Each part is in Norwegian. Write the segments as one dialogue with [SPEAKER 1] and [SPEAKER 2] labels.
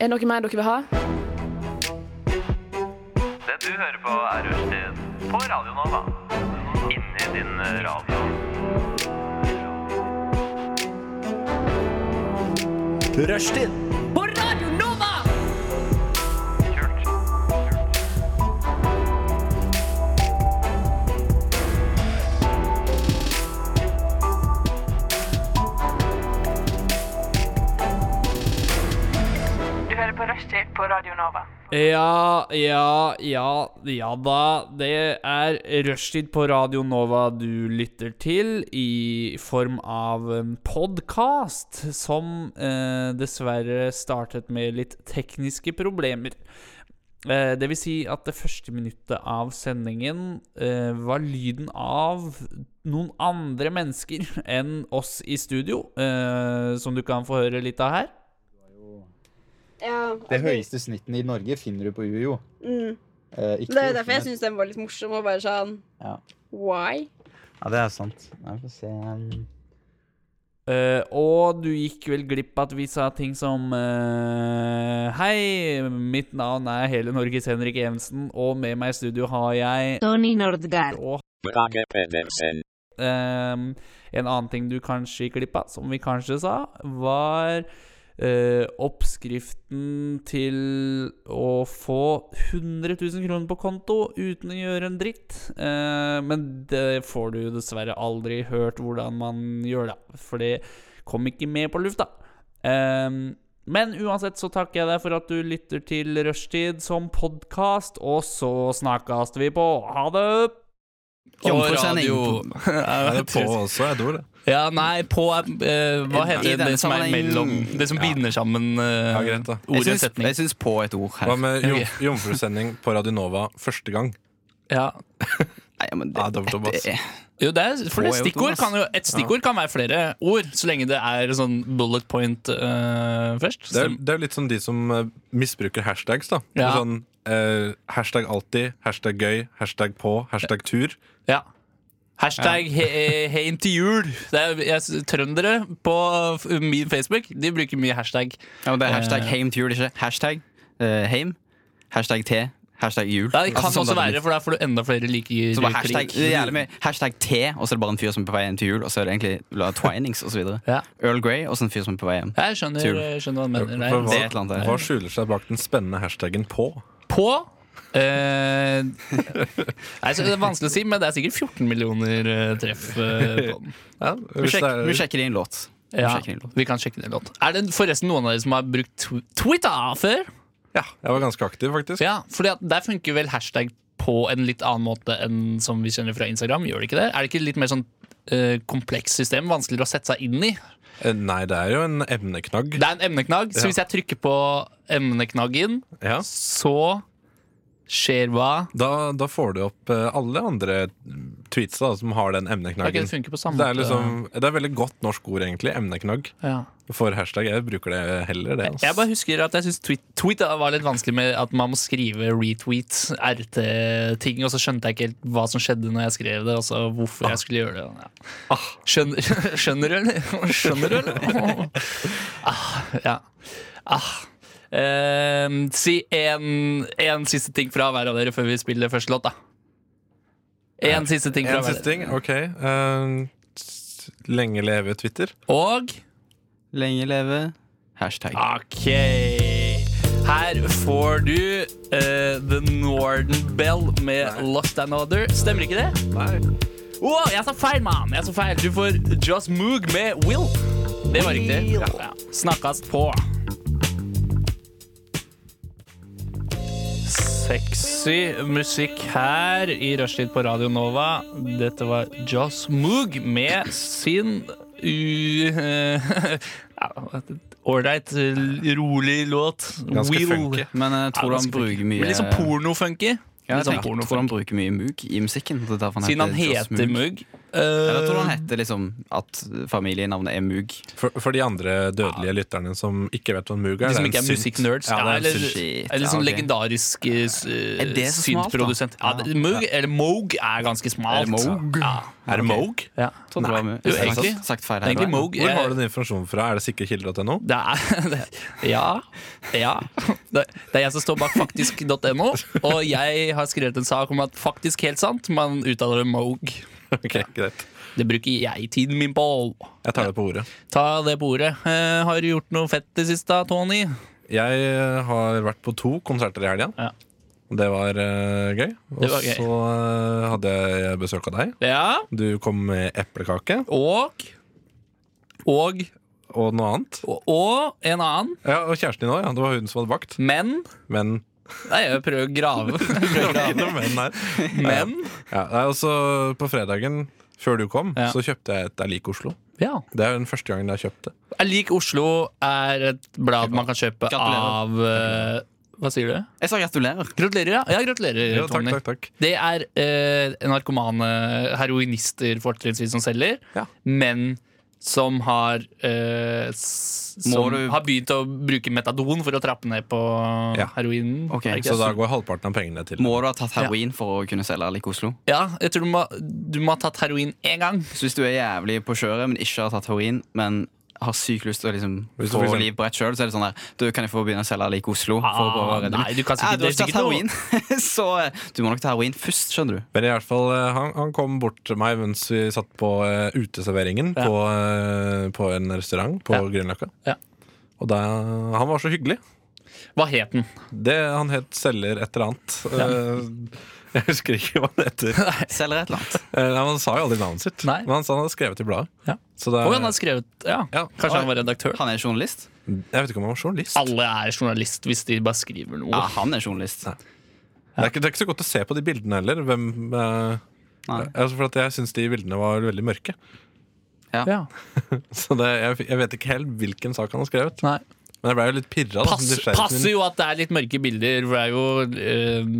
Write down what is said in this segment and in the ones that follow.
[SPEAKER 1] Er det noe mer dere vil ha?
[SPEAKER 2] Det du hører på er Rushtid på Radio Nova. Inni din radio.
[SPEAKER 3] Rushtid
[SPEAKER 2] Kult.
[SPEAKER 4] Du hører på Rushtid på Radio Nova.
[SPEAKER 5] Ja, ja, ja, ja da. Det er rushtid på Radio Nova du lytter til, i form av en podkast som eh, dessverre startet med litt tekniske problemer. Eh, det vil si at det første minuttet av sendingen eh, var lyden av noen andre mennesker enn oss i studio, eh, som du kan få høre litt av her.
[SPEAKER 6] Ja,
[SPEAKER 7] Det
[SPEAKER 6] altså,
[SPEAKER 7] høyeste snitten i Norge finner du på UiO.
[SPEAKER 6] Mm.
[SPEAKER 7] Eh, ikke
[SPEAKER 6] Det er
[SPEAKER 7] i
[SPEAKER 6] jo derfor jeg
[SPEAKER 7] Oslo, men-
[SPEAKER 6] syns den var litt morsom. Og bare sånn
[SPEAKER 7] Ja.
[SPEAKER 6] Why?
[SPEAKER 7] Ja, det er sant. Jeg får se. um,
[SPEAKER 5] Eh, og du gikk vel glipp at vi sa ting som eh, Hei, mitt navn er hele Norges Henrik Evensen, og med meg i studio har jeg
[SPEAKER 8] Tony Nordgaard.
[SPEAKER 5] og
[SPEAKER 9] Brage Pedersen.
[SPEAKER 5] ehm, En annen ting du kanskje gikk glipp av, som vi kanskje sa, var eh, oppskriften til å få 100 000 kroner på konto uten å gjøre en dritt. Eh, men det får du dessverre aldri hørt hvordan man gjør, da. For det kom ikke med på lufta. Ehm, men uansett så takker jeg deg for at du lytter til Rushtid som podkast, og så snakkes vi på. Ha det!
[SPEAKER 10] Og
[SPEAKER 3] Jomfrusending.
[SPEAKER 10] radio
[SPEAKER 3] Ja, det er på også et ord, det.
[SPEAKER 10] Ja, nei, på er eh, Hva
[SPEAKER 3] I
[SPEAKER 10] heter det,
[SPEAKER 3] denne
[SPEAKER 10] det som er
[SPEAKER 3] sammenhengen-
[SPEAKER 10] mellom Det som
[SPEAKER 3] Ja.
[SPEAKER 10] binder sammen eh,
[SPEAKER 3] Ja, greit, da.
[SPEAKER 10] ord i
[SPEAKER 3] Jeg
[SPEAKER 10] en
[SPEAKER 3] syns-
[SPEAKER 10] setning?
[SPEAKER 3] jeg syns på et ord
[SPEAKER 10] Ja,
[SPEAKER 3] her.
[SPEAKER 10] men-
[SPEAKER 3] Nei,
[SPEAKER 10] Ok.
[SPEAKER 2] Med jom jomfrusending på Radio Nova første gang.
[SPEAKER 10] Ja.
[SPEAKER 3] ja, men
[SPEAKER 2] Ja, dobbelt opp, ass.
[SPEAKER 3] det-
[SPEAKER 10] Jo, det er, for
[SPEAKER 3] På
[SPEAKER 10] det
[SPEAKER 3] er jo
[SPEAKER 10] stikkord
[SPEAKER 3] dumt,
[SPEAKER 10] kan jo, Et stikkord kan være flere ord, så lenge det er sånn bullet point eh, først.
[SPEAKER 2] Det er,
[SPEAKER 10] Så-
[SPEAKER 2] det er litt som de som eh, misbruker hashtags, da.
[SPEAKER 10] Ja.
[SPEAKER 2] Sånn eh, hashtag alltid, hashtag gøy, hashtag på, hashtag tur.
[SPEAKER 10] ja. Hashtag he- heim til jul. Det er, jeg, s- trøndere på f- min Facebook De bruker mye hashtag.
[SPEAKER 3] ja, men det er hashtag
[SPEAKER 10] Eh.
[SPEAKER 3] heim til jul, ikke? Hashtag eh, heim. Hashtag te. Hashtag jul.
[SPEAKER 10] Ja, det kan
[SPEAKER 3] Altså, sånn
[SPEAKER 10] også
[SPEAKER 3] det er
[SPEAKER 10] være, for da får du enda flere like
[SPEAKER 3] Så bare hashtag,
[SPEAKER 10] krig.
[SPEAKER 3] det er jævlig mye hashtag te, og så er det bare en fyr som er på vei hjem til jul. Og så er det egentlig la- twinings og så videre.
[SPEAKER 10] Ja.
[SPEAKER 3] Earl Grey og så en fyr som er på vei hjem.
[SPEAKER 10] Jeg skjønner,
[SPEAKER 3] Tur.
[SPEAKER 10] jeg skjønner hva du mener.
[SPEAKER 2] For
[SPEAKER 10] der.
[SPEAKER 3] Det er et eller annet der.
[SPEAKER 2] hva skjuler seg bak den spennende hashtagen på?
[SPEAKER 10] På eh, nei, så Det er vanskelig å si, men det er sikkert 14 millioner eh, treff eh, på den.
[SPEAKER 2] Ja,
[SPEAKER 3] Vi
[SPEAKER 2] hvis det
[SPEAKER 3] sjekker,
[SPEAKER 2] er-
[SPEAKER 3] vi sjekker det i en låt. Vi
[SPEAKER 10] Ja,
[SPEAKER 3] sjekker det i en låt.
[SPEAKER 10] vi kan sjekke det låt. Er det forresten noen av dere som har brukt tw- Twitter før?
[SPEAKER 2] ja, jeg var ganske aktiv, faktisk.
[SPEAKER 10] Ja, fordi at der funker vel hashtag på en litt annen måte enn som vi kjenner fra Instagram. Gjør det ikke det? Er det ikke et litt mer sånn eh, komplekst system? Vanskeligere å sette seg inn i?
[SPEAKER 2] Eh, Nei, det er jo en emneknagg.
[SPEAKER 10] Det er en emneknagg, så
[SPEAKER 2] Ja.
[SPEAKER 10] hvis jeg trykker på emneknaggen,
[SPEAKER 2] Ja.
[SPEAKER 10] så skjer hva?
[SPEAKER 2] Da, da får du opp eh, alle andre tweetsa da, som har den
[SPEAKER 10] Ok,
[SPEAKER 2] emneknaggen.
[SPEAKER 10] det funker på samme
[SPEAKER 2] Det er, liksom, det er veldig godt norsk ord, egentlig. Emneknagg.
[SPEAKER 10] ja.
[SPEAKER 2] For hashtag. Jeg bruker det heller, det. altså. ass.
[SPEAKER 10] Jeg bare husker at jeg synes tweet, tweet var litt vanskelig med at man må skrive retweet, RT-ting, og så skjønte jeg ikke helt hva som skjedde når jeg skrev det, og så hvorfor
[SPEAKER 2] Ah.
[SPEAKER 10] jeg skulle gjøre det. Ja. Skjønner, skjønner du, eller? Skjønner du, eller? Ah, ja. Ah. Eh, si en, en siste ting fra hver av dere før vi spiller første låt, da. En siste ting fra
[SPEAKER 2] En
[SPEAKER 10] hver.
[SPEAKER 2] siste ting. Ok. eh, s- lenge leve Twitter.
[SPEAKER 10] Og
[SPEAKER 3] Lenge leve. Hashtag.
[SPEAKER 10] Ok Her får du eh, The Northern Bell med Lost and Other Stemmer ikke det?
[SPEAKER 2] Nei.
[SPEAKER 10] Åh, jeg sa feil, mann Jeg sa feil Du får Just Moog med Will Det var riktig ja. ja. Snakkes på Sexy musikk her i Rushtid på Radio Nova. Dette var Joss Moog med sin u... ja, Ålreit, rolig låt.
[SPEAKER 2] Ganske funky.
[SPEAKER 3] Men jeg tror han
[SPEAKER 10] Ja, ganske funky.
[SPEAKER 3] bruker mye
[SPEAKER 10] Men Litt sånn pornofunky.
[SPEAKER 3] Ja,
[SPEAKER 10] Litt
[SPEAKER 3] jeg
[SPEAKER 10] sånn
[SPEAKER 3] tenker, tror han
[SPEAKER 10] pornofunky.
[SPEAKER 3] bruker mye mugg i musikken. så det er derfor
[SPEAKER 10] Siden han
[SPEAKER 3] Joss
[SPEAKER 10] heter
[SPEAKER 3] Jeg
[SPEAKER 10] Moog.
[SPEAKER 3] tror han
[SPEAKER 10] Eh,
[SPEAKER 3] heter liksom at familienavnet er Mug.
[SPEAKER 2] For, for de andre dødelige lytterne som ikke vet hva en Moog er.
[SPEAKER 10] de som
[SPEAKER 2] det
[SPEAKER 10] ikke er
[SPEAKER 2] er en synt.
[SPEAKER 10] musikknerds.
[SPEAKER 2] Ja, det er en
[SPEAKER 10] eller,
[SPEAKER 2] synt.
[SPEAKER 3] synt.
[SPEAKER 10] eller sånn
[SPEAKER 3] Ja, ok.
[SPEAKER 10] legendarisk
[SPEAKER 3] Er det så smalt, da?
[SPEAKER 10] syntprodusent. Ja, det- Moog, eller Moog er ganske smalt.
[SPEAKER 3] Er det Moog?
[SPEAKER 10] Ja.
[SPEAKER 2] Er det
[SPEAKER 3] Ok.
[SPEAKER 2] Moog?
[SPEAKER 10] Ja.
[SPEAKER 3] Trodde det var Mug.
[SPEAKER 10] Jo,
[SPEAKER 3] Jeg har
[SPEAKER 10] egentlig-
[SPEAKER 3] sagt- Sagt feil
[SPEAKER 10] Det er
[SPEAKER 3] her.
[SPEAKER 10] egentlig Moog.
[SPEAKER 2] Hvor har
[SPEAKER 10] Jeg-
[SPEAKER 2] du den informasjonen fra? Er det sikrekilder.no?
[SPEAKER 10] Det er det, Ja. ja. Det, det er jeg som står bak faktisk.no, og jeg har skrevet en sak om at faktisk helt sant, man uttaler det Moog.
[SPEAKER 2] Ok, greit.
[SPEAKER 10] Det bruker jeg tiden min på.
[SPEAKER 2] Jeg tar det på ordet.
[SPEAKER 10] Ta det på ordet. Eh, har du gjort noe fett det siste, Tony?
[SPEAKER 2] Jeg eh, har vært på to konserter i helga.
[SPEAKER 10] Ja.
[SPEAKER 2] Det var eh, gøy. Og
[SPEAKER 10] Det var gøy.
[SPEAKER 2] så eh, hadde jeg besøk av deg.
[SPEAKER 10] Ja.
[SPEAKER 2] Du kom med eplekake
[SPEAKER 10] Og Og
[SPEAKER 2] og noe annet.
[SPEAKER 10] og, og en annen.
[SPEAKER 2] Ja, Og kjæresten din òg. Ja. Det var hun som hadde bakt.
[SPEAKER 10] Men
[SPEAKER 2] Men
[SPEAKER 10] Nei, jeg prøver å grave. Prøver å grave.
[SPEAKER 2] Noen menn her.
[SPEAKER 10] Men
[SPEAKER 2] Ja, nei, og så på fredagen før du kom,
[SPEAKER 10] Ja.
[SPEAKER 2] så kjøpte jeg et Jeg liker Oslo.
[SPEAKER 10] ja.
[SPEAKER 2] Det er den første gangen jeg har kjøpt det.
[SPEAKER 10] Jeg liker Oslo er et blad man kan kjøpe av
[SPEAKER 3] Gratulerer.
[SPEAKER 10] eh, Hva sier du?
[SPEAKER 3] Jeg sa gratulerer.
[SPEAKER 10] Gratulerer, ja. ja gratulerer,
[SPEAKER 2] Ja, takk,
[SPEAKER 10] Tony.
[SPEAKER 2] takk, takk.
[SPEAKER 10] Det er eh, narkomane heroinister fortrinnsvis som selger,
[SPEAKER 2] Ja.
[SPEAKER 10] men som har eh, s- Som
[SPEAKER 3] du-
[SPEAKER 10] har begynt å bruke metadon for å trappe ned på
[SPEAKER 2] Ja.
[SPEAKER 10] heroinen.
[SPEAKER 3] Ok,
[SPEAKER 10] Er det ikke
[SPEAKER 2] Så
[SPEAKER 10] det?
[SPEAKER 2] da går halvparten av pengene til
[SPEAKER 3] Må du ha tatt heroin for å kunne selge like Oslo?
[SPEAKER 10] ja, jeg tror du må, du må ha tatt heroin én gang.
[SPEAKER 3] Så hvis du er jævlig på kjøret, men ikke har tatt heroin, men har sykt lyst til å liksom
[SPEAKER 2] Hvis du
[SPEAKER 3] få
[SPEAKER 2] for eksempel-
[SPEAKER 3] liv på ett sjøl, så er det sånn der Du, kan jeg få begynne å selge like Oslo? for å prøve å redde
[SPEAKER 10] Ah, nei,
[SPEAKER 3] meg?»
[SPEAKER 10] du kan
[SPEAKER 3] «Ja, du har
[SPEAKER 10] sikkert, det er
[SPEAKER 3] ikke tatt
[SPEAKER 10] sikkert noe-
[SPEAKER 3] heroin, så eh, du må nok ta heroin først, skjønner du.
[SPEAKER 2] Men i hvert fall, eh, han, han kom bort til meg mens vi satt på eh, uteserveringen
[SPEAKER 10] Ja.
[SPEAKER 2] på, eh, på en restaurant på
[SPEAKER 10] Ja.
[SPEAKER 2] Grünerløkka.
[SPEAKER 10] Ja.
[SPEAKER 2] Og da, han var så hyggelig.
[SPEAKER 10] Hva het den?
[SPEAKER 2] Det, han het selger et eller annet. Eh, Jeg husker ikke hva han heter.
[SPEAKER 3] Selger et eller annet.
[SPEAKER 2] Eh, nei, Han sa jo aldri navnet sitt,
[SPEAKER 10] Nei.
[SPEAKER 2] men han sa han hadde skrevet i bladet.
[SPEAKER 10] Ja.
[SPEAKER 2] Så det,
[SPEAKER 10] Å, han har skrevet ja.
[SPEAKER 2] Eh, Ja.
[SPEAKER 10] Kanskje han var redaktør?
[SPEAKER 3] Han er journalist?
[SPEAKER 2] jeg vet ikke om han var journalist.
[SPEAKER 10] Alle er journalist hvis de bare skriver noe.
[SPEAKER 3] Ja, han er journalist.
[SPEAKER 2] Nei. Det, er ikke, det er ikke så godt å se på de bildene heller. Hvem, eh,
[SPEAKER 3] Nei.
[SPEAKER 2] altså for at jeg syns de bildene var veldig mørke.
[SPEAKER 10] Ja.
[SPEAKER 2] Så det, jeg, jeg vet ikke helt hvilken sak han har skrevet.
[SPEAKER 10] Nei.
[SPEAKER 2] Men jeg ble jo litt pirra.
[SPEAKER 10] Pass, passer jo at det er litt mørke bilder. For det er jo eh,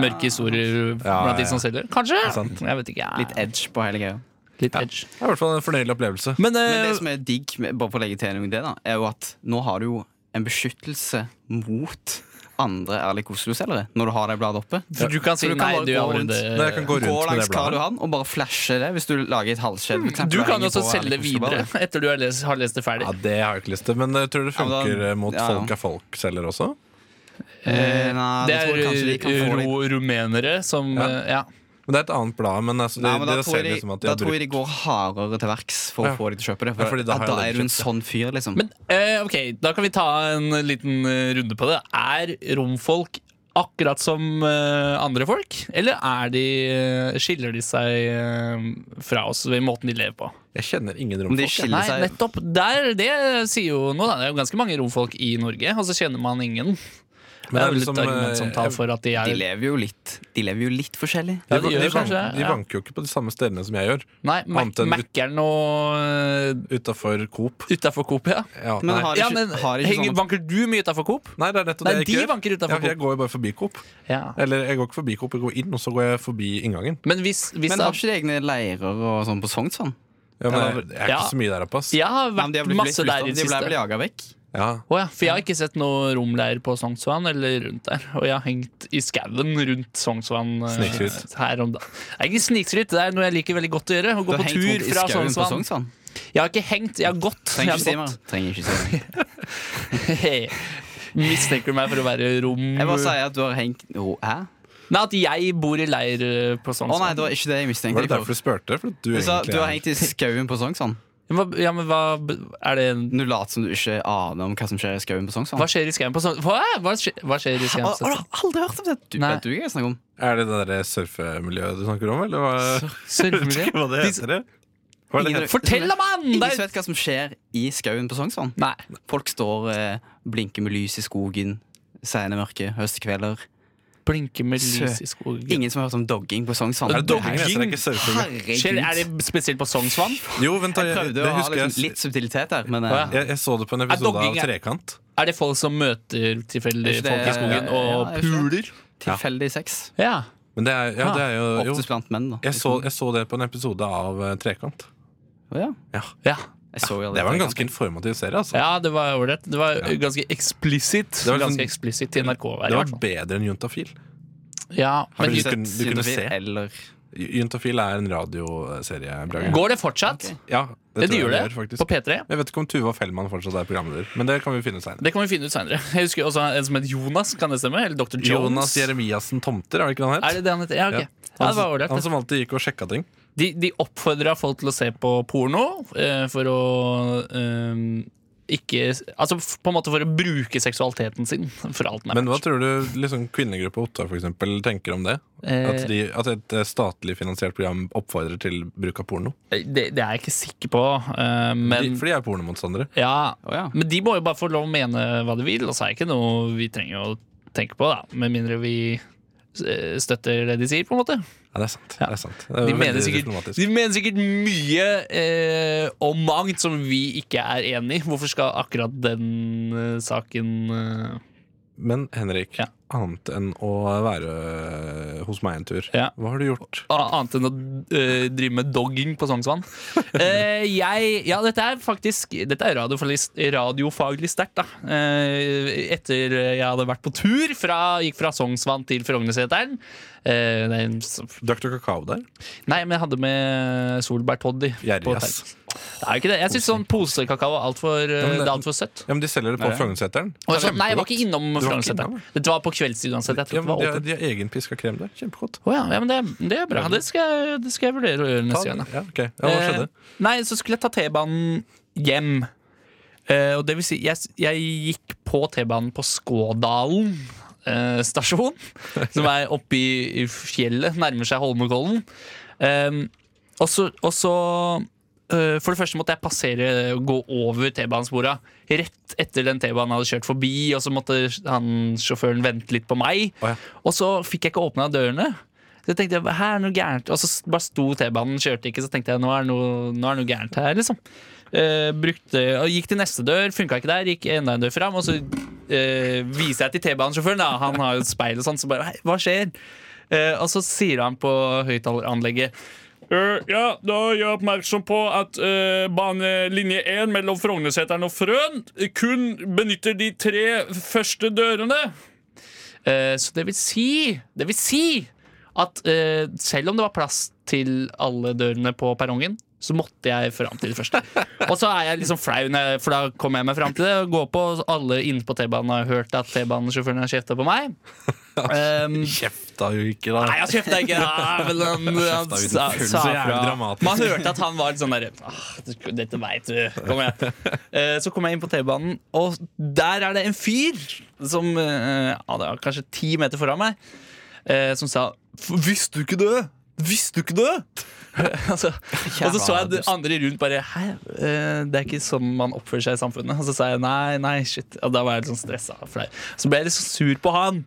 [SPEAKER 10] mørke historier
[SPEAKER 2] Ja,
[SPEAKER 10] blant
[SPEAKER 2] ja,
[SPEAKER 10] de som selger. Kanskje?
[SPEAKER 2] sant.
[SPEAKER 10] Jeg vet ikke.
[SPEAKER 3] Litt edge på hele greia.
[SPEAKER 10] Litt edge.
[SPEAKER 2] Det er i hvert fall en fornøyelig opplevelse.
[SPEAKER 10] Men, eh,
[SPEAKER 3] Men det som er digg, med- bare for å legge til noe i det, da, er jo at nå har du jo en beskyttelse mot andre Erlik Oslo-selgere når du har det bladet oppe.
[SPEAKER 10] for du kan si
[SPEAKER 3] Så du kan
[SPEAKER 10] nei,
[SPEAKER 3] bare
[SPEAKER 10] du
[SPEAKER 3] gå
[SPEAKER 10] har
[SPEAKER 3] rundt-
[SPEAKER 2] Nei, jeg kan gå rundt
[SPEAKER 3] Eh, Gå
[SPEAKER 2] med
[SPEAKER 3] langs
[SPEAKER 2] det bladet.
[SPEAKER 3] Karl Johan og bare flashe det hvis du lager et halvskjell. for eksempel,
[SPEAKER 10] Du
[SPEAKER 3] og
[SPEAKER 10] kan
[SPEAKER 3] henger
[SPEAKER 10] jo også
[SPEAKER 3] på
[SPEAKER 10] selge
[SPEAKER 3] Erlik
[SPEAKER 10] videre
[SPEAKER 3] Oslo-bladet.
[SPEAKER 10] etter du har lest, har lest det ferdig.
[SPEAKER 2] Ja, Det har jeg ikke lyst til, men jeg tror det
[SPEAKER 3] Ja, men da-
[SPEAKER 2] funker eh, mot
[SPEAKER 3] ja, ja.
[SPEAKER 2] folk er folk-selger også.
[SPEAKER 3] Eh, nei,
[SPEAKER 10] det
[SPEAKER 3] da tror jeg kanskje de kan
[SPEAKER 10] er
[SPEAKER 3] få
[SPEAKER 10] ro, rumenere som
[SPEAKER 2] Ja.
[SPEAKER 10] eh, ja.
[SPEAKER 2] Men det er et annet blad. Men altså, det,
[SPEAKER 3] Nei, men da
[SPEAKER 2] det
[SPEAKER 3] tror,
[SPEAKER 2] ser
[SPEAKER 3] jeg
[SPEAKER 2] ut som
[SPEAKER 3] de,
[SPEAKER 2] at de
[SPEAKER 3] da
[SPEAKER 2] har
[SPEAKER 3] tror jeg
[SPEAKER 2] brukt
[SPEAKER 3] de går hardere til verks for
[SPEAKER 2] Ja.
[SPEAKER 3] å få de til å kjøpe det.
[SPEAKER 2] Ja,
[SPEAKER 3] For
[SPEAKER 2] fordi da
[SPEAKER 3] at
[SPEAKER 2] har
[SPEAKER 3] da
[SPEAKER 2] jeg
[SPEAKER 3] er
[SPEAKER 2] aldri
[SPEAKER 3] du en
[SPEAKER 2] kjøpt det.
[SPEAKER 3] sånn fyr, liksom.
[SPEAKER 10] Men eh, ok, da kan vi ta en liten eh, runde på det. Er romfolk akkurat som eh, andre folk? Eller er de, eh, skiller de seg eh, fra oss ved måten de lever på?
[SPEAKER 2] Jeg kjenner ingen
[SPEAKER 3] Om de
[SPEAKER 2] romfolk. jeg.
[SPEAKER 3] skiller
[SPEAKER 10] Nei,
[SPEAKER 3] seg
[SPEAKER 10] nettopp. Der, det sier jo noe, da. Det er jo ganske mange romfolk i Norge, og så kjenner man ingen.
[SPEAKER 2] Men
[SPEAKER 10] det er jo
[SPEAKER 2] liksom,
[SPEAKER 10] litt argument som
[SPEAKER 2] eh,
[SPEAKER 10] taler for at de
[SPEAKER 3] De
[SPEAKER 10] er
[SPEAKER 3] lever jo litt De lever jo litt forskjellig.
[SPEAKER 10] Ja,
[SPEAKER 2] De,
[SPEAKER 10] de
[SPEAKER 2] de,
[SPEAKER 10] gjør
[SPEAKER 2] van-
[SPEAKER 10] kanskje,
[SPEAKER 2] de
[SPEAKER 10] ja.
[SPEAKER 2] vanker jo ikke på de samme stedene som jeg gjør.
[SPEAKER 10] Nei,
[SPEAKER 2] Annet enn ut-
[SPEAKER 10] Mækkern og
[SPEAKER 2] Utafor Coop.
[SPEAKER 10] utafor eh, Coop, ja.
[SPEAKER 2] Ja,
[SPEAKER 3] Men
[SPEAKER 2] nei.
[SPEAKER 3] har de
[SPEAKER 10] ja
[SPEAKER 3] ikke,
[SPEAKER 10] men
[SPEAKER 3] har de ikke
[SPEAKER 10] henger,
[SPEAKER 3] sånn
[SPEAKER 10] Banker du mye utafor Coop?
[SPEAKER 2] nei, det er nettopp
[SPEAKER 10] Nei,
[SPEAKER 2] det jeg
[SPEAKER 10] de
[SPEAKER 2] ikke gjør.
[SPEAKER 10] vanker
[SPEAKER 2] Ja,
[SPEAKER 10] utenfor
[SPEAKER 2] for jeg
[SPEAKER 10] Coop.
[SPEAKER 2] går jo bare forbi Coop.
[SPEAKER 10] Ja.
[SPEAKER 2] Eller jeg går ikke forbi Coop, jeg går inn, og så går jeg forbi inngangen.
[SPEAKER 10] Men hvis, hvis
[SPEAKER 3] Men har ikke de egne leirer og sånn på Sognsvann?
[SPEAKER 2] Ja, men jeg, jeg er
[SPEAKER 10] Ja.
[SPEAKER 2] ikke så mye der oppe, ass.
[SPEAKER 10] Jeg har
[SPEAKER 3] Nei, men
[SPEAKER 10] vært
[SPEAKER 3] De har blitt
[SPEAKER 10] masse
[SPEAKER 3] flyttet,
[SPEAKER 10] der i det
[SPEAKER 3] de ble vel
[SPEAKER 10] siste.
[SPEAKER 3] jaga vekk?
[SPEAKER 2] Ja.
[SPEAKER 10] Å ja, for jeg har ikke sett noe romleir på Sognsvann eller rundt der. Og jeg har hengt i skauen rundt Sognsvann eh,
[SPEAKER 2] Snikskryt.
[SPEAKER 10] her om dagen. Det er ikke snikskryt, det er noe jeg liker veldig godt å gjøre. Å
[SPEAKER 3] Du
[SPEAKER 10] gå
[SPEAKER 3] har
[SPEAKER 10] på
[SPEAKER 3] hengt
[SPEAKER 10] tur
[SPEAKER 3] rundt i
[SPEAKER 10] fra
[SPEAKER 3] skauen på
[SPEAKER 10] Sognsvann.
[SPEAKER 3] Sognsvann?
[SPEAKER 10] Jeg har ikke hengt, jeg har gått.
[SPEAKER 3] Trenger ikke si
[SPEAKER 10] jeg har
[SPEAKER 3] mer. Trenger ikke si mer.
[SPEAKER 10] gått. Mistenker du meg for å være rom...
[SPEAKER 3] Jeg bare sier at du har hengt Ro- Hæ?
[SPEAKER 10] Nei, at jeg bor i leir eh, på
[SPEAKER 3] Å nei,
[SPEAKER 10] Sognsvann.
[SPEAKER 3] det var ikke det jeg mistenkte
[SPEAKER 2] Var
[SPEAKER 3] deg
[SPEAKER 2] det
[SPEAKER 3] for.
[SPEAKER 2] derfor du spurte? For at du,
[SPEAKER 3] Du sa
[SPEAKER 2] egentlig
[SPEAKER 3] du har
[SPEAKER 2] er-
[SPEAKER 3] hengt i skauen på Sognsvann.
[SPEAKER 10] Hva, ja, men hva er det en
[SPEAKER 3] Du later som du ikke aner om hva som skjer i skauen på Sognsvann.
[SPEAKER 10] Hva skjer i skauen på Sognsvann? Hva, hva, skjer, hva skjer i skauen
[SPEAKER 3] Å, å,
[SPEAKER 10] på
[SPEAKER 3] du
[SPEAKER 10] Sognsvann?
[SPEAKER 3] har aldri hørt om det? Du,
[SPEAKER 10] Nei.
[SPEAKER 3] vet du hva jeg snakker om?
[SPEAKER 2] Er det det der surfemiljøet du snakker om, eller hva,
[SPEAKER 10] Surfemiljø?
[SPEAKER 2] hva det heter? det? Hva er det
[SPEAKER 3] Ingen-
[SPEAKER 2] heter?
[SPEAKER 10] Fortell da, mann!
[SPEAKER 3] Ingen
[SPEAKER 10] Det er-
[SPEAKER 3] som vet hva som skjer i skauen på Sognsvann.
[SPEAKER 10] Nei.
[SPEAKER 3] Folk står eh, blinker med lys i skogen. Sene mørke, høstkvelder.
[SPEAKER 10] Blinker med lys i
[SPEAKER 3] Sø-
[SPEAKER 10] skogen.
[SPEAKER 3] Ingen som har hørt om dogging på Sognsvann.
[SPEAKER 2] Er det
[SPEAKER 3] Det her-
[SPEAKER 2] dogging? Jeg ser det ikke surfing.
[SPEAKER 10] Skjer, er
[SPEAKER 3] Herregud.
[SPEAKER 10] det spesielt på Sognsvann?
[SPEAKER 2] Jo, vent, da,
[SPEAKER 3] Jeg
[SPEAKER 2] jeg,
[SPEAKER 3] prøvde
[SPEAKER 2] det
[SPEAKER 3] å ha
[SPEAKER 2] husker
[SPEAKER 3] liksom,
[SPEAKER 2] jeg,
[SPEAKER 3] litt subtilitet der, men eh,
[SPEAKER 10] Å, ja.
[SPEAKER 2] jeg Jeg så det på en episode
[SPEAKER 10] dogging,
[SPEAKER 2] av
[SPEAKER 10] ja.
[SPEAKER 2] Trekant.
[SPEAKER 10] Er det folk som møter tilfeldige
[SPEAKER 3] Er ikke
[SPEAKER 2] Altså,
[SPEAKER 3] det-
[SPEAKER 10] folk i skogen
[SPEAKER 3] ja,
[SPEAKER 10] og
[SPEAKER 3] er det ikke det?
[SPEAKER 10] puler?
[SPEAKER 3] tilfeldig sex.
[SPEAKER 10] Ja.
[SPEAKER 2] Men det er, ja, det er
[SPEAKER 10] Ah,
[SPEAKER 2] jo,
[SPEAKER 3] Oftest
[SPEAKER 2] jo.
[SPEAKER 3] blant menn, da. Liksom.
[SPEAKER 2] Jeg, så, jeg så det på en episode av eh, Trekant.
[SPEAKER 3] Å, ja.
[SPEAKER 2] Ja,
[SPEAKER 10] Ja,
[SPEAKER 3] jeg så jo aldri
[SPEAKER 2] Det var en
[SPEAKER 3] Trekant.
[SPEAKER 2] ganske informativ serie. altså
[SPEAKER 10] ja det var ålreit. Det var
[SPEAKER 2] Ja.
[SPEAKER 10] ganske eksplisitt.
[SPEAKER 2] Det var liksom-
[SPEAKER 10] ganske eksplisitt i NRK.
[SPEAKER 2] Det var bedre enn Juntafil.
[SPEAKER 10] Ja,
[SPEAKER 3] Har
[SPEAKER 10] men
[SPEAKER 2] du
[SPEAKER 3] du
[SPEAKER 2] du
[SPEAKER 3] sett
[SPEAKER 2] kunne- du kunne
[SPEAKER 3] Juntafil
[SPEAKER 2] se.
[SPEAKER 3] eller
[SPEAKER 2] Juntafil er en radioserie. Brage.
[SPEAKER 10] går det fortsatt?
[SPEAKER 3] Ok.
[SPEAKER 2] Ja,
[SPEAKER 10] Det,
[SPEAKER 2] det tror jeg
[SPEAKER 10] gjør det,
[SPEAKER 2] faktisk.
[SPEAKER 10] på P3.
[SPEAKER 2] Jeg vet ikke om Tuva Fellmann fortsatt er programleder, men det kan vi finne ut senere.
[SPEAKER 10] Det kan vi finne ut seinere. Jeg husker også en som het Jonas, kan det stemme? Eller Dr. Jones?
[SPEAKER 2] Jonas Jeremiassen Tomter, er det ikke det han
[SPEAKER 10] Er
[SPEAKER 2] het?
[SPEAKER 10] det det han heter? Ja, ok. Ja. det var
[SPEAKER 2] Han,
[SPEAKER 10] ålreit.
[SPEAKER 2] han som alltid gikk og sjekka ting.
[SPEAKER 10] De, de oppfordra folk til å se på porno eh, for å eh, ikke Altså f- på en måte for å bruke seksualiteten sin for alt den er
[SPEAKER 2] Men hva
[SPEAKER 10] verdt.
[SPEAKER 2] tror du liksom, kvinnegruppa Ottar for eksempel, tenker om det?
[SPEAKER 10] Eh.
[SPEAKER 2] At, de, at et eh, statlig finansiert program oppfordrer til bruk av porno?
[SPEAKER 10] Eh, det, det er jeg ikke sikker på, eh, men
[SPEAKER 2] de, for de er pornomotstandere.
[SPEAKER 10] ja,
[SPEAKER 3] Å ja.
[SPEAKER 10] Men de må jo bare få lov å mene hva de vil, og så er det ikke noe vi trenger å tenke på, da. Med mindre vi eh, støtter det de sier, på en måte.
[SPEAKER 2] Ja, det er sant.
[SPEAKER 10] Ja.
[SPEAKER 2] Det er sant. Det er
[SPEAKER 10] De
[SPEAKER 2] veldig
[SPEAKER 10] mener sikkert,
[SPEAKER 2] diplomatisk.
[SPEAKER 10] de mener sikkert mye eh, om mangt som vi ikke er enig i. Hvorfor skal akkurat den eh, saken eh,
[SPEAKER 2] Men Henrik,
[SPEAKER 10] Ja.
[SPEAKER 2] annet enn å være eh, hos meg en tur,
[SPEAKER 10] Ja.
[SPEAKER 2] hva har du gjort?
[SPEAKER 10] a- Annet enn å eh, drive med dogging på Sognsvann. Eh, jeg Ja, dette er faktisk Dette er radiofaglig, radiofaglig sterkt, da. Eh, etter jeg hadde vært på tur, fra, gikk fra Sognsvann til Frognerseteren. Eh, det er en s-
[SPEAKER 2] Drakk du kakao der?
[SPEAKER 10] Nei, men jeg hadde med solbærtoddy. på
[SPEAKER 2] Gjerrig,
[SPEAKER 10] hotell.
[SPEAKER 2] ass.
[SPEAKER 10] Det er jo ikke det. Jeg syns sånn posekakao er altfor
[SPEAKER 2] Ja, men det-
[SPEAKER 10] alt for søtt.
[SPEAKER 2] Ja, men de selger det på
[SPEAKER 3] Nei.
[SPEAKER 2] Frognerseteren.
[SPEAKER 10] Og jeg var- Nei, jeg var ikke innom
[SPEAKER 2] Du var ikke
[SPEAKER 10] Frognerseteren.
[SPEAKER 2] innom?
[SPEAKER 10] Dette var på kveldstid uansett. Jeg tror
[SPEAKER 2] Ja,
[SPEAKER 10] ikke det
[SPEAKER 2] men
[SPEAKER 10] var
[SPEAKER 2] de, har,
[SPEAKER 10] åpent.
[SPEAKER 2] de har egen piska krem der. Kjempegodt.
[SPEAKER 10] Å ja, ja, men det, det er bra. Det skal, jeg- det skal jeg vurdere å gjøre
[SPEAKER 2] Ta
[SPEAKER 10] neste
[SPEAKER 2] den.
[SPEAKER 10] gang. da.
[SPEAKER 2] Ja, ok. ja, hva skjedde?
[SPEAKER 10] Eh, nei, så skulle jeg ta T-banen hjem. Eh, og det vil si, jeg, jeg gikk på T-banen på Skådalen eh, stasjon, som er oppe i, i fjellet, nærmer seg Holmenkollen. Eh, og så, og så eh, For det første måtte jeg passere og gå over T-banespora rett etter den T-banen hadde kjørt forbi, og så måtte han, sjåføren vente litt på meg.
[SPEAKER 2] Å ja.
[SPEAKER 10] Og så fikk jeg ikke åpna dørene. Så jeg tenkte, her er det noe gærent Og så s- bare sto T-banen, kjørte ikke, så tenkte jeg nå er det noe, nå er det noe gærent her. liksom Eh, brukte, og Gikk til neste dør, funka ikke der, gikk enda en dør fram. Og så eh, viser jeg til T-banesjåføren, da. han har jo et speil og sånn, så bare Hei, hva skjer? Eh, og så sier han på høyttaleranlegget «Eh, ja, da gjør jeg oppmerksom på at eh, banelinje 1 mellom Frognerseteren og Frøn kun benytter de tre første dørene. Eh, så det vil si Det vil si at eh, selv om det var plass til alle dørene på perrongen, så måtte jeg fram til det første. Og så er jeg liksom flau, når jeg- for da kommer jeg meg fram til det. Og går på, og alle inne på T-banen har hørt at T-banesjåføren har kjefta på meg. Um,
[SPEAKER 2] Kjefta jo ikke, da.
[SPEAKER 10] Nei, han kjefta ikke! Ja, men han, han
[SPEAKER 2] Kjefta uten
[SPEAKER 10] sa,
[SPEAKER 2] full,
[SPEAKER 10] sa
[SPEAKER 2] så jævlig
[SPEAKER 10] fra.
[SPEAKER 2] dramatisk.
[SPEAKER 10] Man hørte at han var litt sånn derre Dette veit du. Kom igjen. Eh, Så kom jeg inn på T-banen, og der er det en fyr som eh, ja, det var kanskje ti meter foran meg, eh, som sa "F- Visste du ikke det? Visste du ikke det? altså, og så så jeg de andre rundt bare Hæ, eh, det er ikke sånn man oppfører seg i samfunnet. Og så sa jeg nei, nei, shit. Og da var jeg litt sånn stressa. og flau. Så ble jeg litt så sur på han.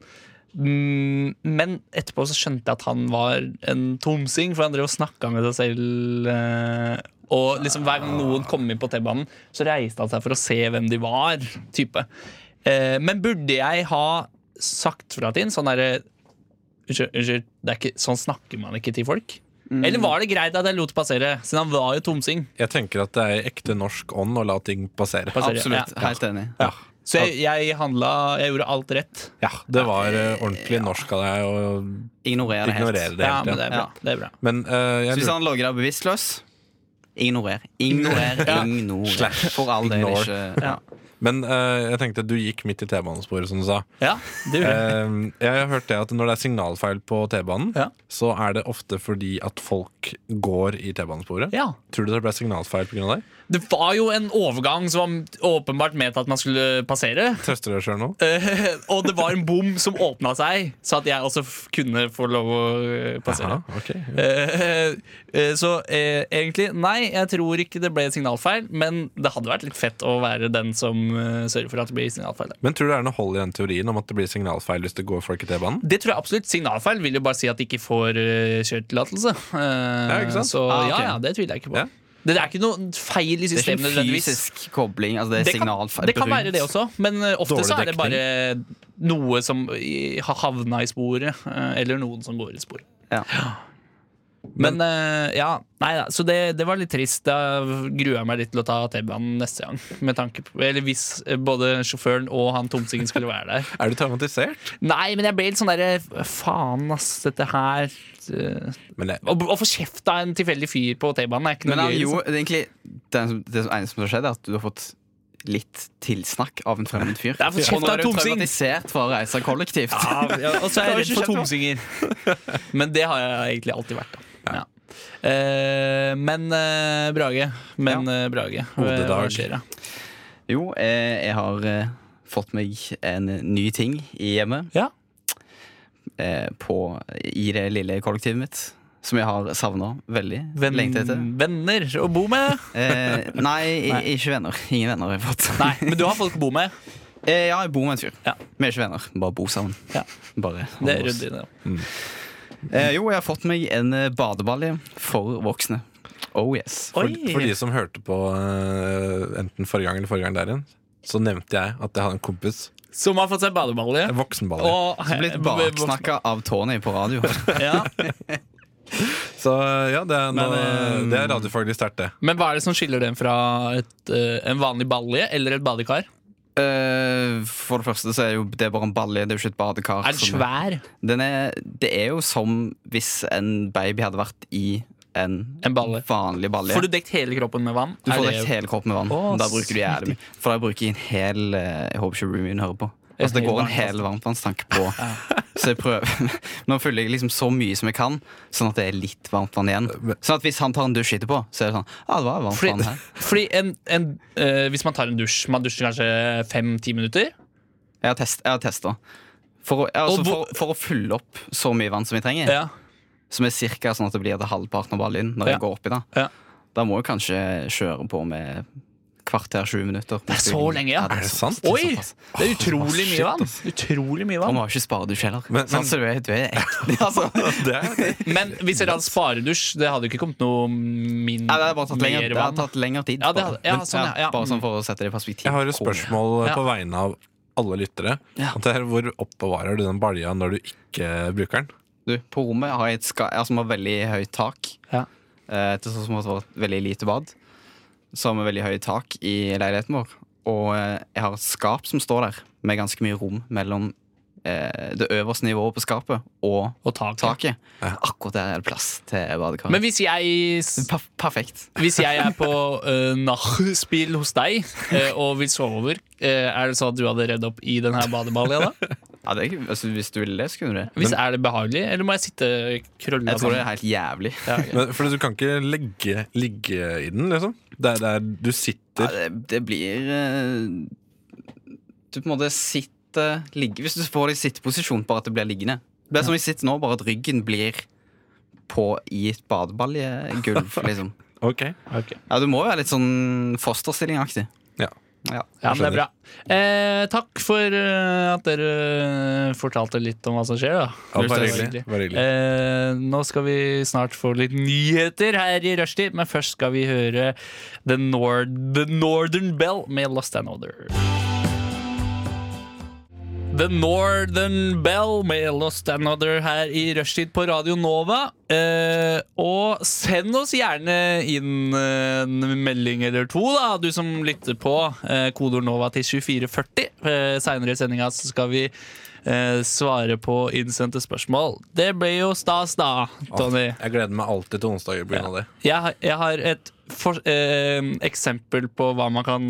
[SPEAKER 10] Mm, Men etterpå så skjønte jeg at han var en tomsing, for han drev og snakka med seg selv. eh, Og liksom hver gang noen kom inn på T-banen, så reiste han seg for å se hvem de var. type Eh, Men burde jeg ha sagt fra til ham sånn derre Unnskyld, unnskyld det er ikke, sånn snakker man ikke til folk. Eller var det greit at jeg lot det passere, siden han var jo tomsing?
[SPEAKER 2] Jeg tenker at det er ekte norsk ånd å la ting passere.
[SPEAKER 10] Passere.
[SPEAKER 3] Absolutt. Helt enig.
[SPEAKER 2] Ja.
[SPEAKER 10] Så jeg, jeg handla Jeg gjorde alt rett.
[SPEAKER 2] ja, det var eh, ordentlig norsk av deg å
[SPEAKER 3] Ignorer det helt.
[SPEAKER 2] ignorere det
[SPEAKER 10] Ja, men
[SPEAKER 2] helt.
[SPEAKER 10] det
[SPEAKER 2] Ja.
[SPEAKER 10] er bra.
[SPEAKER 3] Ja.
[SPEAKER 10] Det er bra.
[SPEAKER 2] Men eh,
[SPEAKER 3] Så
[SPEAKER 2] jeg
[SPEAKER 3] hvis
[SPEAKER 2] lurer
[SPEAKER 3] han lå der bevisstløs Ignorer. Ignorer, ignorer.
[SPEAKER 2] Slash.
[SPEAKER 3] For all del
[SPEAKER 2] Ignore.
[SPEAKER 3] ikke ja.
[SPEAKER 2] Men eh, jeg tenkte du gikk midt i T-banesporet, som du sa.
[SPEAKER 10] Ja, det gjorde jeg.
[SPEAKER 2] Eh, jeg har hørt det at når det er signalfeil på T-banen,
[SPEAKER 10] Ja.
[SPEAKER 2] så er det ofte fordi at folk går i T-banesporet.
[SPEAKER 10] Ja.
[SPEAKER 2] Tror du det ble signalfeil pga. deg?
[SPEAKER 10] Det var jo en overgang som var åpenbart ment at man skulle passere.
[SPEAKER 2] Trøster du deg sjøl nå?
[SPEAKER 10] Eh, og det var en bom som åpna seg, så at jeg også f- kunne få lov å eh, passere.
[SPEAKER 2] Aha, ok.
[SPEAKER 10] Eh, eh, så eh, egentlig, nei, jeg tror ikke det ble signalfeil. Men det hadde vært litt fett å være den som eh, sørger for at det blir signalfeil. da.
[SPEAKER 2] Men tror du det er noe hold i den teorien om at det blir signalfeil hvis det går folk i T-banen?
[SPEAKER 10] Det tror jeg absolutt. Signalfeil vil jo bare si at de ikke får eh, kjøretillatelse. Eh,
[SPEAKER 2] Ja, ikke sant?
[SPEAKER 10] Så
[SPEAKER 3] Ah, ok.
[SPEAKER 10] ja, ja, det tviler jeg ikke på.
[SPEAKER 2] Ja.
[SPEAKER 10] Det er ikke noe feil
[SPEAKER 3] Det er
[SPEAKER 10] i
[SPEAKER 3] ikke
[SPEAKER 10] systemet
[SPEAKER 3] en
[SPEAKER 10] nødvendigvis.
[SPEAKER 3] fysisk kobling. Altså det er
[SPEAKER 10] det kan,
[SPEAKER 3] signalfeil
[SPEAKER 10] det kan
[SPEAKER 3] brudd.
[SPEAKER 10] være det også, men eh, ofte
[SPEAKER 2] Dårlig
[SPEAKER 10] så er det bare noe som i- har havna i sporet, eh, eller noen som går i sporet.
[SPEAKER 3] Ja.
[SPEAKER 10] Men eh, ja, nei da. Så det, det var litt trist. Da gruer jeg meg litt til å ta T-banen neste gang. Med tanke på, eller hvis eh, både sjåføren og han tomsingen skulle være der.
[SPEAKER 2] Er du traumatisert?
[SPEAKER 10] Nei, men jeg ble litt sånn derre Faen, ass, dette her eh,
[SPEAKER 2] Men det,
[SPEAKER 10] Å å få kjeft av en tilfeldig fyr på T-banen er ikke
[SPEAKER 3] Men
[SPEAKER 10] noe
[SPEAKER 3] han,
[SPEAKER 10] gøy.
[SPEAKER 3] jo,
[SPEAKER 10] liksom.
[SPEAKER 3] det er egentlig det, som, det som eneste som har skjedd, er at du har fått litt tilsnakk av en fremmed fyr.
[SPEAKER 10] Jeg har fått kjeft
[SPEAKER 3] Og nå
[SPEAKER 10] av
[SPEAKER 3] er du
[SPEAKER 10] Tom Singh.
[SPEAKER 3] traumatisert for å reise kollektivt.
[SPEAKER 10] Ja, og så
[SPEAKER 3] Det har
[SPEAKER 10] er jeg redd
[SPEAKER 3] ikke
[SPEAKER 10] for
[SPEAKER 3] skjedd
[SPEAKER 10] tomsinger. Men det har jeg egentlig alltid vært. Da. Ja. Eh, men eh, Brage, men eh, Brage, hva
[SPEAKER 2] Hodedag.
[SPEAKER 10] skjer da?
[SPEAKER 3] Jo, eh, jeg har eh, fått meg en ny ting i hjemmet.
[SPEAKER 10] Ja.
[SPEAKER 3] Eh, på, I det lille kollektivet mitt. Som jeg har savna veldig.
[SPEAKER 10] Venn,
[SPEAKER 3] Lengtet etter.
[SPEAKER 10] Mm, venner å bo med?
[SPEAKER 3] Eh, nei, i- ikke venner. Ingen venner har jeg fått.
[SPEAKER 10] Nei, men du har folk å bo med.
[SPEAKER 3] Eh, ja, jeg bor med en fyr.
[SPEAKER 10] Ja.
[SPEAKER 3] Vi er ikke venner. Bare bo sammen.
[SPEAKER 10] Ja.
[SPEAKER 3] Bare,
[SPEAKER 10] Det
[SPEAKER 3] holde
[SPEAKER 10] er
[SPEAKER 3] oss.
[SPEAKER 10] ryddig. det.
[SPEAKER 3] Eh, jo, jeg har fått meg en eh, badebalje for voksne. Oh yes.
[SPEAKER 2] for,
[SPEAKER 10] Oi.
[SPEAKER 2] for de som hørte på eh, enten forrige gang eller forrige gang der igjen, så nevnte jeg at jeg hadde en kompis.
[SPEAKER 10] Som har fått seg badebalje.
[SPEAKER 2] En voksenballer.
[SPEAKER 10] Og eh,
[SPEAKER 3] Blitt baksnakka av Tony på radio.
[SPEAKER 10] Ja.
[SPEAKER 2] Så ja, det er, noe,
[SPEAKER 10] Men, eh,
[SPEAKER 2] det er radiofaglig sterkt, det.
[SPEAKER 10] Men hva er det som skiller den fra et, eh, en vanlig balje eller et badekar?
[SPEAKER 3] Eh, for det første så er jo det bare en balje, det er jo ikke et badekar.
[SPEAKER 10] Er den
[SPEAKER 3] som-
[SPEAKER 10] svær?
[SPEAKER 3] Den er, det er jo som hvis en baby hadde vært i en,
[SPEAKER 10] En balle.
[SPEAKER 3] vanlig balje.
[SPEAKER 10] Får du dekt hele kroppen med vann?
[SPEAKER 3] Du
[SPEAKER 10] Er
[SPEAKER 3] får
[SPEAKER 10] det-
[SPEAKER 3] dekt hele kroppen med vann.
[SPEAKER 10] Å,
[SPEAKER 3] da bruker du jævlig mye. For da bruker jeg en hel eh, Jeg håper ikke roomien hører på. Altså, det
[SPEAKER 10] hel
[SPEAKER 3] går en
[SPEAKER 10] varmtvannstank.
[SPEAKER 3] hel varmtvannstank på. Så jeg prøver Nå fyller jeg liksom så mye som jeg kan, sånn at det er litt varmt vann igjen. Sånn at hvis han tar en dusj etterpå, så er det sånn Ja, det var varmt vann
[SPEAKER 10] Fordi,
[SPEAKER 3] her.
[SPEAKER 10] fordi en, en, eh, hvis man tar en dusj Man dusjer kanskje fem-ti minutter.
[SPEAKER 3] Jeg har, test, jeg har testa. For, å- ja, altså,
[SPEAKER 10] Og hvor-
[SPEAKER 3] for, for å fylle opp så mye vann som jeg trenger,
[SPEAKER 10] Ja.
[SPEAKER 3] som er cirka sånn at det blir til halvparten av ballen når
[SPEAKER 10] Ja.
[SPEAKER 3] jeg går oppi det,
[SPEAKER 10] Ja.
[SPEAKER 3] da må jeg kanskje kjøre på med kvarter 20 minutter.
[SPEAKER 10] Det er så lenge, ja.
[SPEAKER 2] Er det sant?
[SPEAKER 10] Oi!
[SPEAKER 3] såpass.
[SPEAKER 10] Det er utrolig mye vann. Utrolig mye
[SPEAKER 3] Og
[SPEAKER 10] vann
[SPEAKER 3] man har ikke sparedusj heller.
[SPEAKER 2] Men-
[SPEAKER 3] Sånn,
[SPEAKER 2] men-
[SPEAKER 3] så du er, du er ekkel. altså.
[SPEAKER 2] Det er,
[SPEAKER 10] Men hvis dere hadde sparedusj, det hadde jo ikke kommet noe mindre
[SPEAKER 3] Nei, det hadde bare tatt lenger, det hadde tatt lengre tid.
[SPEAKER 10] Ja, det
[SPEAKER 3] bare.
[SPEAKER 10] hadde- ja,
[SPEAKER 3] Men-
[SPEAKER 10] sånn, ja, ja.
[SPEAKER 3] Bare sånn for å sette det i perspektiv.
[SPEAKER 2] jeg har et spørsmål eh,
[SPEAKER 10] Ja.
[SPEAKER 2] på vegne av alle lyttere.
[SPEAKER 3] Ja.
[SPEAKER 2] Og det er Hvor oppbevarer du den balja når du ikke bruker den?
[SPEAKER 3] Du, på rommet har jeg et ska ja, som har veldig høyt tak.
[SPEAKER 10] Ja.
[SPEAKER 3] Eh, til sånn som at det var et veldig lite bad. Som har veldig høyt tak i leiligheten vår. Og eh, jeg har et skap som står der, med ganske mye rom mellom eh, det øverste nivået på skapet og
[SPEAKER 10] Og tak.
[SPEAKER 3] taket. Akkurat der er det plass til badekaret.
[SPEAKER 10] Men hvis jeg,
[SPEAKER 3] Per- perfekt.
[SPEAKER 10] hvis jeg er på uh, nachspiel hos deg eh, og vil sove over, eh, er det sånn at du hadde redd opp i den her badebalja da?
[SPEAKER 3] Ja, det er, ikke- altså, hvis du ville det, så kunne du det.
[SPEAKER 10] Hvis Er det behagelig, eller må jeg sitte krølla
[SPEAKER 3] Jeg tror det er helt jævlig.
[SPEAKER 10] Ja, ok.
[SPEAKER 2] Men, for du kan ikke legge, ligge i den, liksom. Det er der du
[SPEAKER 3] Ja,
[SPEAKER 2] sitter.
[SPEAKER 3] det, det blir eh, Du på en måte sitter ligge, Hvis du får deg sitteposisjon, bare at det blir liggende. Det er som jeg sitter nå, bare at ryggen blir på i et badebaljegulv, liksom.
[SPEAKER 2] Ok.
[SPEAKER 10] Ok.
[SPEAKER 3] Ja, du må jo være litt sånn fosterstillingaktig.
[SPEAKER 2] Ja.
[SPEAKER 3] Ja.
[SPEAKER 10] Ja, men det er bra. Eh, takk for eh, at dere eh, fortalte litt om hva som skjer, da.
[SPEAKER 2] Ja,
[SPEAKER 10] Det var
[SPEAKER 2] bare hyggelig.
[SPEAKER 10] hyggelig.
[SPEAKER 2] Bare hyggelig.
[SPEAKER 10] Eh, nå skal vi snart få litt nyheter her i rushtid, men først skal vi høre The, Nord The Northern Bell med Lost and Other. The Northern Bell med Lost and Other her i rushtid på Radio Nova. Eh, og send oss gjerne inn eh, en melding eller to, da, du som lytter på. Eh, Kodeord Nova til 2440. Eh, Seinere i sendinga så skal vi eh, svare på innsendte spørsmål. Det ble jo stas, da, Tony.
[SPEAKER 2] Jeg gleder meg alltid til onsdager på grunn av det.
[SPEAKER 10] Jeg, har- jeg har et for, eh, eksempel på hva, man kan,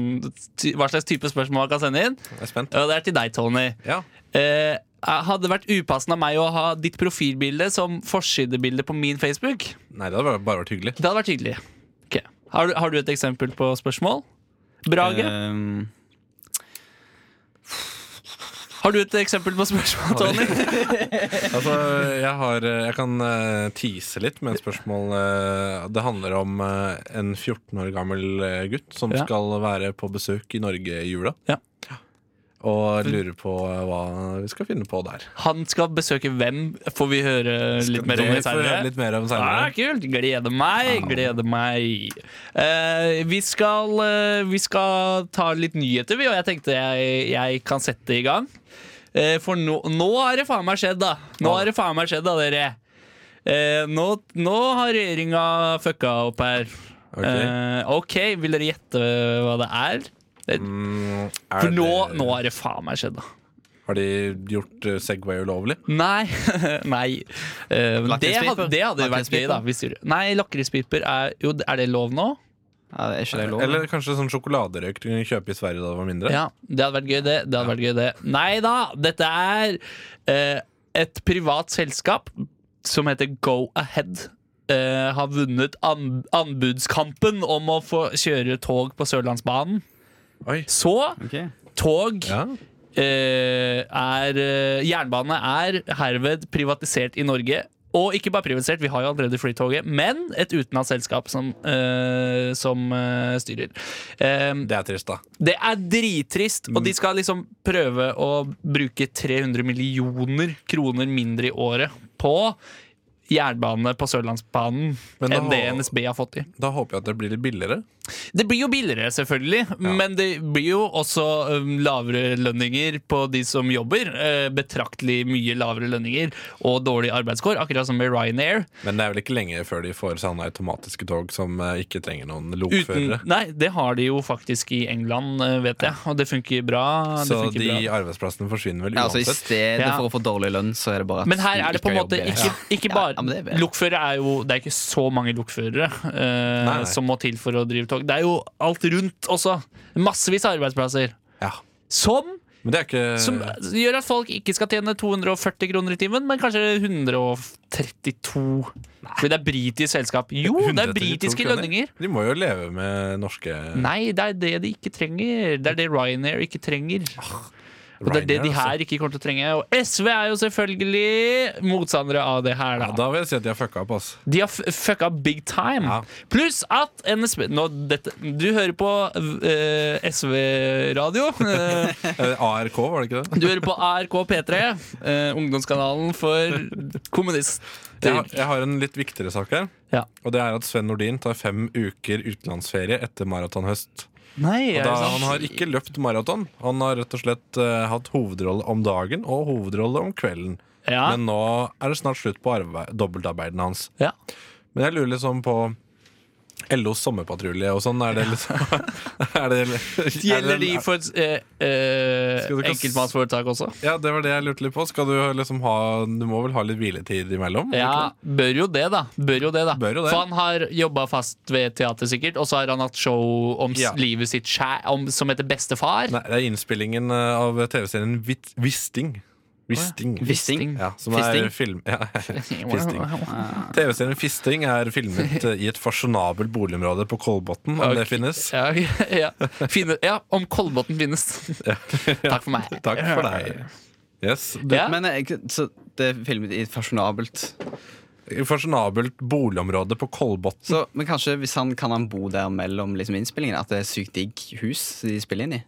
[SPEAKER 10] ty, hva slags type spørsmål man kan sende inn.
[SPEAKER 2] Jeg er spent.
[SPEAKER 10] Og det er til deg, Tony.
[SPEAKER 2] Ja.
[SPEAKER 10] Eh, hadde det vært upassende av meg å ha ditt profilbilde som forsidebilde på min Facebook?
[SPEAKER 2] Nei, det hadde bare- bare vært hyggelig.
[SPEAKER 10] Det hadde vært hyggelig. Ok. Har, du, har du et eksempel på spørsmål? Brage,
[SPEAKER 2] Eh.
[SPEAKER 3] Ehm,
[SPEAKER 10] har du et eksempel på spørsmål, Tony?
[SPEAKER 2] Altså, jeg, har, jeg kan eh, tease litt med et spørsmål. eh, Det handler om eh, en 14 år gammel eh, gutt som
[SPEAKER 10] Ja.
[SPEAKER 2] skal være på besøk i Norge i jula.
[SPEAKER 10] Ja.
[SPEAKER 2] Og lurer på hva vi skal finne på der.
[SPEAKER 10] Han skal besøke hvem? Får vi høre litt mer om
[SPEAKER 2] det
[SPEAKER 10] det
[SPEAKER 2] får vi høre
[SPEAKER 10] senere?
[SPEAKER 2] litt mer om
[SPEAKER 10] Ah,
[SPEAKER 2] senere.
[SPEAKER 10] kult! Gleder meg, gleder meg. Eh, vi, skal, eh, vi skal ta litt nyheter, vi, og jeg tenkte jeg, jeg kan sette i gang. Eh, For nå, nå har det faen meg skjedd, da. Nå har det faen meg skjedd, da, dere. Eh, Nå, nå har regjeringa fucka opp her.
[SPEAKER 2] Ok.
[SPEAKER 10] Eh, OK, vil dere gjette hva det er? Det-
[SPEAKER 2] Mm, er
[SPEAKER 10] For nå,
[SPEAKER 2] det-
[SPEAKER 10] nå har det faen meg skjedd, da.
[SPEAKER 2] Har de gjort eh, Segway ulovlig?
[SPEAKER 10] Nei. nei. Eh, men det,
[SPEAKER 3] Lakrispiper?
[SPEAKER 10] hadde, det hadde vært gøy, da. Hvis du, nei, lakrispiper er Jo, er det lov nå?
[SPEAKER 3] Ja, det er ikke det lov?
[SPEAKER 2] Eller kanskje sånn sjokoladerøyk du kunne kjøpe i Sverige da du var mindre?
[SPEAKER 10] Ja, det hadde vært gøy, det. det, hadde vært gøy, det. Nei da! Dette er eh, et privat selskap som heter Go Ahead. eh, har vunnet an anbudskampen om å få kjøre tog på Sørlandsbanen.
[SPEAKER 2] Oi.
[SPEAKER 10] Så
[SPEAKER 3] Ok.
[SPEAKER 10] tog
[SPEAKER 2] Ja.
[SPEAKER 10] eh, er eh, Jernbane er herved privatisert i Norge. Og ikke bare privatisert, vi har jo allerede Flytoget, men et utenlandsk selskap som, eh, som eh, styrer. Eh,
[SPEAKER 2] Det er trist, da.
[SPEAKER 10] det er drittrist,
[SPEAKER 2] Mm.
[SPEAKER 10] og de skal liksom prøve å bruke 300 millioner kroner mindre i året på jernbane på Sørlandsbanen
[SPEAKER 2] Men da-
[SPEAKER 10] enn det NSB har fått i.
[SPEAKER 2] Da håper jeg at det blir litt billigere.
[SPEAKER 10] Det blir jo billigere, selvfølgelig, men det blir jo også um, lavere lønninger på de som jobber. eh, betraktelig mye lavere lønninger og dårlig arbeidskår, akkurat som med Ryanair.
[SPEAKER 2] Men det er vel ikke lenge før de får sånne automatiske tog som eh, ikke trenger noen
[SPEAKER 10] Uten,
[SPEAKER 2] lokførere.
[SPEAKER 10] nei, det har de jo faktisk i England, eh, vet jeg, og det funker bra. det
[SPEAKER 2] Så
[SPEAKER 10] funker
[SPEAKER 2] de
[SPEAKER 10] bra.
[SPEAKER 2] arbeidsplassene forsvinner vel
[SPEAKER 3] Ja, altså I
[SPEAKER 2] uansett.
[SPEAKER 3] stedet
[SPEAKER 10] Ja.
[SPEAKER 3] for å få dårlig lønn, så er det bare at
[SPEAKER 10] Men her
[SPEAKER 3] du
[SPEAKER 10] er det på en
[SPEAKER 3] har
[SPEAKER 10] måte
[SPEAKER 3] jobb.
[SPEAKER 10] ikke, ikke
[SPEAKER 3] Ja,
[SPEAKER 10] bare
[SPEAKER 3] ja, men det er bedre.
[SPEAKER 10] Lokførere er jo Det er ikke så mange lokførere eh,
[SPEAKER 2] Nei, nei.
[SPEAKER 10] som må til for å drive tog. Det er jo alt rundt også. Massevis av arbeidsplasser.
[SPEAKER 2] Ja.
[SPEAKER 10] Som,
[SPEAKER 2] Men det er ikke
[SPEAKER 10] som gjør at folk ikke skal tjene 240 kroner i timen, men kanskje 132. Fordi det er britisk selskap. Jo, det er
[SPEAKER 2] 132
[SPEAKER 10] britiske
[SPEAKER 2] kroner.
[SPEAKER 10] lønninger.
[SPEAKER 2] De må jo leve med norske
[SPEAKER 10] Nei, det er det de ikke trenger. Det er det Ryanair ikke trenger. Og det er det
[SPEAKER 2] Ryanair,
[SPEAKER 10] de
[SPEAKER 2] altså.
[SPEAKER 10] her ikke kommer til å trenge. Og SV er jo selvfølgelig motstandere av det her,
[SPEAKER 2] Ja, da vil jeg si at de har fucka opp, ass.
[SPEAKER 10] De har f- fucka big time.
[SPEAKER 2] Ja.
[SPEAKER 10] Pluss at NSB nå, dette, Du hører på eh, SV-radio.
[SPEAKER 2] Eh, ARK, var det ikke det?
[SPEAKER 10] du hører på ARK P3, eh, ungdomskanalen for
[SPEAKER 2] Jeg
[SPEAKER 10] kommunister.
[SPEAKER 2] har, jeg har en litt viktigere sak her.
[SPEAKER 10] Ja.
[SPEAKER 2] Og det er at Sven Nordin tar fem uker utenlandsferie etter maratonhøst.
[SPEAKER 10] Nei,
[SPEAKER 2] Og
[SPEAKER 10] er
[SPEAKER 2] da,
[SPEAKER 10] det sant?
[SPEAKER 2] han har ikke løpt maraton. Han har rett og slett eh, hatt hovedrolle om dagen og hovedrolle om kvelden.
[SPEAKER 10] ja.
[SPEAKER 2] Men nå er det snart slutt på arbeid, dobbeltarbeidene hans.
[SPEAKER 10] Ja.
[SPEAKER 2] Men jeg lurer liksom på LOs sommerpatrulje og sånn. Er det liksom er det,
[SPEAKER 10] Gjelder de for et eh, eh,
[SPEAKER 2] Skal du ikke s-
[SPEAKER 10] enkeltmannsforetak også?
[SPEAKER 2] Ja, det var det jeg lurte litt på. Skal du liksom ha Du må vel ha litt hviletid imellom?
[SPEAKER 10] Ja, bør jo det, da. Bør jo det, da.
[SPEAKER 2] Bør jo det.
[SPEAKER 10] For han har jobba fast ved teater, sikkert. Og så har han hatt show om s-
[SPEAKER 2] Ja.
[SPEAKER 10] livet sitt skjæ- om, som heter Bestefar.
[SPEAKER 2] Nei, det er innspillingen eh, av TV-serien Vit- Wisting. Wisting.
[SPEAKER 3] Vissing.
[SPEAKER 2] Ja, som
[SPEAKER 3] Fisting?
[SPEAKER 2] er film ja. Fisting. TV-serien Fisting er filmet eh, i et fasjonabelt boligområde på Kolbotn, om det
[SPEAKER 10] Ok.
[SPEAKER 2] finnes.
[SPEAKER 10] Ja, ok, ja. Finne, ja om Kolbotn finnes. Takk for meg.
[SPEAKER 2] Takk for deg. Yes. Du,
[SPEAKER 10] Ja.
[SPEAKER 3] Men eh, ikke- så det er filmet i fasjonabelt.
[SPEAKER 2] Fasjonabelt boligområde på Kolbotn.
[SPEAKER 3] Så, men kanskje hvis han kan han bo der mellom liksom, innspillingene? At det er sykt digg hus de spiller inn i?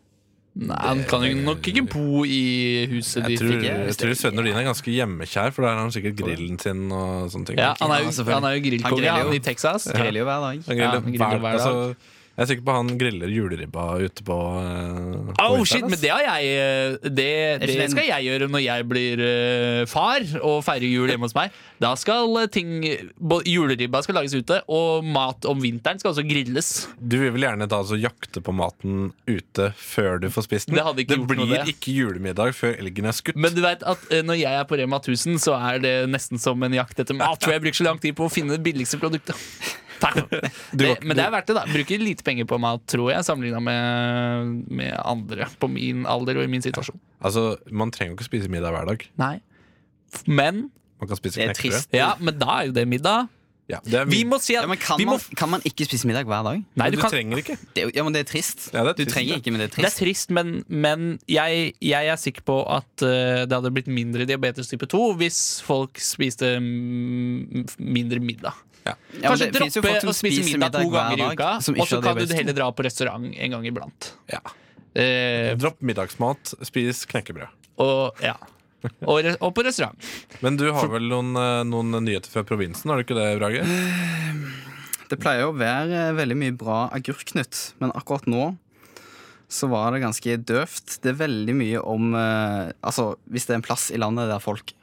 [SPEAKER 10] Nei, han kan jo nok ikke bo i huset
[SPEAKER 2] Jeg
[SPEAKER 10] ditt.
[SPEAKER 2] tror,
[SPEAKER 10] ikke?
[SPEAKER 2] jeg tror Sven Nordin er ganske hjemmekjær, for der har han sikkert grillen sin. og sånne ting
[SPEAKER 10] Ja, han er
[SPEAKER 3] Ja,
[SPEAKER 10] jo,
[SPEAKER 3] selvfølgelig.
[SPEAKER 10] han er jo
[SPEAKER 3] Han
[SPEAKER 10] grillkonge
[SPEAKER 3] griller
[SPEAKER 10] han,
[SPEAKER 3] jo.
[SPEAKER 10] i Texas.
[SPEAKER 3] Griller jo hver dag.
[SPEAKER 10] Ja,
[SPEAKER 2] Han griller
[SPEAKER 10] han griller
[SPEAKER 2] hver,
[SPEAKER 10] hver dag.
[SPEAKER 2] altså, jeg er sikker på han griller juleribba ute på, eh, på
[SPEAKER 10] Oh
[SPEAKER 2] vinteren,
[SPEAKER 10] shit,
[SPEAKER 2] ass.
[SPEAKER 10] men det har jeg eh, Det,
[SPEAKER 3] ikke
[SPEAKER 10] det
[SPEAKER 3] den-
[SPEAKER 10] skal jeg gjøre når jeg blir eh, far og feirer jul hjemme hos meg. Da skal eh, ting bo- Juleribba skal lages ute, og mat om vinteren skal også grilles.
[SPEAKER 2] Du vil vel gjerne da altså jakte på maten ute før du får spist den?
[SPEAKER 10] Det hadde ikke gjort
[SPEAKER 2] blir
[SPEAKER 10] noe, det.
[SPEAKER 2] ikke julemiddag før elgen er skutt.
[SPEAKER 10] Men du vet at eh, når jeg er på Rema 1000, så er det nesten som en jakt etter mat. For jeg bruker så lang tid på å finne det billigste produktet. Takk. Det, men det er verdt det, da. Bruker lite penger på mat, tror jeg, sammenligna med, med andre på min alder og i min situasjon.
[SPEAKER 2] Altså, Man trenger jo ikke spise middag hver dag.
[SPEAKER 10] Nei. Men
[SPEAKER 2] Man kan spise
[SPEAKER 3] Det er
[SPEAKER 2] knekkebrød.
[SPEAKER 3] trist.
[SPEAKER 10] Ja, men da er jo det middag.
[SPEAKER 2] Ja, det er
[SPEAKER 10] Vi
[SPEAKER 2] mye-
[SPEAKER 10] må si
[SPEAKER 3] Ja,
[SPEAKER 10] at
[SPEAKER 3] men kan,
[SPEAKER 10] vi må,
[SPEAKER 3] man, kan man ikke spise middag hver dag?
[SPEAKER 10] Nei,
[SPEAKER 2] Men
[SPEAKER 10] du
[SPEAKER 2] du
[SPEAKER 10] kan,
[SPEAKER 2] trenger ikke.
[SPEAKER 3] Det, er jo- ja, men det er trist.
[SPEAKER 2] Ja, det er
[SPEAKER 3] du
[SPEAKER 2] trist,
[SPEAKER 3] trenger
[SPEAKER 2] det.
[SPEAKER 3] ikke, men det er
[SPEAKER 10] det er
[SPEAKER 3] trist.
[SPEAKER 10] trist, men, men jeg, jeg er sikker på at eh, det hadde blitt mindre diabetes type 2 hvis folk spiste mm, mindre middag.
[SPEAKER 3] Ja, men
[SPEAKER 10] Kanskje
[SPEAKER 3] det finnes jo
[SPEAKER 10] droppe
[SPEAKER 3] folk som
[SPEAKER 10] å spise
[SPEAKER 3] spiser
[SPEAKER 10] middag to
[SPEAKER 3] middag hver
[SPEAKER 10] ganger i
[SPEAKER 3] dag,
[SPEAKER 10] uka,
[SPEAKER 3] som
[SPEAKER 10] og
[SPEAKER 3] ikke
[SPEAKER 10] så
[SPEAKER 3] har
[SPEAKER 10] kan du
[SPEAKER 3] diabetes.
[SPEAKER 10] heller dra på restaurant en gang iblant.
[SPEAKER 2] Ja.
[SPEAKER 10] Eh,
[SPEAKER 2] Dropp middagsmat, spis knekkebrød.
[SPEAKER 10] og, ja. og, re- og på restaurant.
[SPEAKER 2] Men du har vel noen, eh, noen nyheter fra provinsen, har du ikke det, Brage?
[SPEAKER 3] eh, Det pleier å være eh, veldig mye bra agurknytt, men akkurat nå så var det ganske døvt. Det er veldig mye om eh, Altså, hvis det er en plass i landet der folk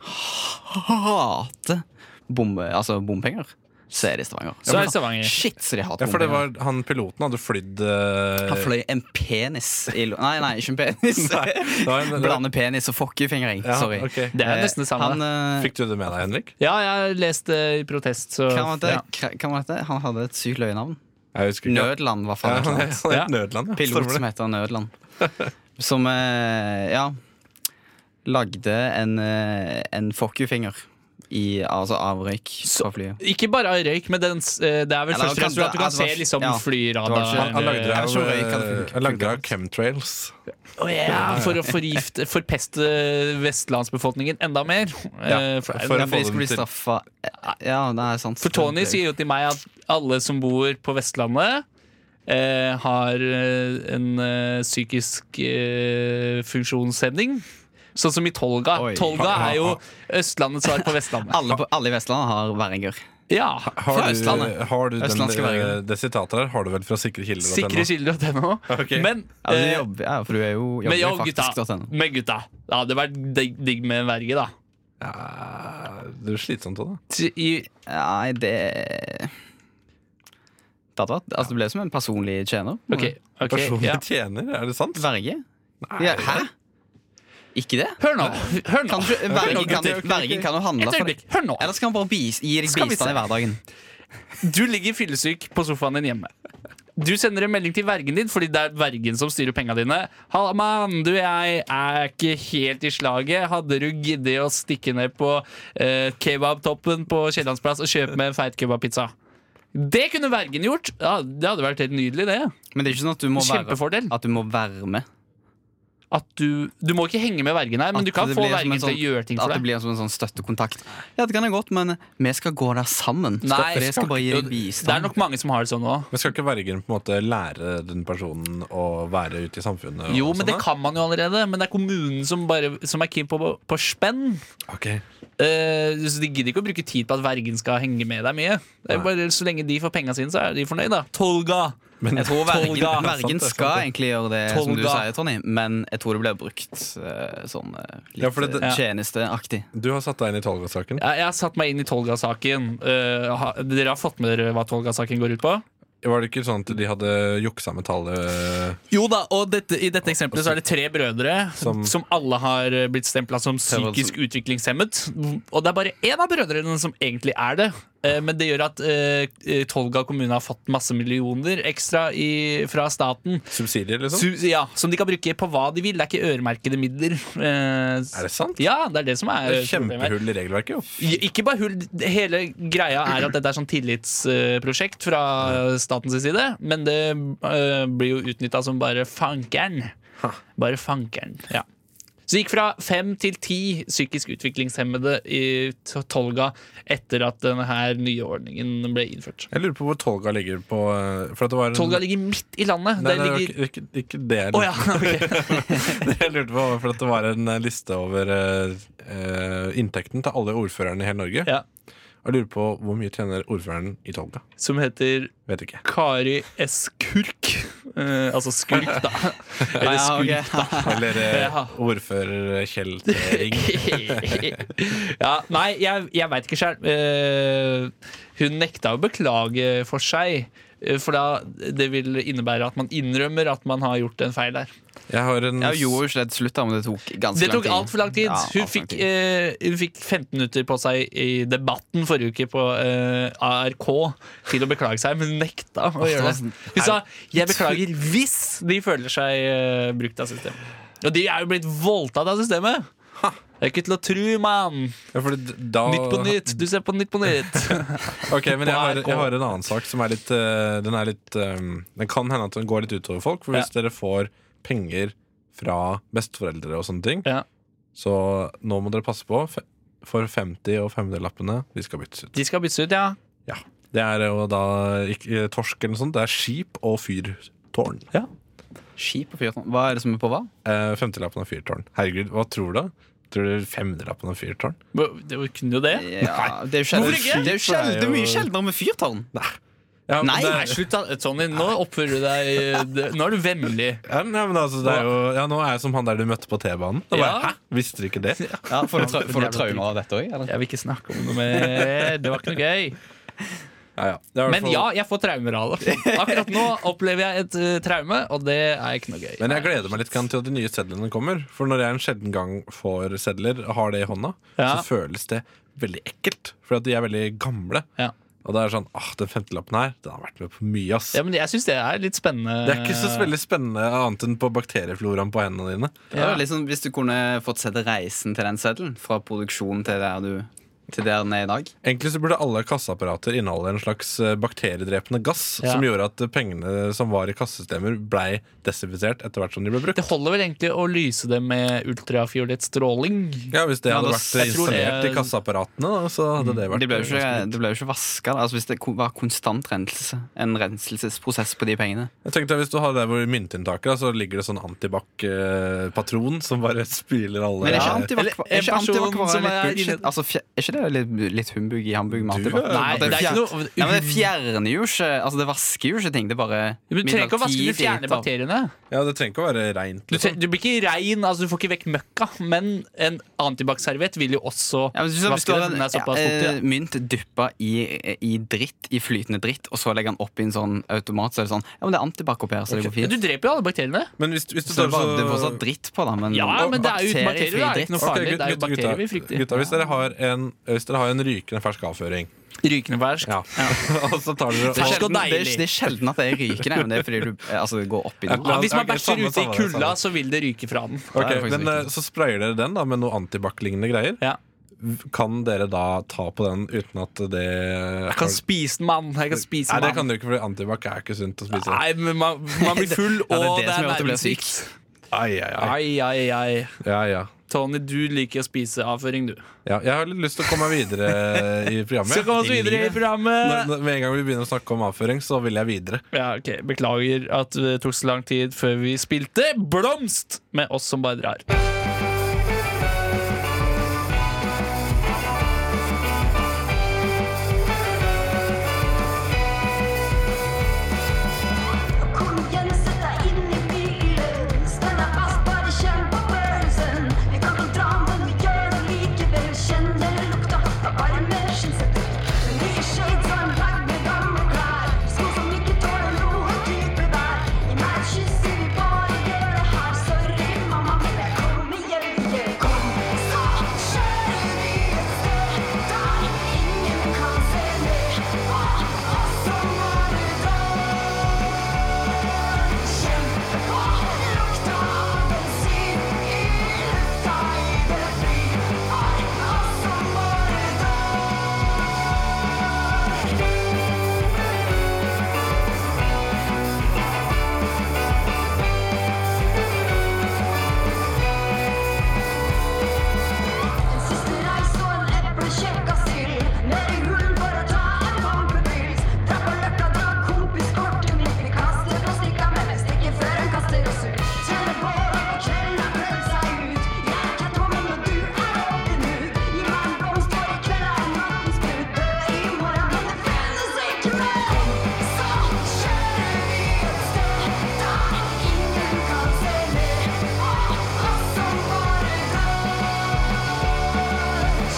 [SPEAKER 3] hater bombe, altså bompenger, så er det i Stavanger.
[SPEAKER 10] Så er det Stavanger.
[SPEAKER 3] Shit, så de hater
[SPEAKER 2] Ja, for det
[SPEAKER 3] bompenger.
[SPEAKER 2] var, han piloten hadde flydd eh,
[SPEAKER 3] Han fløy en penis i lo... Nei, nei, ikke en penis.
[SPEAKER 2] det var en-
[SPEAKER 3] Blande penis og fuckefingring.
[SPEAKER 2] ja,
[SPEAKER 3] Sorry.
[SPEAKER 2] ok.
[SPEAKER 10] Det er nesten det samme.
[SPEAKER 3] Han, eh,
[SPEAKER 2] Fikk du det med deg, Henrik?
[SPEAKER 10] Ja, jeg leste i protest, så
[SPEAKER 3] hva var det?
[SPEAKER 10] ja.
[SPEAKER 3] Hva- Hva var det? Han hadde et sykt løyenavn.
[SPEAKER 2] Jeg husker ikke.
[SPEAKER 3] Nødland, var
[SPEAKER 2] Ja,
[SPEAKER 3] faen. et
[SPEAKER 2] han
[SPEAKER 3] eller
[SPEAKER 2] er,
[SPEAKER 3] annet.
[SPEAKER 2] han er
[SPEAKER 10] Ja.
[SPEAKER 2] et nødland, ja.
[SPEAKER 3] Pilot som
[SPEAKER 2] Stemmer det.
[SPEAKER 3] heter Nødland. Som eh, ja lagde en, eh, en fuck you-finger i, altså av røyk fra flyet.
[SPEAKER 10] Ikke bare av røyk, men den, s- eh, det er vel
[SPEAKER 3] Eller,
[SPEAKER 10] først og fremst
[SPEAKER 3] kan-
[SPEAKER 10] at du kan
[SPEAKER 3] det var-
[SPEAKER 10] se liksom
[SPEAKER 3] ja.
[SPEAKER 10] flyradar
[SPEAKER 3] Det var-
[SPEAKER 2] Han, han lagde det
[SPEAKER 3] Jeg
[SPEAKER 2] av,
[SPEAKER 3] tror røyk kan funke-
[SPEAKER 2] eh, han lagde det av chemtrails.
[SPEAKER 10] Å ja, For å forgifte, forpeste vestlandsbefolkningen enda mer. Eh, for,
[SPEAKER 2] for-
[SPEAKER 10] for,
[SPEAKER 2] å
[SPEAKER 3] Ja, for
[SPEAKER 2] få
[SPEAKER 3] de skulle bli
[SPEAKER 2] dem til-
[SPEAKER 3] straffa Ja, det er sant.
[SPEAKER 10] Tony sier jo til meg at alle som bor på Vestlandet, eh, har eh, en eh, psykisk eh, funksjonshemning. Sånn som i Tolga.
[SPEAKER 3] Oi.
[SPEAKER 10] Tolga
[SPEAKER 2] Ha- ha-
[SPEAKER 10] er jo
[SPEAKER 2] ha.
[SPEAKER 10] Østlandets svar på Vestlandet.
[SPEAKER 3] alle, på, alle i Vestlandet har væringer.
[SPEAKER 10] Ja,
[SPEAKER 3] Fra
[SPEAKER 2] Har du,
[SPEAKER 3] Østlandet.
[SPEAKER 2] har du den,
[SPEAKER 3] Østlandske
[SPEAKER 2] eh,
[SPEAKER 3] Bergen.
[SPEAKER 2] det sitatet der har du vel fra sikre kilder? sånn
[SPEAKER 10] Sikre kilder.no.
[SPEAKER 2] Ok.
[SPEAKER 10] Men,
[SPEAKER 3] Ja, du
[SPEAKER 10] eh,
[SPEAKER 3] jobber, ja, for du er jo
[SPEAKER 10] men
[SPEAKER 3] jobber
[SPEAKER 10] ja,
[SPEAKER 3] jo
[SPEAKER 10] gutta.
[SPEAKER 3] faktisk .no.
[SPEAKER 10] Men gutta. Det hadde vært digg, digg med en verge, da.
[SPEAKER 2] Ja, det er slitsomt òg, da.
[SPEAKER 10] T- I,
[SPEAKER 3] Nei, det Det hadde vært Altså, det ble som en personlig tjener. på en
[SPEAKER 10] ok,
[SPEAKER 3] måte.
[SPEAKER 10] ok,
[SPEAKER 2] Personlig
[SPEAKER 10] ja.
[SPEAKER 2] tjener, er det sant?
[SPEAKER 3] Verge? Ja, hæ? Ikke det?
[SPEAKER 10] Hør nå. Hør nå.
[SPEAKER 3] Kan du, ikke- vergen,
[SPEAKER 10] ok,
[SPEAKER 3] kan,
[SPEAKER 10] ok, ok.
[SPEAKER 3] jo- vergen kan jo handle
[SPEAKER 10] Et
[SPEAKER 3] for deg.
[SPEAKER 10] øyeblikk. Hør nå.
[SPEAKER 3] Eller skal han bare bis, gi deg
[SPEAKER 10] Skal vi
[SPEAKER 3] bistand i
[SPEAKER 10] se.
[SPEAKER 3] hverdagen?
[SPEAKER 10] Du ligger fyllesyk på sofaen din hjemme. Du sender en melding til vergen din, fordi det er vergen som styrer penga dine. 'Halla, mann, du, jeg er ikke helt i slaget. Hadde du giddet å stikke ned på eh, kebabtoppen på Kiellandsplass og kjøpe med en feit kebabpizza? Det kunne vergen gjort! Ja, det hadde vært helt nydelig, det.
[SPEAKER 3] Men det er ikke sånn at du må
[SPEAKER 10] Kjempefordel.
[SPEAKER 3] være, at du må være med.
[SPEAKER 10] At du, du må ikke henge med vergen her, men
[SPEAKER 3] At
[SPEAKER 10] du kan
[SPEAKER 3] det
[SPEAKER 10] få
[SPEAKER 3] blir som
[SPEAKER 10] vergen
[SPEAKER 3] en
[SPEAKER 10] til å
[SPEAKER 3] sånn-
[SPEAKER 10] gjøre ting
[SPEAKER 3] At
[SPEAKER 10] for
[SPEAKER 3] det
[SPEAKER 10] deg.
[SPEAKER 3] blir som en sånn støttekontakt. Ja, det kan jeg godt, men eh, vi skal gå der sammen.
[SPEAKER 10] Nei,
[SPEAKER 3] for jeg skal bare gi deg
[SPEAKER 10] Det er
[SPEAKER 3] bistand.
[SPEAKER 10] nok mange som har det sånn nå.
[SPEAKER 2] Men Skal ikke vergen på en måte lære den personen å være ute i samfunnet? og
[SPEAKER 10] Jo, men det
[SPEAKER 2] sånn, da?
[SPEAKER 10] kan man jo allerede. Men det er kommunen som, bare, som er keen på, på spenn.
[SPEAKER 2] Ok.
[SPEAKER 10] Eh, så De gidder ikke å bruke tid på at vergen skal henge med deg mye. Det er bare Så lenge de får penga sine, så er de fornøyd, da. Tolga!
[SPEAKER 2] Men,
[SPEAKER 3] Jeg tror vergen,
[SPEAKER 10] Tolga.
[SPEAKER 2] Sånn, Det er sant,
[SPEAKER 3] vergen
[SPEAKER 2] det er
[SPEAKER 3] skal
[SPEAKER 2] sant, det.
[SPEAKER 3] egentlig gjøre det som du
[SPEAKER 10] Tolga.
[SPEAKER 3] sier, Tony, men jeg tror det blir brukt eh, sånn eh, litt
[SPEAKER 2] Ja, for det-
[SPEAKER 3] eh, tjenesteaktig.
[SPEAKER 2] du har satt deg inn i Tolga-saken.
[SPEAKER 10] Jeg, jeg har satt meg inn i Tolga-saken. Eh, ha- dere har fått med dere hva Tolga-saken går ut på?
[SPEAKER 2] Var det ikke sånn at de hadde juksa med tallet eh,
[SPEAKER 10] Jo da, og dette, i dette eksempelet så er det tre brødre som,
[SPEAKER 2] Som-
[SPEAKER 10] alle har eh, blitt stempla som psykisk utviklingshemmet. Og det er bare én av brødrene som egentlig er det. Eh, Men det gjør at eh, eh, Tolga kommune har fått masse millioner ekstra i, fra staten.
[SPEAKER 2] subsidier, liksom?
[SPEAKER 10] Su ja, Som de kan bruke på hva de vil. Det er ikke øremerkede midler. Er
[SPEAKER 2] Er det sant?
[SPEAKER 10] Ja, det er det som er
[SPEAKER 2] Det er
[SPEAKER 10] problemet her.
[SPEAKER 2] kjempehull i regelverket, jo.
[SPEAKER 10] Ja, Ikke bare hull, hele greia er at dette er sånn tillitsprosjekt fra statens side, men det eh, blir jo utnytta som bare fankeren. Bare fankeren, ja. Så det gikk fra fem til ti psykisk utviklingshemmede i T- Tolga etter at denne her nye ordningen ble innført.
[SPEAKER 2] Jeg lurer på hvor Tolga ligger på eh, For at det var en
[SPEAKER 10] Tolga ligger midt i landet.
[SPEAKER 2] Nei,
[SPEAKER 10] det
[SPEAKER 2] nei,
[SPEAKER 10] ligger...
[SPEAKER 2] ikke, ikke, ikke det jeg
[SPEAKER 10] Å
[SPEAKER 2] lurte
[SPEAKER 10] ja, ok.
[SPEAKER 2] Det jeg lurte på var for at det var en eh, liste over eh, eh, inntekten til alle ordførerne i hele Norge.
[SPEAKER 10] Ja.
[SPEAKER 2] Og jeg lurer på hvor mye tjener ordføreren i Tolga.
[SPEAKER 10] Som heter
[SPEAKER 2] Vet ikke.
[SPEAKER 10] Kari S. Kurk. Eh, altså skurk, da. Eller
[SPEAKER 3] Ja,
[SPEAKER 10] skurk.
[SPEAKER 3] ok.
[SPEAKER 2] Eller eh,
[SPEAKER 10] Ja.
[SPEAKER 2] ordfører Kjell T. Ring.
[SPEAKER 10] ja, nei, jeg, jeg veit ikke sjøl. hun nekta å beklage for seg. eh, For da det vil innebære at man innrømmer at man har gjort en feil der.
[SPEAKER 2] Jeg har en
[SPEAKER 3] Ja, hun gjorde jo ikke det til slutt, da, men det tok ganske
[SPEAKER 10] Det tok
[SPEAKER 3] lang tid.
[SPEAKER 10] altfor lang tid.
[SPEAKER 3] Ja,
[SPEAKER 10] Hun
[SPEAKER 3] alt for lang
[SPEAKER 10] fikk,
[SPEAKER 3] tid.
[SPEAKER 10] eh, hun fikk 15 minutter på seg i debatten forrige uke på eh, ARK til å beklage seg, men hun nekta å gjøre
[SPEAKER 3] sånn
[SPEAKER 10] det. Hun sa 'jeg beklager hvis de føler seg eh, brukt av systemet'. Og de er jo blitt voldtatt av systemet! Det er ikke til å tru, mann!
[SPEAKER 2] ja, fordi d- da,
[SPEAKER 10] Nytt på nytt. Du ser på Nytt på nytt.
[SPEAKER 2] Ok, men jeg har,
[SPEAKER 10] NRK.
[SPEAKER 2] jeg har en annen sak som er litt eh, Den er litt eh, Den kan hende at den går litt utover folk. For hvis dere får penger fra besteforeldre og sånne ting,
[SPEAKER 10] Ja.
[SPEAKER 2] så nå må dere passe på. Fe- For 50- og 500-lappene, de skal byttes ut.
[SPEAKER 10] De skal byttes ut, ja.
[SPEAKER 2] Ja. Det er jo da ikke eh, torsk eller noe sånt. Det er skip og fyrtårn.
[SPEAKER 3] Skip og fyrtårn. Hva er det som er på hva?
[SPEAKER 2] Eh, Femtilappen av fyrtårn. Herregud, hva tror du? Tror du femtilappen av fyrtårn?
[SPEAKER 10] Men Det kunne jo det.
[SPEAKER 3] Ja, det er jo
[SPEAKER 10] Hvorfor
[SPEAKER 3] sjelden,
[SPEAKER 10] ikke?
[SPEAKER 3] det er jo
[SPEAKER 2] Skip er
[SPEAKER 3] sjelden, det er mye
[SPEAKER 2] jo-
[SPEAKER 3] sjeldnere med fyrtårn.
[SPEAKER 2] Nei. Ja, men
[SPEAKER 3] Nei,
[SPEAKER 2] det,
[SPEAKER 10] Nei, slutt da, Tony. Nå oppfører du deg det- Nå er du vemmelig.
[SPEAKER 2] ja, men- ja, men altså, det er jo, ja, nå er jeg som han der du møtte på T-banen. Da bare,
[SPEAKER 10] Ja.
[SPEAKER 2] Hæ, visste du ikke det?
[SPEAKER 3] Ja, får du,
[SPEAKER 10] Ja,
[SPEAKER 3] tra- får
[SPEAKER 10] jævla
[SPEAKER 3] du traumer av dette òg, eller?
[SPEAKER 10] Jeg vil ikke snakke om noe mer. Det var ikke noe gøy.
[SPEAKER 2] Ja, ja. Det er i hvert
[SPEAKER 10] Men
[SPEAKER 2] fall-
[SPEAKER 10] ja, jeg får traumer av det. Akkurat nå opplever jeg et eh, traume, og det er ikke noe gøy.
[SPEAKER 2] Men jeg gleder meg litt grann til at de nye sedlene kommer. For når jeg en sjelden gang får sedler og har det i hånda,
[SPEAKER 10] Ja.
[SPEAKER 2] så føles det veldig ekkelt. For at de er veldig gamle.
[SPEAKER 10] Ja.
[SPEAKER 2] Og det er sånn, ah, den femtelappen her, den har vært med på mye, ass.
[SPEAKER 10] ja, men eh, jeg syns det er litt spennende.
[SPEAKER 2] Det er ikke så veldig spennende annet enn på bakteriefloraen på hendene dine.
[SPEAKER 3] Det er jo litt sånn hvis du kunne fått sett reisen til den seddelen, fra produksjon til der du til der den er i dag.
[SPEAKER 2] Egentlig så burde alle kasseapparater inneholde en slags eh, bakteriedrepende gass
[SPEAKER 10] Ja.
[SPEAKER 2] som gjorde at eh, pengene som var i kassesystemer, blei desinfisert etter hvert som de ble brukt.
[SPEAKER 10] Det holder vel egentlig å lyse det med ultrafiolett stråling.
[SPEAKER 2] Ja, Hvis det
[SPEAKER 3] Ja,
[SPEAKER 2] hadde
[SPEAKER 3] da-
[SPEAKER 2] vært eh,
[SPEAKER 10] jeg tror det-
[SPEAKER 2] installert i kasseapparatene, da, så hadde det vært
[SPEAKER 3] Mm, Det ble jo
[SPEAKER 2] eh,
[SPEAKER 3] ikke,
[SPEAKER 2] ganske lurt.
[SPEAKER 3] det ble jo ikke vaska. Altså hvis det ko- var konstant renselse. En renselsesprosess på de pengene.
[SPEAKER 2] Jeg tenkte at Hvis du har der hvor myntinntaket er, så ligger det sånn antibac-patron som bare spyler alle
[SPEAKER 3] Men er ikke
[SPEAKER 2] her.
[SPEAKER 10] Eller
[SPEAKER 3] antibac er
[SPEAKER 10] en
[SPEAKER 3] ikke
[SPEAKER 10] person
[SPEAKER 3] antibac bare
[SPEAKER 10] som
[SPEAKER 3] litt
[SPEAKER 10] er
[SPEAKER 3] bullshit?
[SPEAKER 10] inne-
[SPEAKER 3] Altså, fje- er ikke det litt, litt humbug i Hamburg med
[SPEAKER 2] Du-
[SPEAKER 3] antibac?
[SPEAKER 10] Nei,
[SPEAKER 3] At
[SPEAKER 10] det er ikke
[SPEAKER 3] fjer-
[SPEAKER 10] noe
[SPEAKER 3] Nei, men det fjerner jo ikke Altså, det vasker jo ikke ting. Det er bare
[SPEAKER 10] Du trenger ikke å vaske, du
[SPEAKER 3] midlertidig
[SPEAKER 10] fjerner
[SPEAKER 3] tar-
[SPEAKER 10] bakteriene.
[SPEAKER 2] Ja, Det trenger ikke å være reint.
[SPEAKER 3] sånn-
[SPEAKER 10] Du, tre-
[SPEAKER 2] Liksom.
[SPEAKER 10] du blir ikke rein, altså du får ikke vekk møkka, men en antibac-serviett vil jo også
[SPEAKER 3] Ja, men hvis du- hvis
[SPEAKER 10] vaske
[SPEAKER 3] du har
[SPEAKER 10] det. Den er såpass
[SPEAKER 3] ja,
[SPEAKER 10] fuktig.
[SPEAKER 3] eh, mynt dyppa i, i dritt, i flytende dritt, og så legger han oppi en sånn automat, så er det sånn Ja, men det er antibac oppi her, så det går
[SPEAKER 10] Ja,
[SPEAKER 3] fint.
[SPEAKER 10] Du dreper jo alle bakteriene.
[SPEAKER 2] Men hvis, hvis du
[SPEAKER 3] Så det er,
[SPEAKER 2] tar
[SPEAKER 3] bare,
[SPEAKER 2] så-
[SPEAKER 3] det er fortsatt dritt på, da, men
[SPEAKER 10] Ja, men det er jo uten bakterier, det er
[SPEAKER 3] bakteriefri
[SPEAKER 10] ikke noe
[SPEAKER 3] dritt.
[SPEAKER 10] farlig.
[SPEAKER 2] Ok,
[SPEAKER 10] det er jo
[SPEAKER 2] gutt- gutta,
[SPEAKER 10] bakterier vi frykter.
[SPEAKER 2] Gutta, hvis dere har en, hvis dere har en rykende fersk avføring
[SPEAKER 10] Rykende fersk.
[SPEAKER 2] ja. og så tar dere
[SPEAKER 3] Det er,
[SPEAKER 10] Fersk og
[SPEAKER 3] sjelden, det, er,
[SPEAKER 10] deilig.
[SPEAKER 3] det er sjelden at det er rykende, men det er fordi du eh, altså, det går oppi noe.
[SPEAKER 10] Ja, hvis man
[SPEAKER 2] Ok,
[SPEAKER 10] bæsjer ute
[SPEAKER 2] samme,
[SPEAKER 10] i
[SPEAKER 2] samme,
[SPEAKER 10] kulda,
[SPEAKER 2] samme.
[SPEAKER 10] så vil det ryke fra den.
[SPEAKER 2] Ok,
[SPEAKER 3] Det er faktisk
[SPEAKER 2] men eh, Så sprayer dere den da med noe antibac-lignende greier.
[SPEAKER 10] Ja.
[SPEAKER 2] Kan dere da ta på den uten at det
[SPEAKER 10] Jeg kan spise den, mann. Jeg kan spise
[SPEAKER 2] Nei, det
[SPEAKER 10] den.
[SPEAKER 2] kan dere ikke, for antibac er ikke sunt å spise.
[SPEAKER 10] Nei, men man, man blir full,
[SPEAKER 3] Ja, det er
[SPEAKER 10] og
[SPEAKER 3] det
[SPEAKER 10] det
[SPEAKER 3] som
[SPEAKER 10] er
[SPEAKER 3] gjør at det blir
[SPEAKER 10] nervesykt.
[SPEAKER 2] Ai, ai, ai.
[SPEAKER 10] Ai, ai, ai.
[SPEAKER 2] Ja, ja.
[SPEAKER 10] Tony, du liker å spise avføring, du.
[SPEAKER 2] Ja, jeg har litt lyst til å komme meg videre i programmet.
[SPEAKER 10] Skal komme oss videre i
[SPEAKER 2] Når-
[SPEAKER 10] programmet.
[SPEAKER 2] når- Med en gang vi begynner å snakke om avføring, så vil jeg videre.
[SPEAKER 10] Ja, ok, Beklager at det tok så lang tid før vi spilte Blomst med oss som bare drar.
[SPEAKER 11] Kom igjen, sett deg inn i bilen. Spenn deg fast, bare kjenn på følelsen. Vi kan ikke dra, men vi gjør det likevel. Kjenn den lukta fra varme skinnsetter. Nye shades og en bag med gamle klær. Sko som ikke tåler noen type vær. I meg kysser vi bare gjør det her. Sorry, mamma, men jeg kom igjen, ikke kom. Så kjører vi et sted der ingen kan se ned på oss som har det bra. Kjempe på lukta av bensin i lufta i det fri For oss som bare En siste reis og en eplekjekk asyl Ned i hulen for å ta en pampepils Dra på løkka, dra kompiskortet mitt Vi kaster på stikka, men vi stikker før en kaster oss ut Kjenner på at kvelden har prøvd seg ut Jeg er Catwoman og du er Robin Hood Gi meg en blomst for i kveld er nattens brud Død i morgen, men det finnes ikke mer Så kjører vi et sted der ingen kan se ned På oss som bare går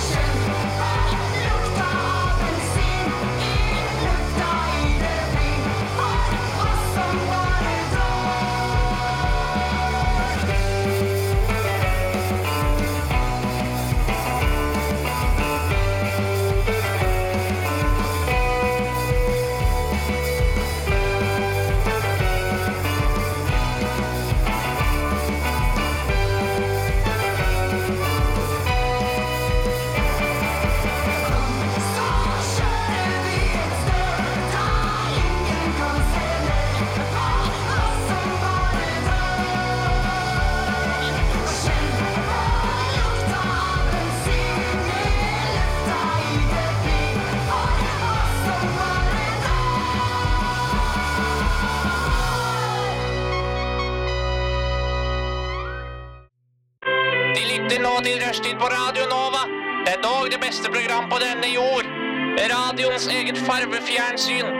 [SPEAKER 11] Kjenn lukta av bensin i lufta i det fri For oss som bare drar Så kjører vi et sted der ingen kan se ned på oss som bare drar. Kjenn på lukta av bensin i lufta i det fri for oss som bare drar.
[SPEAKER 4] De lytter nå til Rushtid på Radio Nova. Det er dog det beste program på denne jord. Radioens eget farvefjernsyn.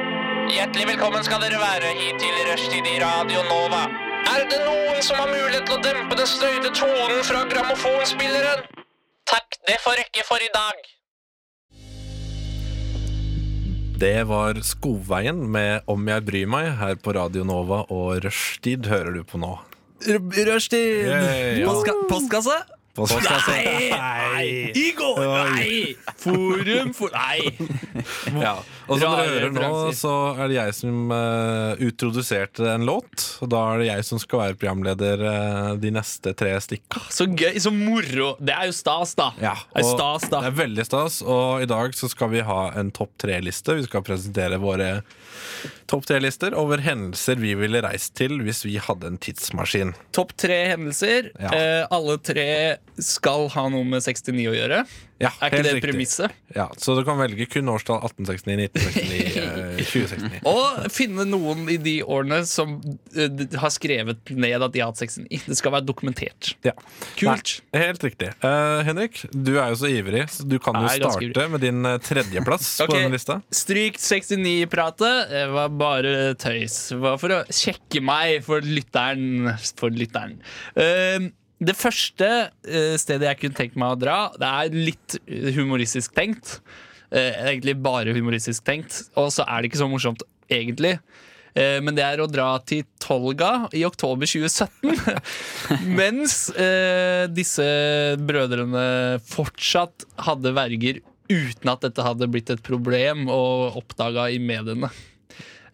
[SPEAKER 4] Hjertelig velkommen skal dere være hit til Rushtid i Radio Nova. Er det noen som har mulighet til å dempe den støyte tonen fra grammofonspilleren? Takk, det får rekke for i dag.
[SPEAKER 2] Det var Skogveien med Om jeg bryr meg her på Radio Nova, og Rushtid hører du på nå.
[SPEAKER 10] Rushtid!
[SPEAKER 2] Yay, ja.
[SPEAKER 10] Postka- postkasse?
[SPEAKER 2] Nei!
[SPEAKER 10] I går! Nei! Forum for Nei!
[SPEAKER 2] Ja. Og som dere
[SPEAKER 10] Rare
[SPEAKER 2] hører nå,
[SPEAKER 10] referanser.
[SPEAKER 2] så er det jeg som eh, utroduserte en låt. Og da er det jeg som skal være programleder eh, de neste tre stikka.
[SPEAKER 10] Så gøy, så moro. Det er jo stas, da. det er
[SPEAKER 2] og
[SPEAKER 10] stas,
[SPEAKER 2] det
[SPEAKER 10] da.
[SPEAKER 2] er veldig stas. Og i dag så skal vi ha en topp tre-liste. Vi skal presentere våre topp tre-lister over hendelser vi ville reist til hvis vi hadde en tidsmaskin.
[SPEAKER 10] Topp tre hendelser.
[SPEAKER 2] Ja.
[SPEAKER 10] Eh, alle tre skal ha noe med 69 å gjøre.
[SPEAKER 2] Ja,
[SPEAKER 10] Er ikke
[SPEAKER 2] helt
[SPEAKER 10] det
[SPEAKER 2] riktig.
[SPEAKER 10] premisset?
[SPEAKER 2] Ja, Så du kan velge kun årstall 1869, 1969, eh, 2069.
[SPEAKER 10] Og finne noen i de årene som eh, d- har skrevet ned at de har hatt 69. Det skal være dokumentert.
[SPEAKER 2] Ja.
[SPEAKER 10] Kult.
[SPEAKER 2] Nei, helt riktig. Eh, Henrik, du er jo så ivrig, så du kan jo
[SPEAKER 10] Jeg er ganske
[SPEAKER 2] starte med din eh, tredjeplass
[SPEAKER 10] Ok.
[SPEAKER 2] på denne lista.
[SPEAKER 10] Stryk 69-pratet. Det var bare tøys. Det var for å sjekke meg for lytteren. For lytteren. Eh, det første eh, stedet jeg kunne tenkt meg å dra, det er litt humoristisk tenkt. Eh, egentlig bare humoristisk tenkt, og så er det ikke så morsomt egentlig. Eh, men det er å dra til Tolga i oktober 2017. Mens eh, disse brødrene fortsatt hadde verger uten at dette hadde blitt et problem og oppdaga i mediene.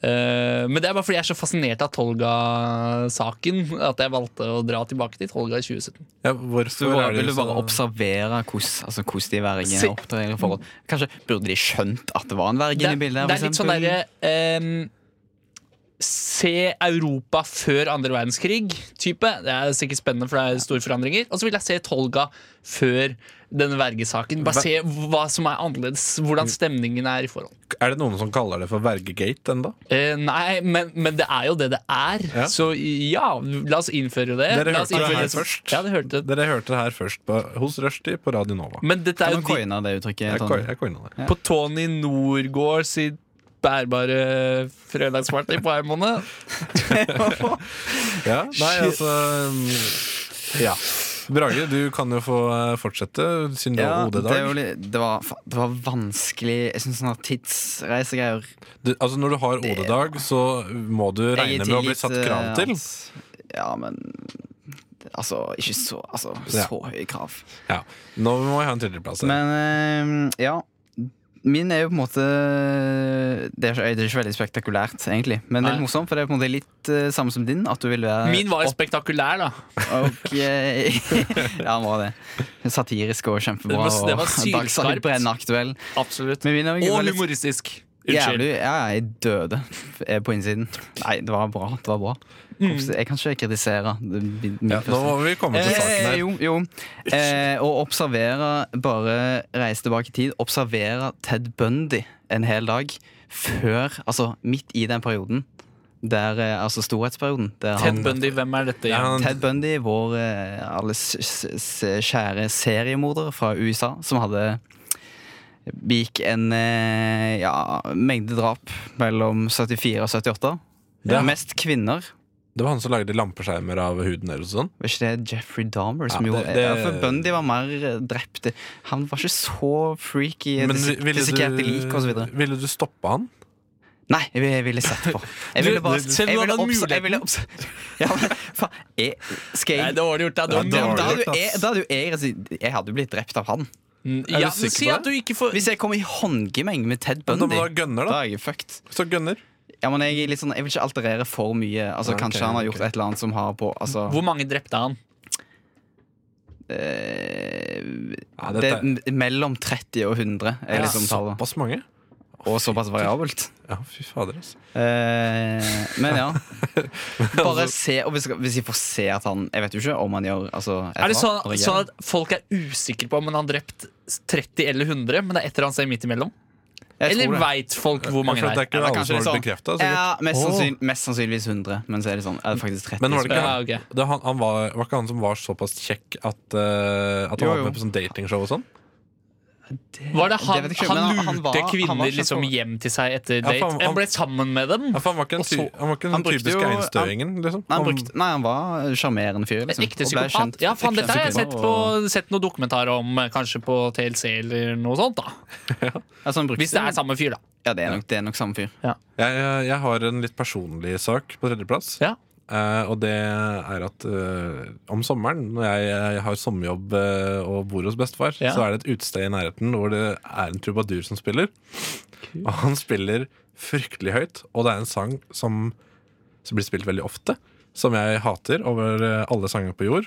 [SPEAKER 10] Eh, men det er bare fordi jeg er så fascinert av Tolga-saken at jeg valgte å dra tilbake til Tolga i 2017.
[SPEAKER 2] Ja,
[SPEAKER 3] Du
[SPEAKER 2] hvorfor er
[SPEAKER 3] bare,
[SPEAKER 2] det
[SPEAKER 3] vil du
[SPEAKER 2] så-
[SPEAKER 3] bare observere hvordan, altså, hvordan de
[SPEAKER 10] Se-
[SPEAKER 3] vergene opptrer i forhold Kanskje burde de skjønt at det var en verge
[SPEAKER 10] Mm.
[SPEAKER 3] inne
[SPEAKER 10] Det,
[SPEAKER 3] i
[SPEAKER 10] er-
[SPEAKER 3] bildet?
[SPEAKER 10] det er litt sånn derre ehm, Se Europa før andre verdenskrig-type. Det er sikkert spennende, for det er store forandringer. Og så vil jeg se Tolga før denne vergesaken. Bare se hva som er annerledes. Hvordan
[SPEAKER 2] Mm.
[SPEAKER 10] stemningen er i forhold.
[SPEAKER 2] Er det noen som kaller det for vergegate ennå?
[SPEAKER 10] Eh, nei, men, men det er jo det det er.
[SPEAKER 2] Ja.
[SPEAKER 10] Så ja, la oss innføre det.
[SPEAKER 2] Dere
[SPEAKER 10] la oss
[SPEAKER 2] hørte det
[SPEAKER 10] innføre
[SPEAKER 2] her
[SPEAKER 10] som-
[SPEAKER 2] først.
[SPEAKER 10] Ja, det hørte det. Mm.
[SPEAKER 2] Dere hørte det her først på, hos Rushdie på Radio Nova.
[SPEAKER 10] Men dette er
[SPEAKER 3] Kan
[SPEAKER 10] jo
[SPEAKER 3] du
[SPEAKER 10] eh, de,
[SPEAKER 3] coine det uttrykket?
[SPEAKER 2] Jeg,
[SPEAKER 3] Tony?
[SPEAKER 2] ko- jeg coina det.
[SPEAKER 10] på Tony Norgård sitt bærbare fredagsparty på Eimone.
[SPEAKER 2] Ja, nei, altså mm, Ja. Brage, du kan jo få eh, fortsette, siden du har
[SPEAKER 3] Ja, det,
[SPEAKER 2] hodet i
[SPEAKER 3] er jo
[SPEAKER 2] dag.
[SPEAKER 3] litt- det, var, fa- det var vanskelig Jeg synes sånne tidsreisegreier
[SPEAKER 2] Du, altså, når du har OD-dag, så må du
[SPEAKER 3] Jeg
[SPEAKER 2] regne
[SPEAKER 3] gir
[SPEAKER 2] med å bli
[SPEAKER 3] tilgitt,
[SPEAKER 2] satt krav
[SPEAKER 3] eh,
[SPEAKER 2] til.
[SPEAKER 3] hans. Ja, men Altså, ikke så Altså,
[SPEAKER 2] Ja.
[SPEAKER 3] så høye krav.
[SPEAKER 2] Ja. Nå må vi ha en tredjeplass. her.
[SPEAKER 3] Men eh, ja. Min er jo på en måte Det er ikke, det er ikke veldig spektakulært, egentlig. Men det er
[SPEAKER 10] Nei.
[SPEAKER 3] litt morsomt, for det er på en måte litt eh, samme som din. At du vil
[SPEAKER 2] Eh,
[SPEAKER 3] være
[SPEAKER 10] Min var jo spektakulær, da.
[SPEAKER 3] Ok Ja, han var det. Satirisk og
[SPEAKER 10] Det
[SPEAKER 3] kjempebra.
[SPEAKER 10] var- det var
[SPEAKER 3] og Dagsnytt
[SPEAKER 10] sylskarpt.
[SPEAKER 3] brennaktuell.
[SPEAKER 10] Absolutt.
[SPEAKER 3] Men min er jo
[SPEAKER 10] Og
[SPEAKER 3] litt-
[SPEAKER 10] humoristisk.
[SPEAKER 3] Jævlig,
[SPEAKER 10] Unnskyld.
[SPEAKER 3] ja, jeg døde eh, på innsiden. Nei, det var bra. det var bra
[SPEAKER 10] Mm.
[SPEAKER 3] Jeg kan ikke kritisere. det- min- min
[SPEAKER 2] Ja, nå
[SPEAKER 3] første.
[SPEAKER 2] må vi komme til saken
[SPEAKER 3] Eh,
[SPEAKER 2] her.
[SPEAKER 3] jo, jo. Eh, å observere Bare reise tilbake i tid. Observere Ted Bundy en hel dag før Altså midt i den perioden. Der, eh, altså storhetsperioden. Der
[SPEAKER 10] Ted
[SPEAKER 3] han,
[SPEAKER 10] Bundy, hvem er dette?
[SPEAKER 2] Ja,
[SPEAKER 10] igjen?
[SPEAKER 2] han-
[SPEAKER 3] Ted Bundy, vår eh, alles s- s- kjære seriemorder fra USA, som hadde begikk en eh, ja, mengde drap mellom 74 og 78.
[SPEAKER 2] Ja.
[SPEAKER 3] Mest kvinner.
[SPEAKER 2] Det var han som lagde lampeskjermer av huden deres og sånn.
[SPEAKER 3] Var ikke det Jeffrey Dahmer som
[SPEAKER 2] Ja,
[SPEAKER 3] gjorde det?
[SPEAKER 2] det- det-
[SPEAKER 3] Ja, for Bundy var mer eh, drept. Han var ikke så freaky.
[SPEAKER 2] Men
[SPEAKER 3] dis-
[SPEAKER 2] ville
[SPEAKER 3] Dissekerte lik og så videre.
[SPEAKER 2] du, ville du stoppe han?
[SPEAKER 3] Nei, jeg, vil- jeg ville sett på. Jeg
[SPEAKER 10] Du-
[SPEAKER 3] ville bare
[SPEAKER 10] du- selv om
[SPEAKER 3] jeg
[SPEAKER 10] du
[SPEAKER 3] ville
[SPEAKER 10] hadde
[SPEAKER 3] obs- jeg ville
[SPEAKER 10] muligheten.
[SPEAKER 3] obs- Ja, men faen. jeg- Skal
[SPEAKER 10] Nei,
[SPEAKER 3] jeg
[SPEAKER 10] dårlig gjort. da. Det var
[SPEAKER 2] Ja,
[SPEAKER 3] Da hadde
[SPEAKER 10] dårlig.
[SPEAKER 2] dårlig.
[SPEAKER 3] jo
[SPEAKER 2] ass.
[SPEAKER 3] jeg, da hadde jo jeg, altså, jeg hadde jo blitt drept av han.
[SPEAKER 2] Er
[SPEAKER 10] Mm, Ja,
[SPEAKER 2] du
[SPEAKER 10] men
[SPEAKER 2] sikker
[SPEAKER 10] si
[SPEAKER 2] på
[SPEAKER 10] at du ikke får
[SPEAKER 3] Hvis jeg kommer i håndgemeng med Ted
[SPEAKER 2] Men da må
[SPEAKER 3] Bundy,
[SPEAKER 2] du ha gønner,
[SPEAKER 3] da
[SPEAKER 2] da.
[SPEAKER 3] er jeg fucked.
[SPEAKER 2] Så gønner.
[SPEAKER 3] Ja, men jeg, er litt sånn, jeg vil ikke alterere for mye. Altså,
[SPEAKER 2] Ok,
[SPEAKER 3] kanskje han har gjort
[SPEAKER 2] ok.
[SPEAKER 3] et eller annet som har på altså,
[SPEAKER 10] Hvor mange drepte han?
[SPEAKER 3] eh,
[SPEAKER 2] Ja,
[SPEAKER 3] Det
[SPEAKER 2] dette
[SPEAKER 3] er m- mellom 30 og 100 er
[SPEAKER 2] er
[SPEAKER 3] liksom tallet.
[SPEAKER 2] såpass mange.
[SPEAKER 3] Og såpass variabelt.
[SPEAKER 2] Ja, fy fader, altså.
[SPEAKER 3] Eh, men ja. Bare se, og hvis, hvis jeg får se at han Jeg vet jo ikke om han gjør altså, et
[SPEAKER 10] Er det
[SPEAKER 3] eller
[SPEAKER 10] sånn,
[SPEAKER 3] annet,
[SPEAKER 10] sånn at folk er usikre på om han har drept 30 eller 100, men det er et eller annet sted midt imellom?
[SPEAKER 3] Jeg tror
[SPEAKER 10] Eller
[SPEAKER 3] det.
[SPEAKER 10] veit folk hvor mange
[SPEAKER 2] Ja, for
[SPEAKER 10] det
[SPEAKER 2] det er
[SPEAKER 10] er?
[SPEAKER 2] ikke
[SPEAKER 3] Ja,
[SPEAKER 2] alle
[SPEAKER 3] kanskje
[SPEAKER 2] som
[SPEAKER 3] det
[SPEAKER 2] har
[SPEAKER 3] er
[SPEAKER 2] blitt bekrefta.
[SPEAKER 3] Ja, mest,
[SPEAKER 2] Åh.
[SPEAKER 3] sannsyn, mest sannsynligvis 100, men så er det sånn Er det faktisk 30?
[SPEAKER 2] Men var det ikke
[SPEAKER 10] Ja, ok.
[SPEAKER 2] det, han, han var, var ikke han som var såpass kjekk at, eh, at han
[SPEAKER 3] Jo,
[SPEAKER 2] var
[SPEAKER 3] jo.
[SPEAKER 2] med på sånn datingshow og sånn?
[SPEAKER 10] Var det han,
[SPEAKER 3] Det vet jeg ikke,
[SPEAKER 10] han
[SPEAKER 3] men
[SPEAKER 10] lurte
[SPEAKER 3] han- han var- han
[SPEAKER 10] kvinner
[SPEAKER 3] var sånn
[SPEAKER 10] liksom
[SPEAKER 3] som-
[SPEAKER 10] hjem til seg etter
[SPEAKER 2] for
[SPEAKER 10] date?
[SPEAKER 2] han-
[SPEAKER 10] han, ble sammen med dem?
[SPEAKER 2] Ja, for han var ikke den,
[SPEAKER 10] Og
[SPEAKER 2] ty
[SPEAKER 10] så-
[SPEAKER 2] han var ikke den
[SPEAKER 3] han brukte
[SPEAKER 2] typiske
[SPEAKER 3] jo- han-
[SPEAKER 2] einstøingen. Liksom.
[SPEAKER 3] Nei, han, brukte, nei, han var en sjarmerende fyr.
[SPEAKER 10] En
[SPEAKER 3] Liksom,
[SPEAKER 10] ekte
[SPEAKER 3] og ble
[SPEAKER 10] psykopat?
[SPEAKER 3] kjent-
[SPEAKER 10] Ja, faen,
[SPEAKER 3] ekte
[SPEAKER 10] dette har jeg
[SPEAKER 3] psykopat,
[SPEAKER 10] sett, på,
[SPEAKER 3] og-
[SPEAKER 10] sett noen dokumentarer om, eh, kanskje på TLC eller noe sånt. da
[SPEAKER 3] altså, han brukte,
[SPEAKER 10] Hvis det er samme fyr, da.
[SPEAKER 3] Ja, det er nok, det er nok samme fyr.
[SPEAKER 2] Jeg, jeg har en litt personlig sak på tredjeplass.
[SPEAKER 10] Ja.
[SPEAKER 2] Eh, og det er at eh, om sommeren, når jeg, jeg har sommerjobb eh, og bor hos bestefar,
[SPEAKER 10] Ja.
[SPEAKER 2] så er det et utested i nærheten hvor det er en trubadur som spiller. Og han spiller fryktelig høyt, og det er en sang som, som blir spilt veldig ofte, som jeg hater over eh, alle sanger på jord.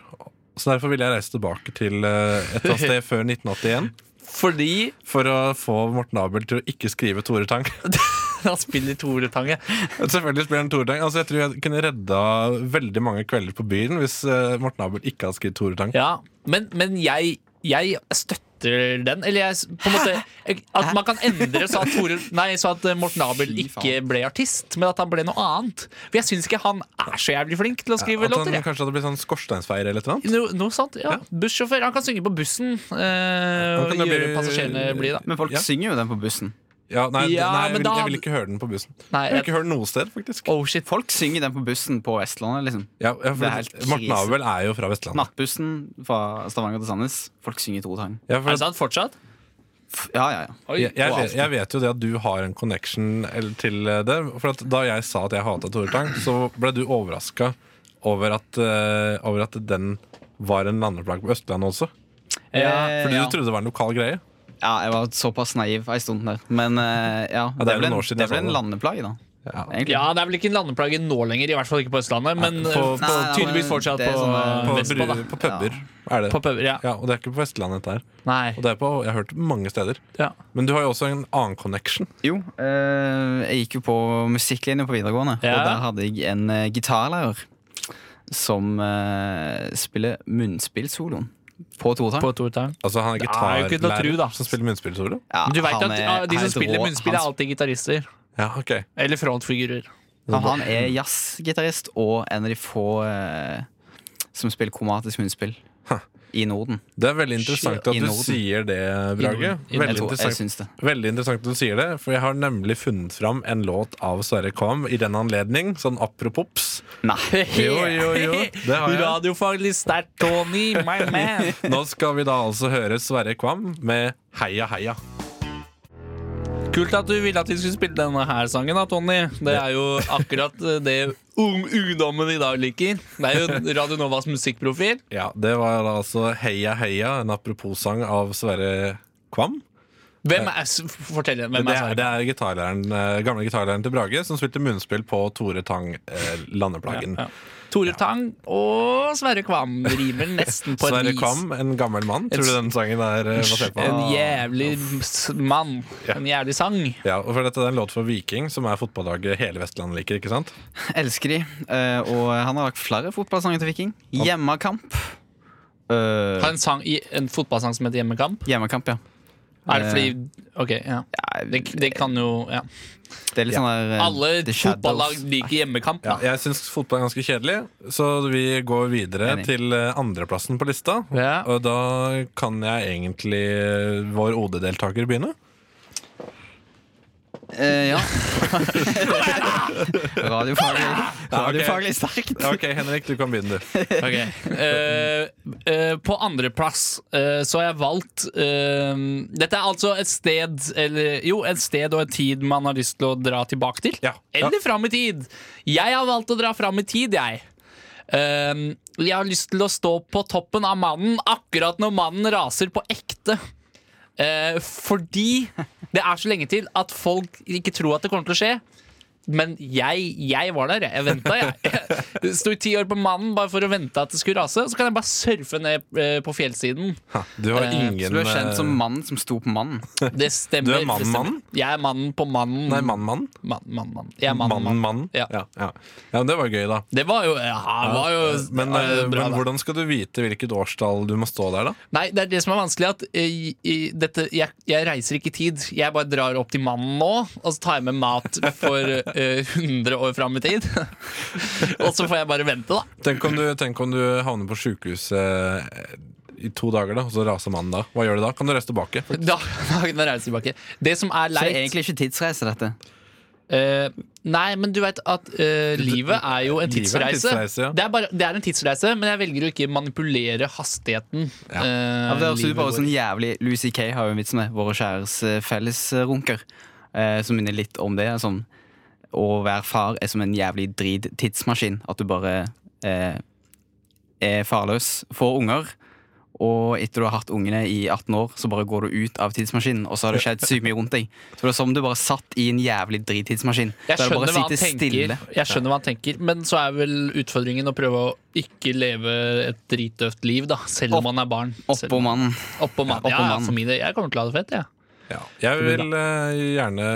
[SPEAKER 2] Så derfor ville jeg reise tilbake til eh, et eller annet sted før 1981
[SPEAKER 10] Fordi
[SPEAKER 2] for å få Morten Abel til å ikke skrive Tore Tang.
[SPEAKER 10] han spiller Tore Tange.
[SPEAKER 2] Selvfølgelig spiller han Tore Tang. Altså, jeg tror jeg kunne redda veldig mange kvelder på byen hvis eh, Morten Abel ikke hadde skrevet Tore Tang.
[SPEAKER 10] Ja, men, men jeg, jeg støtter den. Eller jeg, s- på en måte At man kan endre så at, Tore, nei, så at eh, Morten Abel
[SPEAKER 3] Fy
[SPEAKER 10] ikke
[SPEAKER 3] faen.
[SPEAKER 10] ble artist, men at han ble noe annet. For jeg syns ikke han er så jævlig flink til å skrive
[SPEAKER 2] At han
[SPEAKER 10] låter. jeg.
[SPEAKER 2] kanskje hadde blitt sånn skorsteinsfeier eller et eller annet.
[SPEAKER 10] No, noe sånt, ja. Bussjåfør. Han kan synge på bussen eh, og
[SPEAKER 2] kan jo
[SPEAKER 10] gjøre
[SPEAKER 2] bli-
[SPEAKER 10] passasjerene blide. da.
[SPEAKER 3] Men folk
[SPEAKER 2] Ja.
[SPEAKER 3] synger jo den på bussen.
[SPEAKER 2] Ja, nei,
[SPEAKER 10] Ja,
[SPEAKER 2] nei jeg,
[SPEAKER 10] men
[SPEAKER 2] vil,
[SPEAKER 10] da-
[SPEAKER 2] jeg vil ikke høre den på bussen.
[SPEAKER 10] Nei,
[SPEAKER 2] Jeg vil ikke høre den noe sted, faktisk.
[SPEAKER 10] Oh shit,
[SPEAKER 3] Folk synger den på bussen på Vestlandet, liksom.
[SPEAKER 2] Ja, ja,
[SPEAKER 3] Det
[SPEAKER 2] for
[SPEAKER 3] er helt krise.
[SPEAKER 2] Morten Abel er jo fra Vestlandet.
[SPEAKER 3] Nattbussen fra Stavanger til Sandnes. Folk synger Tore Tang.
[SPEAKER 2] Ja, for,
[SPEAKER 10] Er det sant fortsatt?
[SPEAKER 3] F- Ja, ja, ja.
[SPEAKER 2] jeg, jeg,
[SPEAKER 3] og
[SPEAKER 2] vet- jeg vet jo det at du har en connection eller- til eh, det. For at da jeg sa at jeg hata Tore Tang, så ble du overraska over, at, eh, over at den var en landeplagg på Østlandet også.
[SPEAKER 10] Eh, Ja,
[SPEAKER 2] Fordi du trodde det var en lokal greie.
[SPEAKER 3] ja, jeg var såpass naiv ei stund der. Men eh, ja,
[SPEAKER 2] Ja, det er vel
[SPEAKER 3] ble en,
[SPEAKER 2] noen år siden
[SPEAKER 3] det
[SPEAKER 2] jeg
[SPEAKER 3] ble
[SPEAKER 2] sa
[SPEAKER 3] en
[SPEAKER 2] det.
[SPEAKER 3] landeplagg, da.
[SPEAKER 2] Ja.
[SPEAKER 3] Egentlig.
[SPEAKER 10] Ja, det er vel ikke en landeplage nå lenger, i hvert fall ikke på Østlandet, men
[SPEAKER 2] Nei,
[SPEAKER 10] eh, på,
[SPEAKER 2] på-
[SPEAKER 3] Nei, nei, men
[SPEAKER 10] tydeligvis fortsatt
[SPEAKER 3] det er
[SPEAKER 10] på,
[SPEAKER 3] sånn, eh,
[SPEAKER 2] På,
[SPEAKER 10] Vestpå,
[SPEAKER 2] bru-
[SPEAKER 10] da.
[SPEAKER 2] på puber er det.
[SPEAKER 10] På puber, ja.
[SPEAKER 2] Ja, og det er ikke på Vestlandet dette her.
[SPEAKER 10] Nei.
[SPEAKER 2] Og det er på, jeg har hørt det mange steder.
[SPEAKER 10] Ja.
[SPEAKER 2] Men du har jo også en annen connection.
[SPEAKER 3] Jo, eh, jeg gikk jo på musikklinje på videregående,
[SPEAKER 10] Ja.
[SPEAKER 3] og der hadde jeg en eh, gitarlærer som eh, spiller munnspillsoloen på Tore Tang.
[SPEAKER 10] På Tortang.
[SPEAKER 2] Altså han er
[SPEAKER 10] Det er jo ikke til å tro, da.
[SPEAKER 2] gitarlærer som spiller munnspillsolo.
[SPEAKER 3] Ja,
[SPEAKER 10] Men du vet
[SPEAKER 3] han
[SPEAKER 10] at
[SPEAKER 3] er-
[SPEAKER 10] ja, de
[SPEAKER 3] han
[SPEAKER 10] som
[SPEAKER 3] er
[SPEAKER 10] spiller
[SPEAKER 3] rå.
[SPEAKER 10] munnspill, er
[SPEAKER 3] Han-
[SPEAKER 10] alltid gitarister.
[SPEAKER 2] Ja, ok
[SPEAKER 10] Eller frontfigurer.
[SPEAKER 3] Han, han er jazzgitarist og en av de få eh, som spiller kromatisk munnspill i Norden.
[SPEAKER 2] Det er veldig interessant
[SPEAKER 3] Shit,
[SPEAKER 2] at
[SPEAKER 3] i
[SPEAKER 2] du
[SPEAKER 3] Norden.
[SPEAKER 2] sier det, Brage.
[SPEAKER 10] Norden. I Norden.
[SPEAKER 3] Jeg,
[SPEAKER 2] Veldig
[SPEAKER 3] tror, jeg
[SPEAKER 2] interessant,
[SPEAKER 3] syns det.
[SPEAKER 2] veldig interessant at du sier det, for jeg har nemlig funnet fram en låt av Sverre Kvam i den anledning. Sånn apropops.
[SPEAKER 3] Nei.
[SPEAKER 2] Jo, jo, jo. Det har jeg.
[SPEAKER 10] Radiofaglig sterkt, Tony, my man.
[SPEAKER 2] Nå skal vi da altså høre Sverre Kvam med Heia heia.
[SPEAKER 10] Kult at du ville at vi skulle spille denne her sangen, da, Tony. Det er jo akkurat eh, det ung ungdommen i dag liker. Det er jo Radio Novas musikkprofil.
[SPEAKER 2] Ja, Det var da altså Heia heia, en apropos-sang av Sverre Kvam.
[SPEAKER 10] Hvem er, s- fortell, hvem
[SPEAKER 2] det,
[SPEAKER 10] er
[SPEAKER 2] er,
[SPEAKER 10] Sverre?
[SPEAKER 2] det er gitarlæreren, eh, gamle gitarlæreren til Brage som spilte munnspill på Tore Tang eh, Landeplagen.
[SPEAKER 10] Ja, ja. Tore Tang og Sverre Kvam rimer nesten på
[SPEAKER 2] Sverre
[SPEAKER 10] et vis.
[SPEAKER 2] Kvam, en gammel mann. Tror du den sangen er eh, basert på?
[SPEAKER 10] En jævlig s- mann. En jævlig sang.
[SPEAKER 2] Ja, og for dette er en låt for Viking, som er fotballaget hele Vestlandet liker. ikke sant?
[SPEAKER 3] Elsker de. eh, og han har lagt flere fotballsanger til Viking. Hjemmekamp. Eh,
[SPEAKER 10] Har en, sang, i- en fotballsang som heter Hjemmekamp.
[SPEAKER 3] hjemmekamp, ja.
[SPEAKER 10] Er
[SPEAKER 3] Eh.
[SPEAKER 10] det fordi Ok, ja. Det, det kan jo ja.
[SPEAKER 3] Det er litt sånn der eh,
[SPEAKER 10] Alle
[SPEAKER 3] The Shadows.
[SPEAKER 10] fotballag liker hjemmekamp.
[SPEAKER 2] Ja,
[SPEAKER 10] Da.
[SPEAKER 2] jeg syns fotball er ganske kjedelig, så vi går videre
[SPEAKER 3] Enig.
[SPEAKER 2] til eh, andreplassen på lista.
[SPEAKER 10] Ja.
[SPEAKER 2] Og da kan jeg egentlig eh, vår OD-deltaker begynne.
[SPEAKER 3] Eh, ja. radiofaglig, radiofaglig sterkt.
[SPEAKER 2] Ja, ok, Henrik, du kan begynne, du.
[SPEAKER 10] Ok. Eh, eh, på andreplass uh, så har jeg valgt eh, Dette er altså et sted eller, Jo, et sted og en tid man har lyst til å dra tilbake til.
[SPEAKER 2] Ja.
[SPEAKER 10] Eller fram i tid. Jeg har valgt å dra fram i tid, jeg. Eh, jeg har lyst til å stå på toppen av mannen akkurat når mannen raser på ekte. Eh, fordi det er så lenge til at folk ikke tror at det kommer til å skje. Men jeg, jeg var der, jeg. Jeg venta, jeg. jeg. Sto i ti år på mannen bare for å vente at det skulle rase. Så kan jeg bare surfe ned eh, på fjellsiden.
[SPEAKER 2] Ha, Du har
[SPEAKER 10] Eh,
[SPEAKER 2] ingen
[SPEAKER 3] Så du er kjent som
[SPEAKER 2] eh,
[SPEAKER 3] mannen som sto på mannen.
[SPEAKER 10] Det stemmer.
[SPEAKER 2] Du er mannen,
[SPEAKER 10] det stemmer.
[SPEAKER 2] mannen?
[SPEAKER 10] Jeg er mannen på mannen.
[SPEAKER 2] Nei, mann-mann.
[SPEAKER 10] Mann, mann, mann. Jeg er mannen,
[SPEAKER 2] Mannen,
[SPEAKER 10] mann.
[SPEAKER 2] mannen.
[SPEAKER 10] Ja.
[SPEAKER 2] Ja, ja. ja, men det var gøy, da.
[SPEAKER 10] Det var jo, ja, det var jo
[SPEAKER 2] Men,
[SPEAKER 10] det var jo
[SPEAKER 2] eh,
[SPEAKER 10] bra,
[SPEAKER 2] men
[SPEAKER 10] da.
[SPEAKER 2] hvordan skal du vite hvilket årstall du må stå der, da?
[SPEAKER 10] Nei, det er det som er vanskelig. At eh, i, i, dette, jeg, jeg reiser ikke i tid. Jeg bare drar opp til mannen nå, og så tar jeg med mat for eh, 100 år fram i tid. og så får jeg bare vente, da.
[SPEAKER 2] Tenk om du, tenk om du havner på sjukehuset eh, i to dager, da, og så raser mannen da. Hva gjør du da? Kan du reise tilbake?
[SPEAKER 10] Da, da kan jeg reise tilbake. Det som er
[SPEAKER 3] Så det er
[SPEAKER 10] leit
[SPEAKER 3] egentlig ikke tidsreise, dette.
[SPEAKER 10] Eh, nei, men du veit at eh, livet er jo en
[SPEAKER 2] Livet er en
[SPEAKER 10] tidsreise.
[SPEAKER 2] tidsreise, ja.
[SPEAKER 10] det, er bare, det er en tidsreise, men jeg velger å ikke manipulere hastigheten.
[SPEAKER 2] Ja.
[SPEAKER 10] eh,
[SPEAKER 3] Ja, det høres ut
[SPEAKER 10] livet
[SPEAKER 3] bare
[SPEAKER 10] går
[SPEAKER 3] sånn
[SPEAKER 10] i.
[SPEAKER 3] jævlig Lucy Kay har jo en vits med Våre kjæres eh, fellesrunker eh, Som minner litt om det sånn, Å være far er som en jævlig drit tidsmaskin At du bare eh, Er farløs Får unger Og etter du har hatt ungene i 18 år Så bare går du ut av tidsmaskinen Og så har det skjedd sykt mye rundt deg Så det er som om du bare satt i en jævlig drit tidsmaskin
[SPEAKER 10] Jeg
[SPEAKER 3] Der du
[SPEAKER 10] skjønner,
[SPEAKER 3] bare
[SPEAKER 10] hva han
[SPEAKER 3] sitter
[SPEAKER 10] tenker,
[SPEAKER 3] stille
[SPEAKER 10] jeg skjønner hva han tenker, men så er vel utfordringen å prøve å ikke leve et dritdøvt liv, da, selv om man er barn. Selv
[SPEAKER 3] Oppå
[SPEAKER 10] om-
[SPEAKER 3] mannen
[SPEAKER 10] Oppå mann.
[SPEAKER 3] oppå
[SPEAKER 10] Ja, ja,
[SPEAKER 3] mann.
[SPEAKER 10] for min del. Jeg kommer til å ha det fett, jeg.
[SPEAKER 2] Ja. Jeg vil eh, gjerne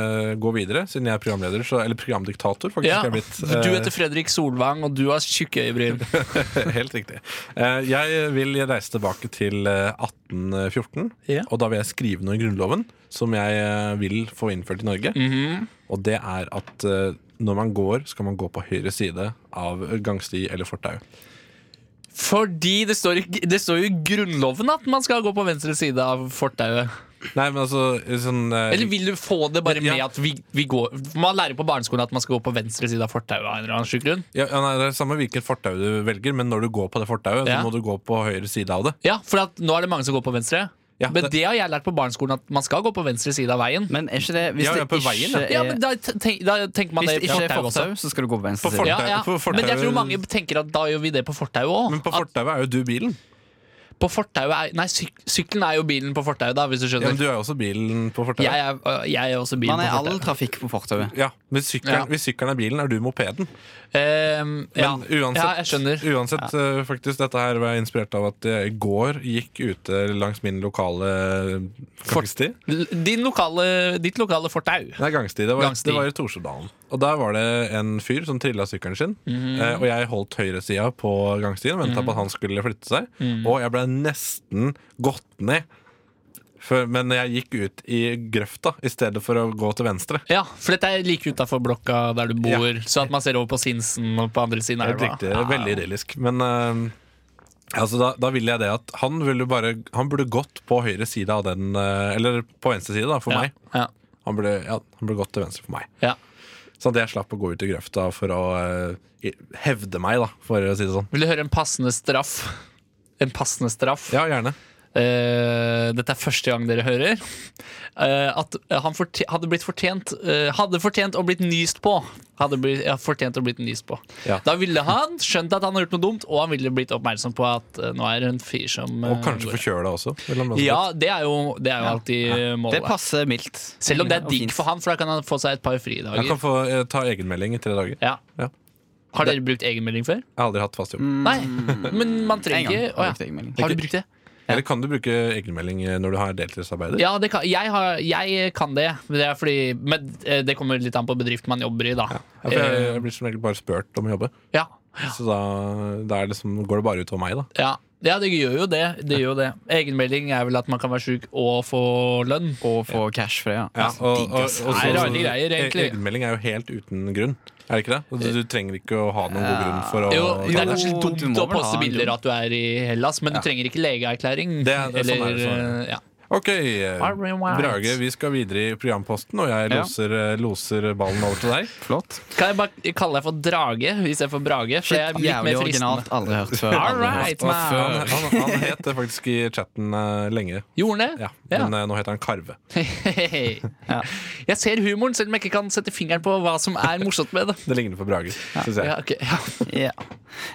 [SPEAKER 2] gå videre, siden jeg er programleder, så, eller programdiktator, faktisk.
[SPEAKER 10] Ja.
[SPEAKER 2] er jeg blitt, eh,
[SPEAKER 10] Du heter Fredrik Solvang, og du har tjukke øyebryn.
[SPEAKER 2] Helt riktig. Eh, Jeg vil reise tilbake til eh, 1814,
[SPEAKER 10] Ja.
[SPEAKER 2] og da vil jeg skrive noe i Grunnloven som jeg eh, vil få innført i Norge.
[SPEAKER 10] Mm. Mhm.
[SPEAKER 2] Og det er at eh, når man går, skal man gå på høyre side av gangsti eller fortau.
[SPEAKER 10] Fordi det står, i- det står jo i Grunnloven at man skal gå på venstre side av fortauet.
[SPEAKER 2] Nei, men altså sånn eh,
[SPEAKER 10] Eller vil du få det bare med
[SPEAKER 2] Ja.
[SPEAKER 10] at vi, vi går Man lærer på barneskolen at man skal gå på venstre side av fortauet av en eller annen sjuk grunn.
[SPEAKER 2] ja, ja, nei, Det er samme hvilket fortau du velger, men når du går på det fortauet,
[SPEAKER 10] Ja.
[SPEAKER 2] så må du gå på høyre side av det.
[SPEAKER 10] Ja, for at nå er det mange som går på venstre.
[SPEAKER 2] Ja,
[SPEAKER 10] men
[SPEAKER 2] det-
[SPEAKER 10] det har jeg lært på barneskolen at man skal gå på venstre side av veien. Eh,
[SPEAKER 3] Men er ikke det Hvis
[SPEAKER 2] Ja, ja,
[SPEAKER 3] det
[SPEAKER 2] på
[SPEAKER 3] ikke
[SPEAKER 2] veien, ja.
[SPEAKER 3] er,
[SPEAKER 10] Ja, men da, tenk, da tenker man
[SPEAKER 3] hvis
[SPEAKER 10] det
[SPEAKER 3] det
[SPEAKER 10] i
[SPEAKER 3] ikke er
[SPEAKER 10] fortauet også.
[SPEAKER 3] fortau Så skal du gå på venstre
[SPEAKER 2] På
[SPEAKER 3] side
[SPEAKER 10] Ja, ja.
[SPEAKER 2] Fortau- for
[SPEAKER 10] Men jeg
[SPEAKER 2] fortauet-
[SPEAKER 10] tror mange tenker at da gjør vi det på fortauet òg.
[SPEAKER 2] Men på fortauet er jo du bilen.
[SPEAKER 10] På fortauet er, nei, syk, sykkelen er jo bilen på fortauet, da, hvis du
[SPEAKER 2] Ja,
[SPEAKER 10] skjønner.
[SPEAKER 2] men du er jo også bilen på fortauet.
[SPEAKER 10] jeg, er, øh, jeg er også bilen
[SPEAKER 3] Man er
[SPEAKER 10] på
[SPEAKER 3] all
[SPEAKER 10] fortauet.
[SPEAKER 3] trafikk på fortauet
[SPEAKER 2] Ja, hvis sykkelen,
[SPEAKER 10] Ja.
[SPEAKER 2] hvis sykkelen er bilen, er du mopeden.
[SPEAKER 10] Ehm, ja.
[SPEAKER 2] Men uansett,
[SPEAKER 10] ja, jeg skjønner.
[SPEAKER 2] uansett eh, faktisk, dette her var jeg inspirert av at jeg i går gikk ute langs min lokale eh, gangsti.
[SPEAKER 10] Din lokale, ditt lokale fortau.
[SPEAKER 2] Nei, gangsti. Det var,
[SPEAKER 10] Gangsti.
[SPEAKER 2] Det var i Torstedalen. Og der var det en fyr som trilla sykkelen sin.
[SPEAKER 10] Mhm.
[SPEAKER 2] eh, og jeg holdt høyresida på gangstien og venta på at han skulle flytte seg.
[SPEAKER 10] Mhm.
[SPEAKER 2] Og jeg ble nesten gått ned. For, men jeg gikk ut i grøfta i stedet for å gå til venstre.
[SPEAKER 10] Ja, for dette er like utafor blokka der du bor, så at man ser over på Sinsen og på andre siden av
[SPEAKER 2] Helt
[SPEAKER 10] elva.
[SPEAKER 2] riktig. Veldig idyllisk. Men eh, altså, da, da vil jeg det at han, ville bare, han burde gått på høyre side av den eh, Eller på venstre side, da, for
[SPEAKER 10] Ja,
[SPEAKER 2] meg.
[SPEAKER 10] ja,
[SPEAKER 2] Han burde, ja, han burde gått til venstre for meg.
[SPEAKER 10] ja.
[SPEAKER 2] Sånn at jeg slapp å gå ut i grøfta for å eh, i- hevde meg, da, for å si det sånn.
[SPEAKER 10] Vil du høre en passende straff? En passende straff.
[SPEAKER 2] Ja, gjerne.
[SPEAKER 10] Eh, dette er første gang dere hører. eh, at han forte- hadde blitt fortjent eh, Hadde fortjent å blitt nyst på. Hadde blitt, ja, fortjent å blitt nyst på.
[SPEAKER 2] Ja.
[SPEAKER 10] Da ville han skjønt at han har gjort noe dumt, og han ville blitt oppmerksom på at eh, nå er det en fyr som
[SPEAKER 2] Og
[SPEAKER 10] eh,
[SPEAKER 2] kanskje
[SPEAKER 10] går-
[SPEAKER 2] forkjøla også. vil han også
[SPEAKER 10] Ja, det er jo, det er jo alltid eh,
[SPEAKER 3] Det
[SPEAKER 10] målet.
[SPEAKER 3] passer mildt.
[SPEAKER 10] Selv om det er
[SPEAKER 3] Og
[SPEAKER 10] digg
[SPEAKER 3] fint.
[SPEAKER 10] for han, for da kan han få seg et par
[SPEAKER 2] si. Han
[SPEAKER 10] fridager.
[SPEAKER 2] kan få eh, ta egenmelding i tre dager.
[SPEAKER 10] Ja.
[SPEAKER 2] Ja.
[SPEAKER 10] Har dere brukt egenmelding før?
[SPEAKER 2] Jeg har aldri hatt fast jobb.
[SPEAKER 10] Nei, men man
[SPEAKER 3] En
[SPEAKER 10] trenger
[SPEAKER 3] gang.
[SPEAKER 10] ikke
[SPEAKER 3] har
[SPEAKER 10] Å
[SPEAKER 3] jeg brukt egenmelding.
[SPEAKER 10] ja. Har du brukt det?
[SPEAKER 2] Eller kan du bruke egenmelding eh, når du har deltidsarbeider?
[SPEAKER 10] Ja, det kan, jeg, har, jeg kan det. det er fordi, men eh, det kommer litt an på bedriften man jobber i, da.
[SPEAKER 2] Ja, for jeg, jeg blir som regel bare spurt om å jobbe,
[SPEAKER 10] Eh, ja.
[SPEAKER 2] så da, da er det som, går det bare utover meg, da.
[SPEAKER 10] Ja. ja, det gjør jo det. det, gjør jo det. Egenmelding er vel at man kan være sjuk og få lønn.
[SPEAKER 3] Og få cash for det, ja.
[SPEAKER 2] Ja, og, og, og, så-
[SPEAKER 10] Nei, rare greier, egentlig.
[SPEAKER 2] e- Egenmelding er jo helt uten grunn. Er det ikke det? Du, du trenger ikke å ha noen god grunn for å
[SPEAKER 10] Jo, det er
[SPEAKER 3] jo,
[SPEAKER 10] kanskje litt
[SPEAKER 3] du
[SPEAKER 10] dumt
[SPEAKER 3] må
[SPEAKER 10] å
[SPEAKER 3] vel ha
[SPEAKER 10] poste
[SPEAKER 3] en
[SPEAKER 10] bilder
[SPEAKER 3] grunn.
[SPEAKER 10] at du er i Hellas, men du trenger ikke legeerklæring.
[SPEAKER 2] Det- det er- sånn er det, sånn
[SPEAKER 10] eh, ja.
[SPEAKER 2] Ok, eh,
[SPEAKER 10] Alright.
[SPEAKER 2] Brage, vi skal videre i programposten, og jeg
[SPEAKER 3] Ja.
[SPEAKER 2] loser, eh, loser ballen over til deg.
[SPEAKER 3] Flott.
[SPEAKER 10] Kan jeg bare kalle deg for Drage istedenfor Brage? For
[SPEAKER 3] Shit,
[SPEAKER 10] jeg er litt
[SPEAKER 3] jævlig
[SPEAKER 10] mer fristende.
[SPEAKER 3] originalt. Aldri hørt før.
[SPEAKER 10] All
[SPEAKER 3] aldri hørt.
[SPEAKER 10] right,
[SPEAKER 2] Og Han,
[SPEAKER 10] man.
[SPEAKER 2] han, han het det faktisk i chatten eh, lenge,
[SPEAKER 10] Gjorde han det?
[SPEAKER 2] ja. men eh, nå heter han Karve.
[SPEAKER 10] Ja. Jeg ser humoren, selv om jeg ikke kan sette fingeren på hva som er morsomt med det.
[SPEAKER 2] Det ligner på Brage, syns jeg.
[SPEAKER 10] Ja, ok, ja.
[SPEAKER 3] Ja.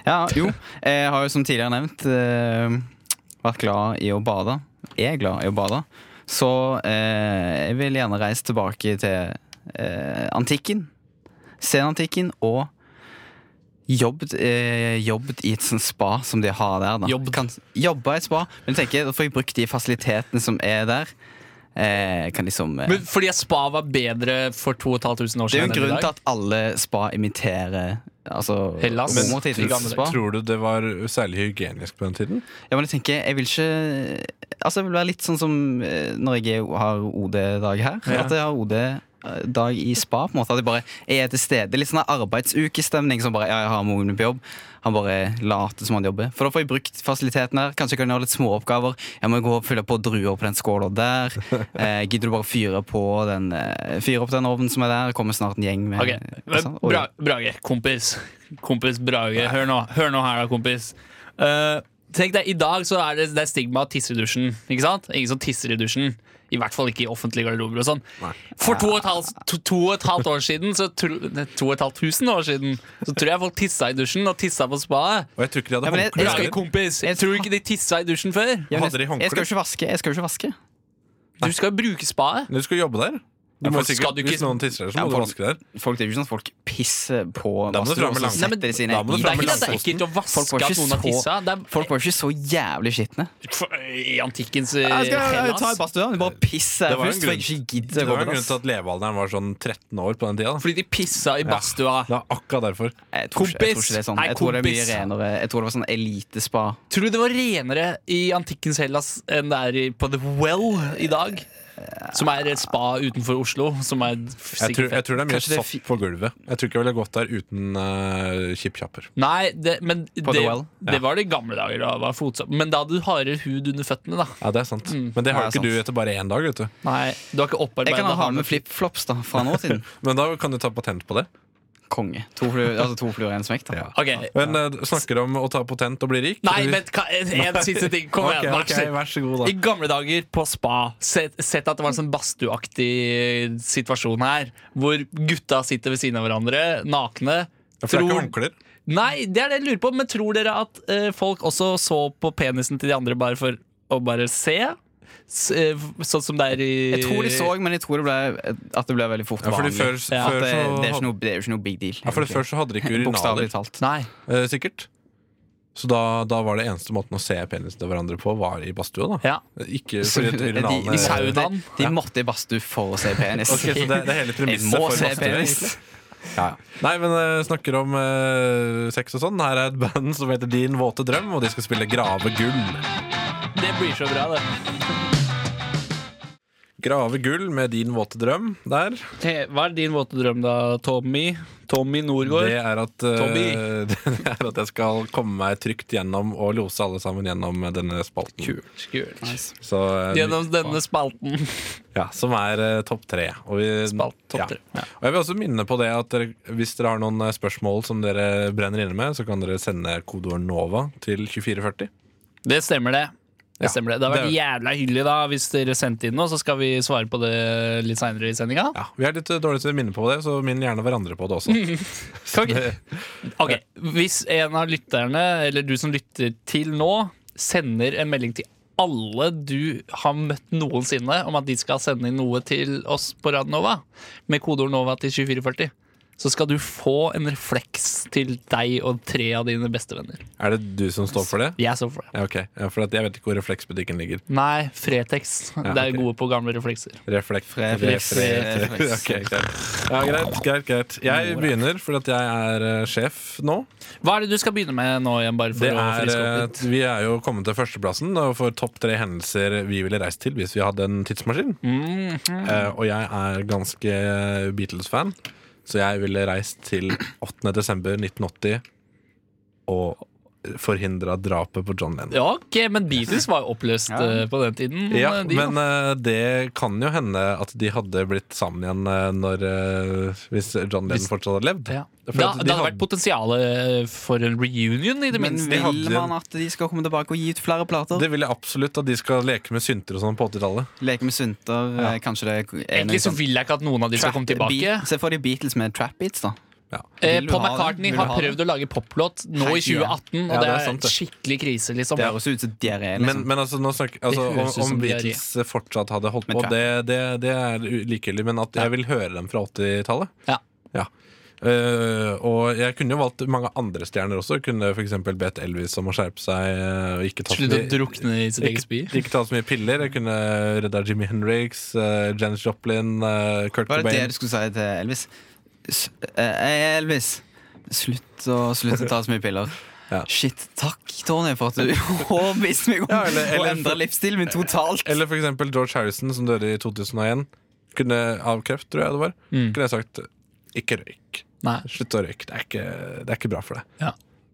[SPEAKER 3] ja, jo. Jeg har jo som tidligere nevnt eh, vært glad i å bade. Er glad i å bade. Så eh, jeg vil gjerne reise tilbake til eh, antikken. Senantikken. Og jobbet, eh, jobbet i et sånt spa som de har der. Da.
[SPEAKER 10] Jobbet.
[SPEAKER 3] Kan, jobba i et spa. Men jeg tenker, da får jeg brukt de fasilitetene som er der. Eh, kan liksom eh,
[SPEAKER 10] Men fordi at spa var bedre for 2500 år
[SPEAKER 3] Det er jo en
[SPEAKER 10] siden enn i
[SPEAKER 3] grunn til
[SPEAKER 10] dag.
[SPEAKER 3] at alle spa imiterer altså,
[SPEAKER 10] Hellas. Men
[SPEAKER 3] romertidens
[SPEAKER 10] i gamle
[SPEAKER 3] spa.
[SPEAKER 2] Tror du det var særlig hygienisk på den tiden?
[SPEAKER 3] Ja, men jeg tenker, jeg vil ikke Altså, jeg vil være litt sånn som eh, når jeg er- har OD-dag her. At jeg har OD eh, dag i spa. på en måte At jeg bare jeg er til stede. Litt sånn arbeidsukestemning. Som bare, ja, jeg har moren min på jobb Han bare later som han jobber. For da får jeg brukt fasilitetene her. Kanskje jeg kan gjøre litt småoppgaver. Jeg må gå og fylle på druer på den skåla der. Eh, gidder du bare fyre på den eh, Fyre opp den ovnen som er der? Kommer snart en gjeng med
[SPEAKER 10] Ok,
[SPEAKER 3] Ikke sant? Oi.
[SPEAKER 10] Bra, Brage, kompis. Kompis Brage, hør nå, hør nå her da, kompis. Eh, tenk deg, I dag så er det, det er stigma å tisse i dusjen. Ikke sant? Ingen som tisser i dusjen. I hvert fall ikke i offentlige garderober. og sånn For to og, et halvt, to, to og et halvt år siden så tro, nei, To og et halvt tusen år siden Så tror jeg folk tissa i dusjen og tissa på spaet.
[SPEAKER 2] Og jeg tror ikke de
[SPEAKER 3] Ja, men
[SPEAKER 2] hadde
[SPEAKER 3] jeg-
[SPEAKER 2] håndklær.
[SPEAKER 10] Brage,
[SPEAKER 2] heller.
[SPEAKER 10] kompis, jeg tror ikke de tissa i dusjen før.
[SPEAKER 3] Ja, men
[SPEAKER 2] Hadde de
[SPEAKER 3] jeg, jeg skal jo
[SPEAKER 2] håndkle?
[SPEAKER 3] ikke vaske. Jeg skal jo ikke vaske.
[SPEAKER 10] Du skal jo bruke spaet.
[SPEAKER 2] Men Du skal jobbe der.
[SPEAKER 10] Ja,
[SPEAKER 2] Du må
[SPEAKER 10] folk skal
[SPEAKER 2] sikkert,
[SPEAKER 10] du ikke-
[SPEAKER 2] Hvis noen tisser der, så
[SPEAKER 3] Ja,
[SPEAKER 2] må du
[SPEAKER 3] folk-
[SPEAKER 2] vaske der.
[SPEAKER 3] Folk, det er jo ikke sånn at folk pisser på
[SPEAKER 2] Da må du
[SPEAKER 3] vasken,
[SPEAKER 2] fram med
[SPEAKER 3] og så
[SPEAKER 2] lang-
[SPEAKER 3] setter de sine
[SPEAKER 2] da må du
[SPEAKER 3] i-
[SPEAKER 10] Det
[SPEAKER 2] fram
[SPEAKER 10] er
[SPEAKER 2] med
[SPEAKER 10] ikke at det er ekkelt
[SPEAKER 2] langkosten.
[SPEAKER 10] å
[SPEAKER 3] Folk
[SPEAKER 10] vaske
[SPEAKER 3] var ikke
[SPEAKER 10] at noen har
[SPEAKER 3] så-
[SPEAKER 10] tissa. Det er
[SPEAKER 3] Folk var ikke så jævlig skitne.
[SPEAKER 2] Eh,
[SPEAKER 10] I antikkens eh,
[SPEAKER 3] Jeg skal
[SPEAKER 10] Hellas.
[SPEAKER 3] ta en badstue. Bare pisse
[SPEAKER 2] Det var en
[SPEAKER 3] først, for jeg
[SPEAKER 2] grunn-
[SPEAKER 3] ikke
[SPEAKER 2] Det
[SPEAKER 3] gidder å gå
[SPEAKER 2] var en
[SPEAKER 3] på dass.
[SPEAKER 2] grunn til at levealderen var sånn 13 år på den tida. da.
[SPEAKER 10] Fordi de pissa i badstua.
[SPEAKER 2] Det er akkurat derfor.
[SPEAKER 3] Jeg tror ikke jeg tror ikke det er sånn.
[SPEAKER 10] Kompis! Nei,
[SPEAKER 3] Jeg tror det er mye
[SPEAKER 10] kompis.
[SPEAKER 3] renere. Jeg tror det var sånn elitespa.
[SPEAKER 10] Tror du det var renere i antikkens Hellas enn det er i- på The Well i dag? Som er et spa utenfor Oslo. Som er
[SPEAKER 2] Jeg tror,
[SPEAKER 10] sikkert
[SPEAKER 2] jeg
[SPEAKER 10] fett.
[SPEAKER 2] tror det er mye
[SPEAKER 3] Kanskje det er fi-
[SPEAKER 2] sopp på gulvet. Jeg tror ikke jeg ville gått der uten uh, kjippkjapper.
[SPEAKER 10] Nei, det, men
[SPEAKER 3] På The
[SPEAKER 10] det,
[SPEAKER 3] Well?
[SPEAKER 10] det var det i gamle dager. Da, det var fotsopp. Men da hadde du hardere hud under føttene. da
[SPEAKER 2] Ja, det er sant. Men det har
[SPEAKER 3] Mm. Ja,
[SPEAKER 2] jo
[SPEAKER 3] det er
[SPEAKER 2] ikke du etter bare én dag. vet du
[SPEAKER 10] Nei, Du har ikke opparbeidet
[SPEAKER 3] Jeg kan ha
[SPEAKER 10] hard-
[SPEAKER 3] med flipflops da, fra nå til
[SPEAKER 2] Men da kan du ta patent på det.
[SPEAKER 3] konge. To fluer altså to fluer i en smekk. da.
[SPEAKER 10] Ok.
[SPEAKER 2] Men eh, Snakker om å ta patent og bli rik.
[SPEAKER 10] Nei,
[SPEAKER 2] Eller-
[SPEAKER 10] vent, ka- en en siste ting. Kom
[SPEAKER 2] Ok,
[SPEAKER 10] igjen,
[SPEAKER 2] ok,
[SPEAKER 10] Max.
[SPEAKER 2] vær så god,
[SPEAKER 10] I
[SPEAKER 2] da.
[SPEAKER 10] gamle dager på spa, sett, sett at det var en sånn badstueaktig situasjon her, hvor gutta sitter ved siden av hverandre, nakne.
[SPEAKER 2] For det er ikke
[SPEAKER 10] Tror-
[SPEAKER 2] håndklær.
[SPEAKER 10] Nei, det er det jeg lurer på, men tror dere at eh, folk også så på penisen til de andre bare for å bare se? S eh, sånn som det er i
[SPEAKER 3] Jeg tror de så, men jeg tror det ble, at det ble veldig fort
[SPEAKER 2] Ja, fordi
[SPEAKER 3] vanlig.
[SPEAKER 2] før,
[SPEAKER 10] Ja,
[SPEAKER 2] før
[SPEAKER 3] At det, det,
[SPEAKER 2] så
[SPEAKER 3] er ikke
[SPEAKER 2] hadde,
[SPEAKER 3] noe, det er jo ikke noe big deal.
[SPEAKER 2] ja, for det
[SPEAKER 3] egentlig.
[SPEAKER 2] før så hadde de ikke
[SPEAKER 3] Bokstavelig
[SPEAKER 2] urinaler,
[SPEAKER 3] talt.
[SPEAKER 10] Nei.
[SPEAKER 2] eh, sikkert. Så da, da var det eneste måten å se penisen til hverandre på, var i badstua. da
[SPEAKER 10] Ja.
[SPEAKER 2] Ikke
[SPEAKER 3] Så de,
[SPEAKER 2] fordi at
[SPEAKER 3] de, de,
[SPEAKER 2] urinalene
[SPEAKER 3] de,
[SPEAKER 10] saunaen.
[SPEAKER 3] de måtte i badstue for å se penis.
[SPEAKER 2] Ok, så det, det er hele
[SPEAKER 3] Jeg
[SPEAKER 2] premisset
[SPEAKER 3] må
[SPEAKER 2] for
[SPEAKER 3] se
[SPEAKER 2] badstue.
[SPEAKER 3] penis.
[SPEAKER 2] Ja. Nei, men eh, snakker om eh, sex og sånn. Her er et band som heter Din våte drøm, og de skal spille Grave gull.
[SPEAKER 10] Det blir så bra, det.
[SPEAKER 2] Grave gull med Din våte drøm der.
[SPEAKER 10] Te- Hva er din våte drøm, da, Tommy? Tommy
[SPEAKER 2] Det
[SPEAKER 10] Norgård?
[SPEAKER 2] er, at, eh,
[SPEAKER 10] Tommy.
[SPEAKER 2] det er at jeg skal komme meg trygt gjennom og lose alle sammen gjennom denne spalten.
[SPEAKER 10] Kult.
[SPEAKER 2] Så, eh,
[SPEAKER 10] Gjennom denne spalten.
[SPEAKER 2] Ja, som er eh, topp tre. Og, vi,
[SPEAKER 10] Spalt, topp tre, ja.
[SPEAKER 2] og jeg vil også minne på det at dere, hvis dere har noen eh, spørsmål som dere brenner inne med, så kan dere sende kodeord NOVA til 2440.
[SPEAKER 10] Det stemmer, det.
[SPEAKER 2] Ja,
[SPEAKER 10] Det stemmer det. Det hadde vært jævla hyggelig da hvis dere sendte inn noe, så skal vi svare på det litt seinere i sendinga.
[SPEAKER 2] Ja, vi er litt eh, dårlige til å minne på det, så minn gjerne hverandre på det også.
[SPEAKER 10] Ok, Hvis en av lytterne, eller du som lytter til nå, sender en melding til alle du har møtt noensinne, om at de skal sende inn noe til oss på Radio Nova med kodeord NOVA til 2440, så skal du få en refleks til deg og tre av dine bestevenner.
[SPEAKER 2] Er det du som står for det?
[SPEAKER 10] Jeg står for det.
[SPEAKER 2] Ja, ok. Ja, for at jeg vet ikke hvor refleksbutikken ligger.
[SPEAKER 10] Nei, Fretex.
[SPEAKER 2] Ja,
[SPEAKER 10] Det er
[SPEAKER 2] ok.
[SPEAKER 10] gode på gamle reflekser.
[SPEAKER 2] Refleks.
[SPEAKER 3] Refleks. Refleks.
[SPEAKER 2] Ok, greit. Ja, greit, greit, greit. Jeg begynner fordi at jeg er eh, sjef nå.
[SPEAKER 10] Hva er det du skal begynne med nå igjen, bare for
[SPEAKER 2] Det
[SPEAKER 10] å
[SPEAKER 2] er,
[SPEAKER 10] friske opp litt?
[SPEAKER 2] eh, vi er jo kommet til førsteplassen da, for topp tre hendelser vi ville reist til hvis vi hadde en tidsmaskin.
[SPEAKER 10] Mhm.
[SPEAKER 2] Eh, og jeg er ganske eh, Beatles-fan, så jeg ville reist til 8. desember 1980 og forhindra drapet på John Lennon.
[SPEAKER 10] Ja, ok, men Beatles var jo oppløst eh, på den tiden.
[SPEAKER 2] Ja,
[SPEAKER 10] eh, de,
[SPEAKER 2] men eh, det kan jo hende at de hadde blitt sammen igjen eh, når, eh, hvis John Lennon fortsatt hadde levd.
[SPEAKER 10] ja.
[SPEAKER 2] For
[SPEAKER 10] Da,
[SPEAKER 2] at
[SPEAKER 10] det
[SPEAKER 2] de
[SPEAKER 10] hadde
[SPEAKER 2] hadde-
[SPEAKER 10] vært potensial eh, for en reunion, i det
[SPEAKER 3] Men
[SPEAKER 10] minste.
[SPEAKER 2] hadde
[SPEAKER 3] vil
[SPEAKER 2] en-
[SPEAKER 3] man at de skal komme tilbake og gi ut flere plater?
[SPEAKER 2] Det vil jeg absolutt at de skal leke med synter og sånn på 80-tallet.
[SPEAKER 3] Leke med synter, eh, kanskje det er noe
[SPEAKER 10] Egentlig så vil jeg ikke at noen av de skal
[SPEAKER 3] Trap-
[SPEAKER 10] komme tilbake.
[SPEAKER 3] Beat- Se for deg Beatles med trap beats, da.
[SPEAKER 2] Ja.
[SPEAKER 10] Eh,
[SPEAKER 3] Vil du
[SPEAKER 10] Paul
[SPEAKER 3] ha det?
[SPEAKER 10] McCartney
[SPEAKER 3] Vil du
[SPEAKER 10] har
[SPEAKER 3] ha det?
[SPEAKER 10] prøvd å lage poplåt nå i
[SPEAKER 3] Herregud.
[SPEAKER 10] 2018, og
[SPEAKER 2] Ja,
[SPEAKER 10] det
[SPEAKER 2] det er
[SPEAKER 10] er
[SPEAKER 2] sant, det.
[SPEAKER 10] skikkelig krise, liksom.
[SPEAKER 3] Det høres ut som diaré.
[SPEAKER 2] Men,
[SPEAKER 3] Liksom.
[SPEAKER 2] men altså, nå snakker, altså,
[SPEAKER 10] Det høres ut
[SPEAKER 2] om,
[SPEAKER 10] som
[SPEAKER 2] om
[SPEAKER 10] de er
[SPEAKER 2] Beatles fortsatt hadde holdt
[SPEAKER 3] Men
[SPEAKER 2] på,
[SPEAKER 3] trap.
[SPEAKER 2] det, det, det er likegyldig, men at jeg vil høre dem fra 80-tallet.
[SPEAKER 10] Ja.
[SPEAKER 2] Eh, og jeg kunne jo valgt mange andre stjerner også. Kunne f.eks. bedt Elvis om å skjerpe seg eh, og ikke ta så
[SPEAKER 10] Slutt å
[SPEAKER 2] mye-
[SPEAKER 10] drukne i sitt eget spy.
[SPEAKER 2] ikke, ikke ta så mye piller. Jeg kunne redda Jimmy Henriks, eh, Janis Joplin, eh, Kurt
[SPEAKER 3] Var det det
[SPEAKER 2] Cobain.
[SPEAKER 3] du skulle si til Elvis? S eh, Elvis, slutt å, slutt å ta så mye piller.
[SPEAKER 2] Ja.
[SPEAKER 3] Shit, takk, Tony, for at du overbeviste meg om
[SPEAKER 2] Ja, eller-
[SPEAKER 3] å
[SPEAKER 2] eller-
[SPEAKER 3] endre livsstilen min totalt.
[SPEAKER 2] Eller f.eks. George Harrison, som døde i 2001. kunne, av kreft, tror jeg det var,
[SPEAKER 10] Mm.
[SPEAKER 2] kunne jeg sagt ikke røyk.
[SPEAKER 10] Nei.
[SPEAKER 2] Slutt å røyke. Det er ikke, det er ikke bra for deg.
[SPEAKER 10] Ja.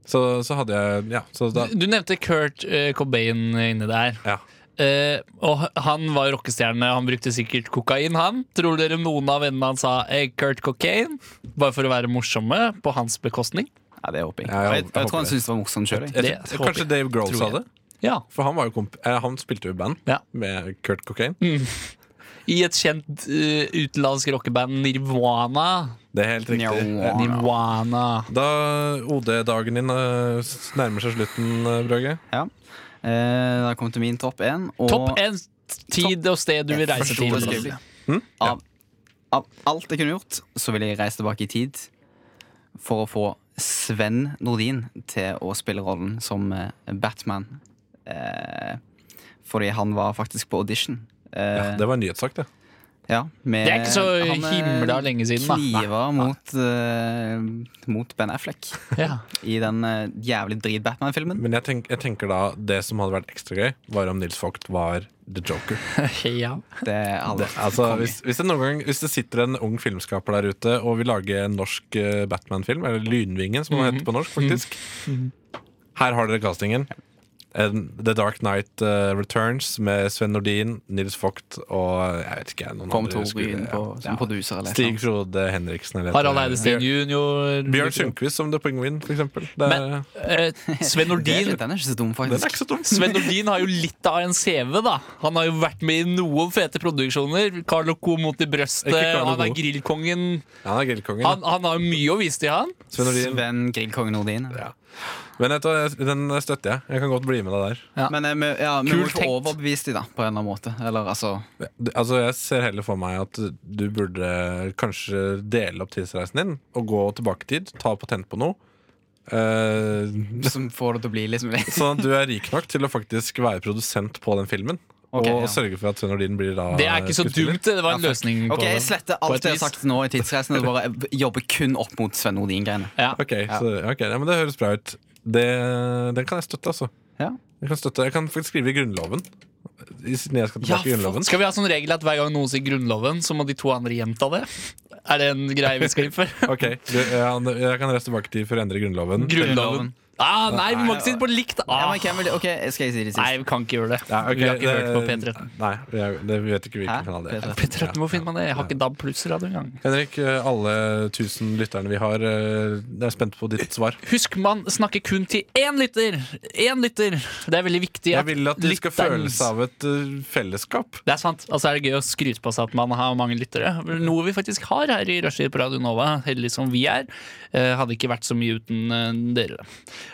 [SPEAKER 2] Så, så hadde jeg Ja, så da
[SPEAKER 10] Du nevnte Kurt eh, Cobain inni der.
[SPEAKER 2] Ja.
[SPEAKER 10] Eh, og han var jo rockestjerne. Han brukte sikkert kokain, han. Tror dere noen av vennene hans sa hey, Kurt Cocaine? Bare for å være morsomme på hans bekostning?
[SPEAKER 3] Ja, det håper jeg.
[SPEAKER 2] Ja, jeg
[SPEAKER 3] jeg, jeg,
[SPEAKER 2] håper- jeg
[SPEAKER 3] tror han
[SPEAKER 2] håper
[SPEAKER 3] syntes det var morsomt sjøl.
[SPEAKER 2] jeg,
[SPEAKER 10] det
[SPEAKER 2] tror-
[SPEAKER 10] håper
[SPEAKER 2] Kanskje
[SPEAKER 10] jeg.
[SPEAKER 2] Dave Grohl
[SPEAKER 10] Tror
[SPEAKER 2] sa
[SPEAKER 10] jeg.
[SPEAKER 2] det?
[SPEAKER 10] Ja.
[SPEAKER 2] For han, var jo komp eh, han spilte jo i band
[SPEAKER 10] Ja. Mm.
[SPEAKER 2] med Kurt Cocaine.
[SPEAKER 10] I et kjent eh, utenlandsk rockeband, Nirvana.
[SPEAKER 2] Det er helt riktig.
[SPEAKER 3] Nja.
[SPEAKER 10] Nirvana.
[SPEAKER 2] Da OD-dagen din eh, s- nærmer seg slutten, eh, Brage.
[SPEAKER 3] Ja. Eh, da kom til min topp én. og-
[SPEAKER 10] Topp en tid og sted du vil reise
[SPEAKER 3] Første ordet
[SPEAKER 10] til.
[SPEAKER 3] skriftlig.
[SPEAKER 2] Hm?
[SPEAKER 3] Av, av alt jeg kunne gjort, så ville jeg reist tilbake i tid for å få Sven Nordin til å spille rollen som eh, Batman. Eh, fordi han var faktisk på audition. Eh,
[SPEAKER 2] Ja, det var en nyhetssak, det.
[SPEAKER 3] ja, med-
[SPEAKER 10] Det er ikke så
[SPEAKER 3] han, eh,
[SPEAKER 10] himla lenge siden, da.
[SPEAKER 3] Kniver mot, eh, mot Ben Affleck
[SPEAKER 10] Ja.
[SPEAKER 3] i den eh, jævlig drit Batman-filmen.
[SPEAKER 2] Men jeg, tenk, jeg tenker da det som hadde vært ekstra gøy, var om Nils Vogt var the joker.
[SPEAKER 10] ja.
[SPEAKER 3] Det hadde
[SPEAKER 2] Det,
[SPEAKER 3] vært
[SPEAKER 2] altså,
[SPEAKER 3] konge.
[SPEAKER 2] hvis, hvis, det noen gang, hvis det sitter en ung filmskaper der ute og vil lage en norsk eh, Batman-film, eller Lynvingen, som den
[SPEAKER 3] Mhm.
[SPEAKER 2] heter på norsk, faktisk Her har dere castingen. En, The Dark Knight eh, Returns med Sven Nordin, Nils Vogt og eh, jeg vet ikke noen
[SPEAKER 3] Kom
[SPEAKER 2] andre
[SPEAKER 3] Tor
[SPEAKER 2] skuespillere.
[SPEAKER 3] inn på, som produser eller
[SPEAKER 2] Stig
[SPEAKER 3] noe.
[SPEAKER 2] Frode Henriksen eller
[SPEAKER 10] Harald
[SPEAKER 2] et-
[SPEAKER 10] Eidesteen jr.
[SPEAKER 2] Bjørn Sundquist som The Penguin, for eksempel. Det er,
[SPEAKER 10] Men- Eh, Sven
[SPEAKER 3] Den
[SPEAKER 10] Nordin
[SPEAKER 3] den er ikke så dum,
[SPEAKER 2] den er
[SPEAKER 3] faktisk.
[SPEAKER 2] ikke så dum.
[SPEAKER 10] Sven Nordin har jo litt av en CV, da. Han har jo vært med i noen fete produksjoner. Carlo Co mot i brøstet,
[SPEAKER 2] Ikke Carlo
[SPEAKER 10] han er
[SPEAKER 2] Co.
[SPEAKER 10] grillkongen.
[SPEAKER 2] Ja, han er grillkongen.
[SPEAKER 10] Han, han har jo mye å vise til, han.
[SPEAKER 2] Sven Nordin.
[SPEAKER 3] Sven Grillkongen Nordin.
[SPEAKER 2] Ja. Men vet du hva, den støtter jeg. Jeg kan godt bli med deg der.
[SPEAKER 3] Men eh, vi- ja, vi
[SPEAKER 10] Kult
[SPEAKER 3] må jo få
[SPEAKER 10] tenkt.
[SPEAKER 3] overbevist dem, da, på en eller annen måte. Eller altså
[SPEAKER 2] Du- Altså, jeg ser heller for meg at du burde kanskje dele opp tidsreisen din og gå tilbake i tid, ta patent på noe. Eh,
[SPEAKER 3] Som får det til å bli liksom
[SPEAKER 2] sånn at du er rik nok til å faktisk være produsent på den filmen.
[SPEAKER 3] Ok,
[SPEAKER 2] og
[SPEAKER 3] ja.
[SPEAKER 2] sørge for at Sven Nordin blir da
[SPEAKER 10] Det er ikke så
[SPEAKER 2] skuespiller.
[SPEAKER 10] dumt. Det var en løsning på
[SPEAKER 3] Ok, jeg
[SPEAKER 10] det.
[SPEAKER 3] sletter
[SPEAKER 10] På
[SPEAKER 3] alt
[SPEAKER 10] et
[SPEAKER 3] jeg har
[SPEAKER 10] vis.
[SPEAKER 3] sagt nå i Tidsreisen, og bare jobber kun opp mot Sven Nordin-greiene.
[SPEAKER 10] Ja.
[SPEAKER 2] Ok, så, ok, ja, men Det høres bra ut. Det, den kan jeg støtte, altså.
[SPEAKER 3] Ja.
[SPEAKER 2] Jeg kan, støtte, jeg kan faktisk skrive i Grunnloven. I- Siden jeg
[SPEAKER 10] Ja,
[SPEAKER 2] skal tilbake i
[SPEAKER 10] faen.
[SPEAKER 2] Grunnloven.
[SPEAKER 10] skal vi ha sånn regel at hver gang noen sier Grunnloven, så må de to andre gjenta det? Er det en greie vi skal innføre?
[SPEAKER 2] Ok, du, jeg, jeg kan reise tilbake i tid for å endre Grunnloven.
[SPEAKER 10] Grunnloven. Ah, nei, vi må ikke si det på likt!
[SPEAKER 3] Ja,
[SPEAKER 10] Ah.
[SPEAKER 3] men hvem vil, ok, Skal jeg si det sist?
[SPEAKER 10] Nei, vi kan ikke gjøre det.
[SPEAKER 2] Ja, ok,
[SPEAKER 10] Vi har ikke
[SPEAKER 2] det-
[SPEAKER 10] hørt på P13.
[SPEAKER 2] Nei, vi, er, det, vi vet ikke
[SPEAKER 3] Hæ?
[SPEAKER 2] hvilken kanal det er.
[SPEAKER 3] P13.
[SPEAKER 10] P13, hvor finner man det? Jeg har ikke DAB pluss-radio engang.
[SPEAKER 2] Henrik, eh, alle tusen lytterne vi har, eh, jeg er spent på ditt svar.
[SPEAKER 10] Husk, man snakker kun til én lytter! Én lytter! Det er veldig viktig.
[SPEAKER 2] Jeg vil at de skal
[SPEAKER 10] lytteren-
[SPEAKER 2] føle seg av et eh, fellesskap.
[SPEAKER 10] Det er sant. Og så er det gøy å skryte på seg at man har mange lyttere. Noe vi faktisk har her i Rushtid på Radio Nova, heldig som vi er. Eh, hadde ikke vært så mye uten eh, dere.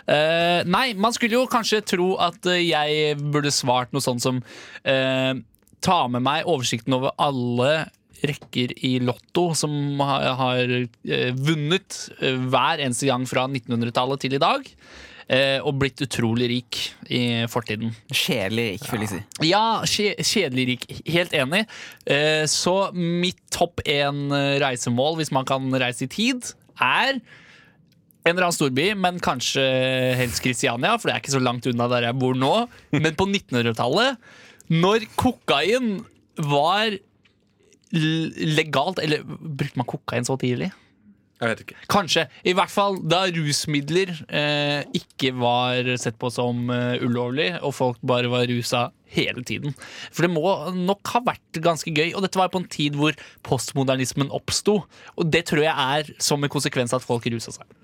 [SPEAKER 10] Eh, nei, man skulle jo kanskje tro at eh, jeg burde svart noe sånt som eh, Ta med meg oversikten over alle rekker i Lotto som har, har eh, vunnet eh, hver eneste gang fra 1900-tallet til i dag. eh, og blitt utrolig rik i fortiden.
[SPEAKER 3] Kjedelig rik, vil jeg si.
[SPEAKER 10] Ja, kje, kjedelig rik. Helt enig. Eh, så mitt topp én eh, reisemål, hvis man kan reise i tid, er en eller annen storby, men kanskje helst Kristiania, for det er ikke så langt unna der jeg bor nå. Men på 1900-tallet, når kokain var l- legalt Eller brukte man kokain så tidlig?
[SPEAKER 2] Jeg vet ikke.
[SPEAKER 10] Kanskje. I hvert fall da rusmidler eh, ikke var sett på som eh, ulovlig, og folk bare var rusa hele tiden. For det må nok ha vært ganske gøy, og dette var på en tid hvor postmodernismen oppsto. Og det tror jeg er som en konsekvens av at folk rusa seg.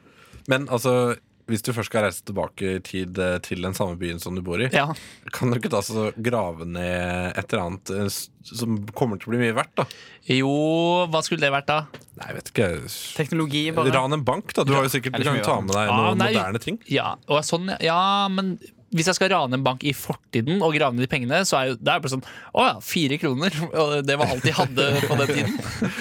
[SPEAKER 2] Men altså, hvis du først skal reise tilbake i tid eh, til den samme byen som du bor i,
[SPEAKER 10] Ja.
[SPEAKER 2] kan du ikke da så grave ned et eller annet eh, s- som kommer til å bli mye verdt, da?
[SPEAKER 10] Jo, hva skulle det vært da?
[SPEAKER 2] Nei, jeg vet ikke.
[SPEAKER 3] Teknologi, bare.
[SPEAKER 2] Ran en bank, da. Du har jo sikkert du
[SPEAKER 3] Eller så
[SPEAKER 2] kan
[SPEAKER 3] mye
[SPEAKER 2] jo ta med deg
[SPEAKER 10] Ah,
[SPEAKER 2] noen
[SPEAKER 10] nei.
[SPEAKER 2] moderne ting.
[SPEAKER 10] Ja, og sånn, ja. ja, men hvis jeg skal rane en bank i fortiden og grave ned de pengene, så er jo det er bare sånn Å ja, fire kroner. Og det var alt de hadde på den tiden.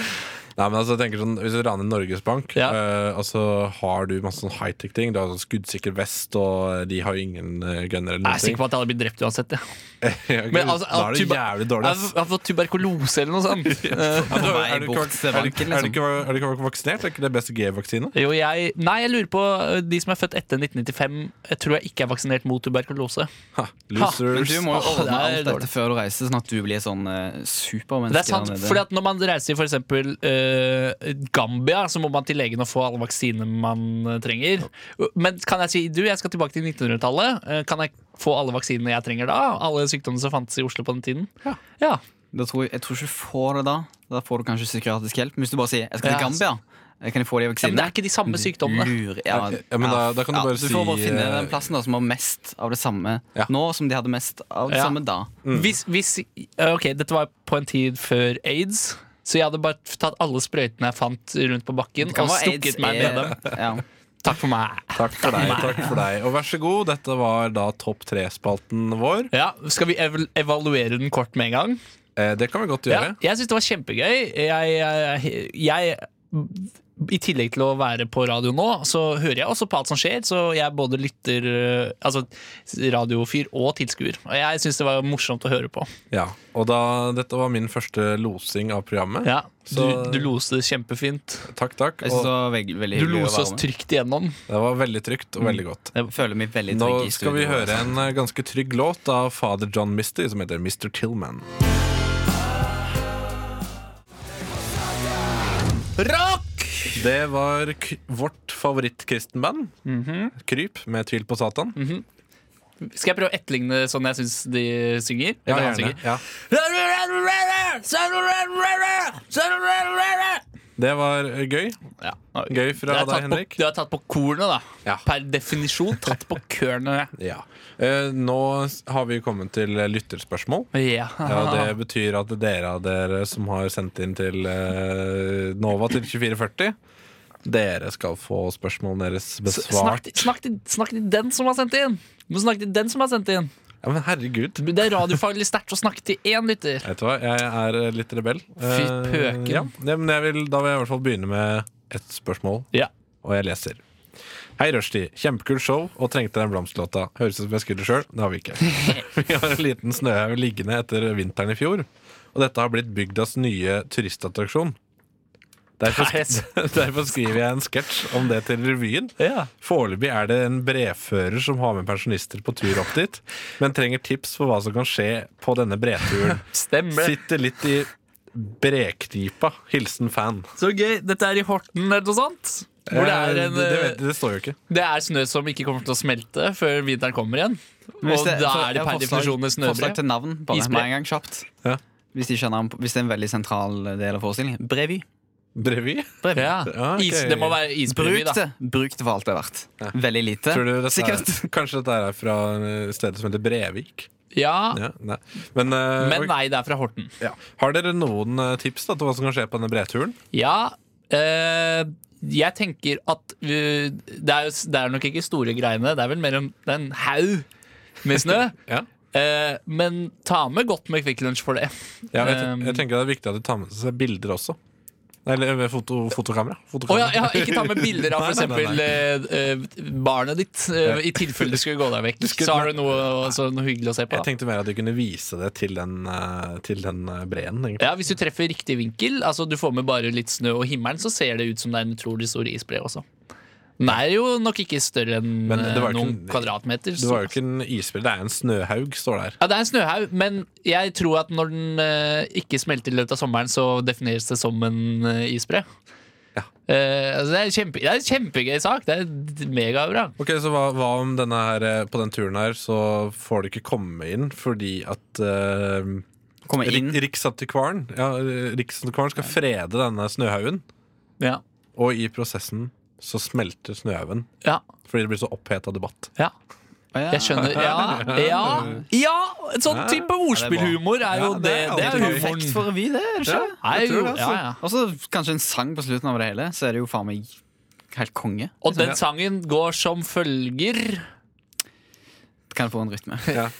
[SPEAKER 2] Nei, men altså, jeg tenker sånn, Hvis du raner Norges Bank,
[SPEAKER 10] Ja.
[SPEAKER 2] eh, og så har du masse sånn high-tech-ting. Du har sånn skuddsikker vest, og de har jo ingen eh, gunner eller
[SPEAKER 10] Jeg er
[SPEAKER 2] noe.
[SPEAKER 10] sikker på at jeg hadde blitt drept uansett. Ja.
[SPEAKER 2] Ja,
[SPEAKER 10] Men
[SPEAKER 2] gud,
[SPEAKER 10] altså,
[SPEAKER 2] da er det
[SPEAKER 10] tuber-
[SPEAKER 2] jævlig dårlig.
[SPEAKER 10] Jeg
[SPEAKER 2] ass.
[SPEAKER 10] har fått tuberkulose eller noe sånt. Eh,
[SPEAKER 2] Er du
[SPEAKER 3] vei
[SPEAKER 2] er du ikke
[SPEAKER 3] bort
[SPEAKER 2] vak-
[SPEAKER 3] til
[SPEAKER 2] er du ikke-
[SPEAKER 3] banken, liksom.
[SPEAKER 2] er du ikke va- er du ikke vaksinert? Er ikke det BCG-vaksine?
[SPEAKER 10] Jo, jeg Nei, jeg lurer på eh, de som er født etter 1995. Jeg tror jeg ikke er vaksinert mot tuberkulose.
[SPEAKER 2] Ha,
[SPEAKER 3] Men
[SPEAKER 2] Losers.
[SPEAKER 3] du må jo
[SPEAKER 10] Åh, det
[SPEAKER 3] ordne
[SPEAKER 10] er
[SPEAKER 3] alt dette
[SPEAKER 10] dårlig.
[SPEAKER 3] før du reiser, sånn at du blir sånn eh, supermenneske.
[SPEAKER 10] Det er sant,
[SPEAKER 3] der nede.
[SPEAKER 10] fordi at Når man reiser til f.eks. Uh, Gambia, så må man til legen og få alle vaksinene man eh, trenger. Men kan jeg si du, jeg skal tilbake til 1900-tallet. Eh, kan jeg få alle vaksinene jeg trenger da? Alle sykdommene som fantes i Oslo på den tiden? Ja,
[SPEAKER 3] Da tror jeg, jeg tror ikke du får det da. Da får du kanskje psykiatrisk hjelp. Men hvis du bare sier 'jeg skal til
[SPEAKER 10] Ja.
[SPEAKER 3] Gambia', eh, kan jeg få de
[SPEAKER 10] Ja, Men det
[SPEAKER 3] vaksinene?
[SPEAKER 10] er ikke de samme sykdommene.
[SPEAKER 3] Lurer, ja,
[SPEAKER 2] Ja, men da- da kan du bare
[SPEAKER 3] Du får bare
[SPEAKER 2] si,
[SPEAKER 3] finne
[SPEAKER 2] eh,
[SPEAKER 3] den plassen da som har mest av det samme
[SPEAKER 2] Ja.
[SPEAKER 3] nå som de hadde mest av det
[SPEAKER 10] Ja.
[SPEAKER 3] samme da.
[SPEAKER 10] Hvis, hvis, eh, ok, Dette var på en tid før aids. Så jeg hadde bare tatt alle sprøytene jeg fant rundt på bakken, og stukket meg med dem.
[SPEAKER 3] E. Ja.
[SPEAKER 10] Takk for meg.
[SPEAKER 2] Takk for deg. takk for deg Og vær så god, dette var da Topp tre-spalten vår.
[SPEAKER 10] Ja, Skal vi ev evaluere den kort med en gang?
[SPEAKER 2] Eh, det kan vi godt
[SPEAKER 10] Ja,
[SPEAKER 2] gjøre.
[SPEAKER 10] jeg syns det var kjempegøy. Jeg, jeg, jeg I tillegg til å være på radio nå, så hører jeg også på alt som skjer. Så jeg både lytter eh, Altså radiofyr og tilskuer. Og jeg syns det var morsomt å høre på.
[SPEAKER 2] Ja. Og da, dette var min første losing av programmet.
[SPEAKER 10] Ja, du,
[SPEAKER 2] Så-
[SPEAKER 10] du loste det kjempefint.
[SPEAKER 2] Takk, takk.
[SPEAKER 3] Jeg synes det
[SPEAKER 2] Og
[SPEAKER 3] var veldig, veldig
[SPEAKER 10] Du
[SPEAKER 3] hyggelig å
[SPEAKER 10] loste
[SPEAKER 3] være
[SPEAKER 10] oss
[SPEAKER 3] med.
[SPEAKER 10] trygt igjennom.
[SPEAKER 2] det var veldig trygt og veldig godt.
[SPEAKER 3] Jeg føler meg veldig
[SPEAKER 2] Nå
[SPEAKER 3] trygg i
[SPEAKER 2] skal vi
[SPEAKER 3] studio. altså.
[SPEAKER 2] høre en eh, ganske trygg låt av Father John Misty som heter Mr. Tillman.
[SPEAKER 10] Rock!
[SPEAKER 2] Det var k vårt favorittkristenband, Kryp, med Tvil på Satan.
[SPEAKER 10] Skal jeg prøve å etterligne sånn jeg syns de synger? Eller han synger?
[SPEAKER 2] Ja. Det var eh, gøy.
[SPEAKER 10] Ja.
[SPEAKER 2] Gøy
[SPEAKER 10] Det er
[SPEAKER 2] fra deg,
[SPEAKER 10] tatt på-
[SPEAKER 2] Henrik.
[SPEAKER 10] Du har tatt på kornet, da.
[SPEAKER 2] Ja.
[SPEAKER 10] Per definisjon tatt på kørne.
[SPEAKER 2] Ja. Eh, nå s- har vi kommet til eh, lytterspørsmål.
[SPEAKER 10] Ja.
[SPEAKER 2] Ja, det betyr at dere av dere som har sendt inn til eh, Nova til 2440, dere skal få spørsmålene deres
[SPEAKER 10] S- Snakk,
[SPEAKER 2] besvart.
[SPEAKER 10] til- snakk, til- snakk til den som har sendt inn! Du må snakke til den som har sendt inn
[SPEAKER 2] Ja, men herregud.
[SPEAKER 10] Det er radiofaglig sterkt å snakke til én lytter.
[SPEAKER 2] Vet du hva, jeg er eh, litt rebell.
[SPEAKER 10] Fy
[SPEAKER 2] Eh,
[SPEAKER 10] pøken.
[SPEAKER 2] Ja. Ja, men jeg vil, da vil jeg i hvert fall begynne med et spørsmål,
[SPEAKER 10] Ja.
[SPEAKER 2] og jeg leser. Hei, Rushdie. Kjempekult show og trengte den blomsterlåta. Høres ut som jeg skulle sjøl. Det har vi ikke. Vi har en liten snøhaug liggende etter vinteren i fjor, og dette har blitt bygdas nye turistattraksjon. Derfor,
[SPEAKER 10] Nei,
[SPEAKER 2] sk derfor skriver jeg en sketsj om det til revyen.
[SPEAKER 10] Ja.
[SPEAKER 2] Foreløpig er det en brevfører som har med pensjonister på tur opp dit, men trenger tips for hva som kan skje på denne breturen.
[SPEAKER 10] Stemmer.
[SPEAKER 2] Sitter litt i brekknipa. Hilsen fan.
[SPEAKER 10] Så gøy. Dette er i Horten eller noe sånt? Hvor det er,
[SPEAKER 2] Eh,
[SPEAKER 10] en,
[SPEAKER 2] det, det,
[SPEAKER 10] eh,
[SPEAKER 2] vet, det står jo ikke.
[SPEAKER 10] det er snø som ikke kommer til å smelte før vinteren kommer igjen.
[SPEAKER 3] Men hvis
[SPEAKER 10] Og da er det
[SPEAKER 3] jeg
[SPEAKER 10] per
[SPEAKER 3] har forslag-
[SPEAKER 10] definisjon et
[SPEAKER 3] Forslag
[SPEAKER 10] snøbre.
[SPEAKER 3] til navn, bare
[SPEAKER 10] Isbre.
[SPEAKER 3] med en gang kjapt.
[SPEAKER 2] Ja.
[SPEAKER 3] Hvis, de kjenner, hvis det er en veldig sentral eh, del av forestillingen. Brevy.
[SPEAKER 2] Brevy?
[SPEAKER 10] Ja.
[SPEAKER 2] Ja, ok.
[SPEAKER 10] Is, det må være isbrevy,
[SPEAKER 3] Bruk
[SPEAKER 10] da.
[SPEAKER 3] det Bruk det for alt det er verdt. Veldig lite.
[SPEAKER 2] Tror du dette er,
[SPEAKER 3] Sikkert.
[SPEAKER 2] kanskje dette er fra eh, stedet som heter Brevik?
[SPEAKER 10] Ja.
[SPEAKER 2] Ja, nei. Men, eh,
[SPEAKER 10] Men
[SPEAKER 2] ok.
[SPEAKER 10] nei, det er fra Horten.
[SPEAKER 2] ja. Har dere noen eh, tips da, til hva som kan skje på denne breturen?
[SPEAKER 10] Ja eh, Jeg tenker at eh, det, er, jo- det er nok ikke store greiene. Det er vel mer en, det er en haug med snø.
[SPEAKER 2] Ja.
[SPEAKER 10] Eh, men ta med godt med Kvikk Lunsj for det.
[SPEAKER 2] Ja, jeg, ten-
[SPEAKER 10] Um,
[SPEAKER 2] jeg tenker det er viktig at de tar med seg bilder også. Eller med foto, fotokamera.
[SPEAKER 10] Å
[SPEAKER 2] fotokamera.
[SPEAKER 10] ja, ja, ikke ta med bilder av
[SPEAKER 2] Nei, nei, nei,
[SPEAKER 10] f.eks. Eh, barnet ditt, eh, i tilfelle du skulle gå deg vekk. Så har du noe, altså, noe hyggelig å se på.
[SPEAKER 2] Jeg
[SPEAKER 10] Da.
[SPEAKER 2] tenkte mer at de kunne vise det til den, eh, til den eh, breen. egentlig.
[SPEAKER 10] Ja, Hvis du treffer riktig vinkel, altså du får med bare litt snø og himmelen, så ser det ut som det er en utrolig stor isbre også. Den er jo nok ikke større enn
[SPEAKER 2] Men det
[SPEAKER 10] eh,
[SPEAKER 2] var jo ikke
[SPEAKER 10] noen
[SPEAKER 2] en-
[SPEAKER 10] kvadratmeter.
[SPEAKER 2] Det var jo ikke en isbre, det er en snøhaug, står der.
[SPEAKER 10] Ja, Det er en snøhaug, men jeg tror at når den eh, ikke smelter i løpet av sommeren, så defineres det som en eh, isbre.
[SPEAKER 2] Ja.
[SPEAKER 10] Eh, altså det, er kjempe, det er en kjempegøy sak. Det er d- megabra.
[SPEAKER 2] Ok, så hva, hva om denne her, eh, på den turen her så får du ikke komme inn fordi at eh,
[SPEAKER 3] Komme
[SPEAKER 2] Rik-
[SPEAKER 3] inn.
[SPEAKER 2] Riksantikvaren ja, Riksantikvaren skal frede denne snøhaugen,
[SPEAKER 10] Ja.
[SPEAKER 2] og i prosessen så smelter snøhaugen
[SPEAKER 10] Ja.
[SPEAKER 2] fordi det blir så oppheta debatt.
[SPEAKER 10] ja.
[SPEAKER 3] Å, ja.
[SPEAKER 10] Jeg skjønner. Ja, ja, ja. En sånn type ordspillhumor er jo
[SPEAKER 2] Ja, det
[SPEAKER 10] det.
[SPEAKER 2] er
[SPEAKER 10] Det er
[SPEAKER 2] alltid gøy.
[SPEAKER 10] humoren.
[SPEAKER 3] Perfekt for revy, det. er det ikke?
[SPEAKER 10] Er
[SPEAKER 2] jeg tror
[SPEAKER 10] jo,
[SPEAKER 2] det, altså.
[SPEAKER 10] ja, ja.
[SPEAKER 3] Og så kanskje en sang på slutten av det hele, så er det jo faen meg helt konge.
[SPEAKER 10] Og den sangen går som følger
[SPEAKER 3] Kan få en rytme.
[SPEAKER 2] Ja.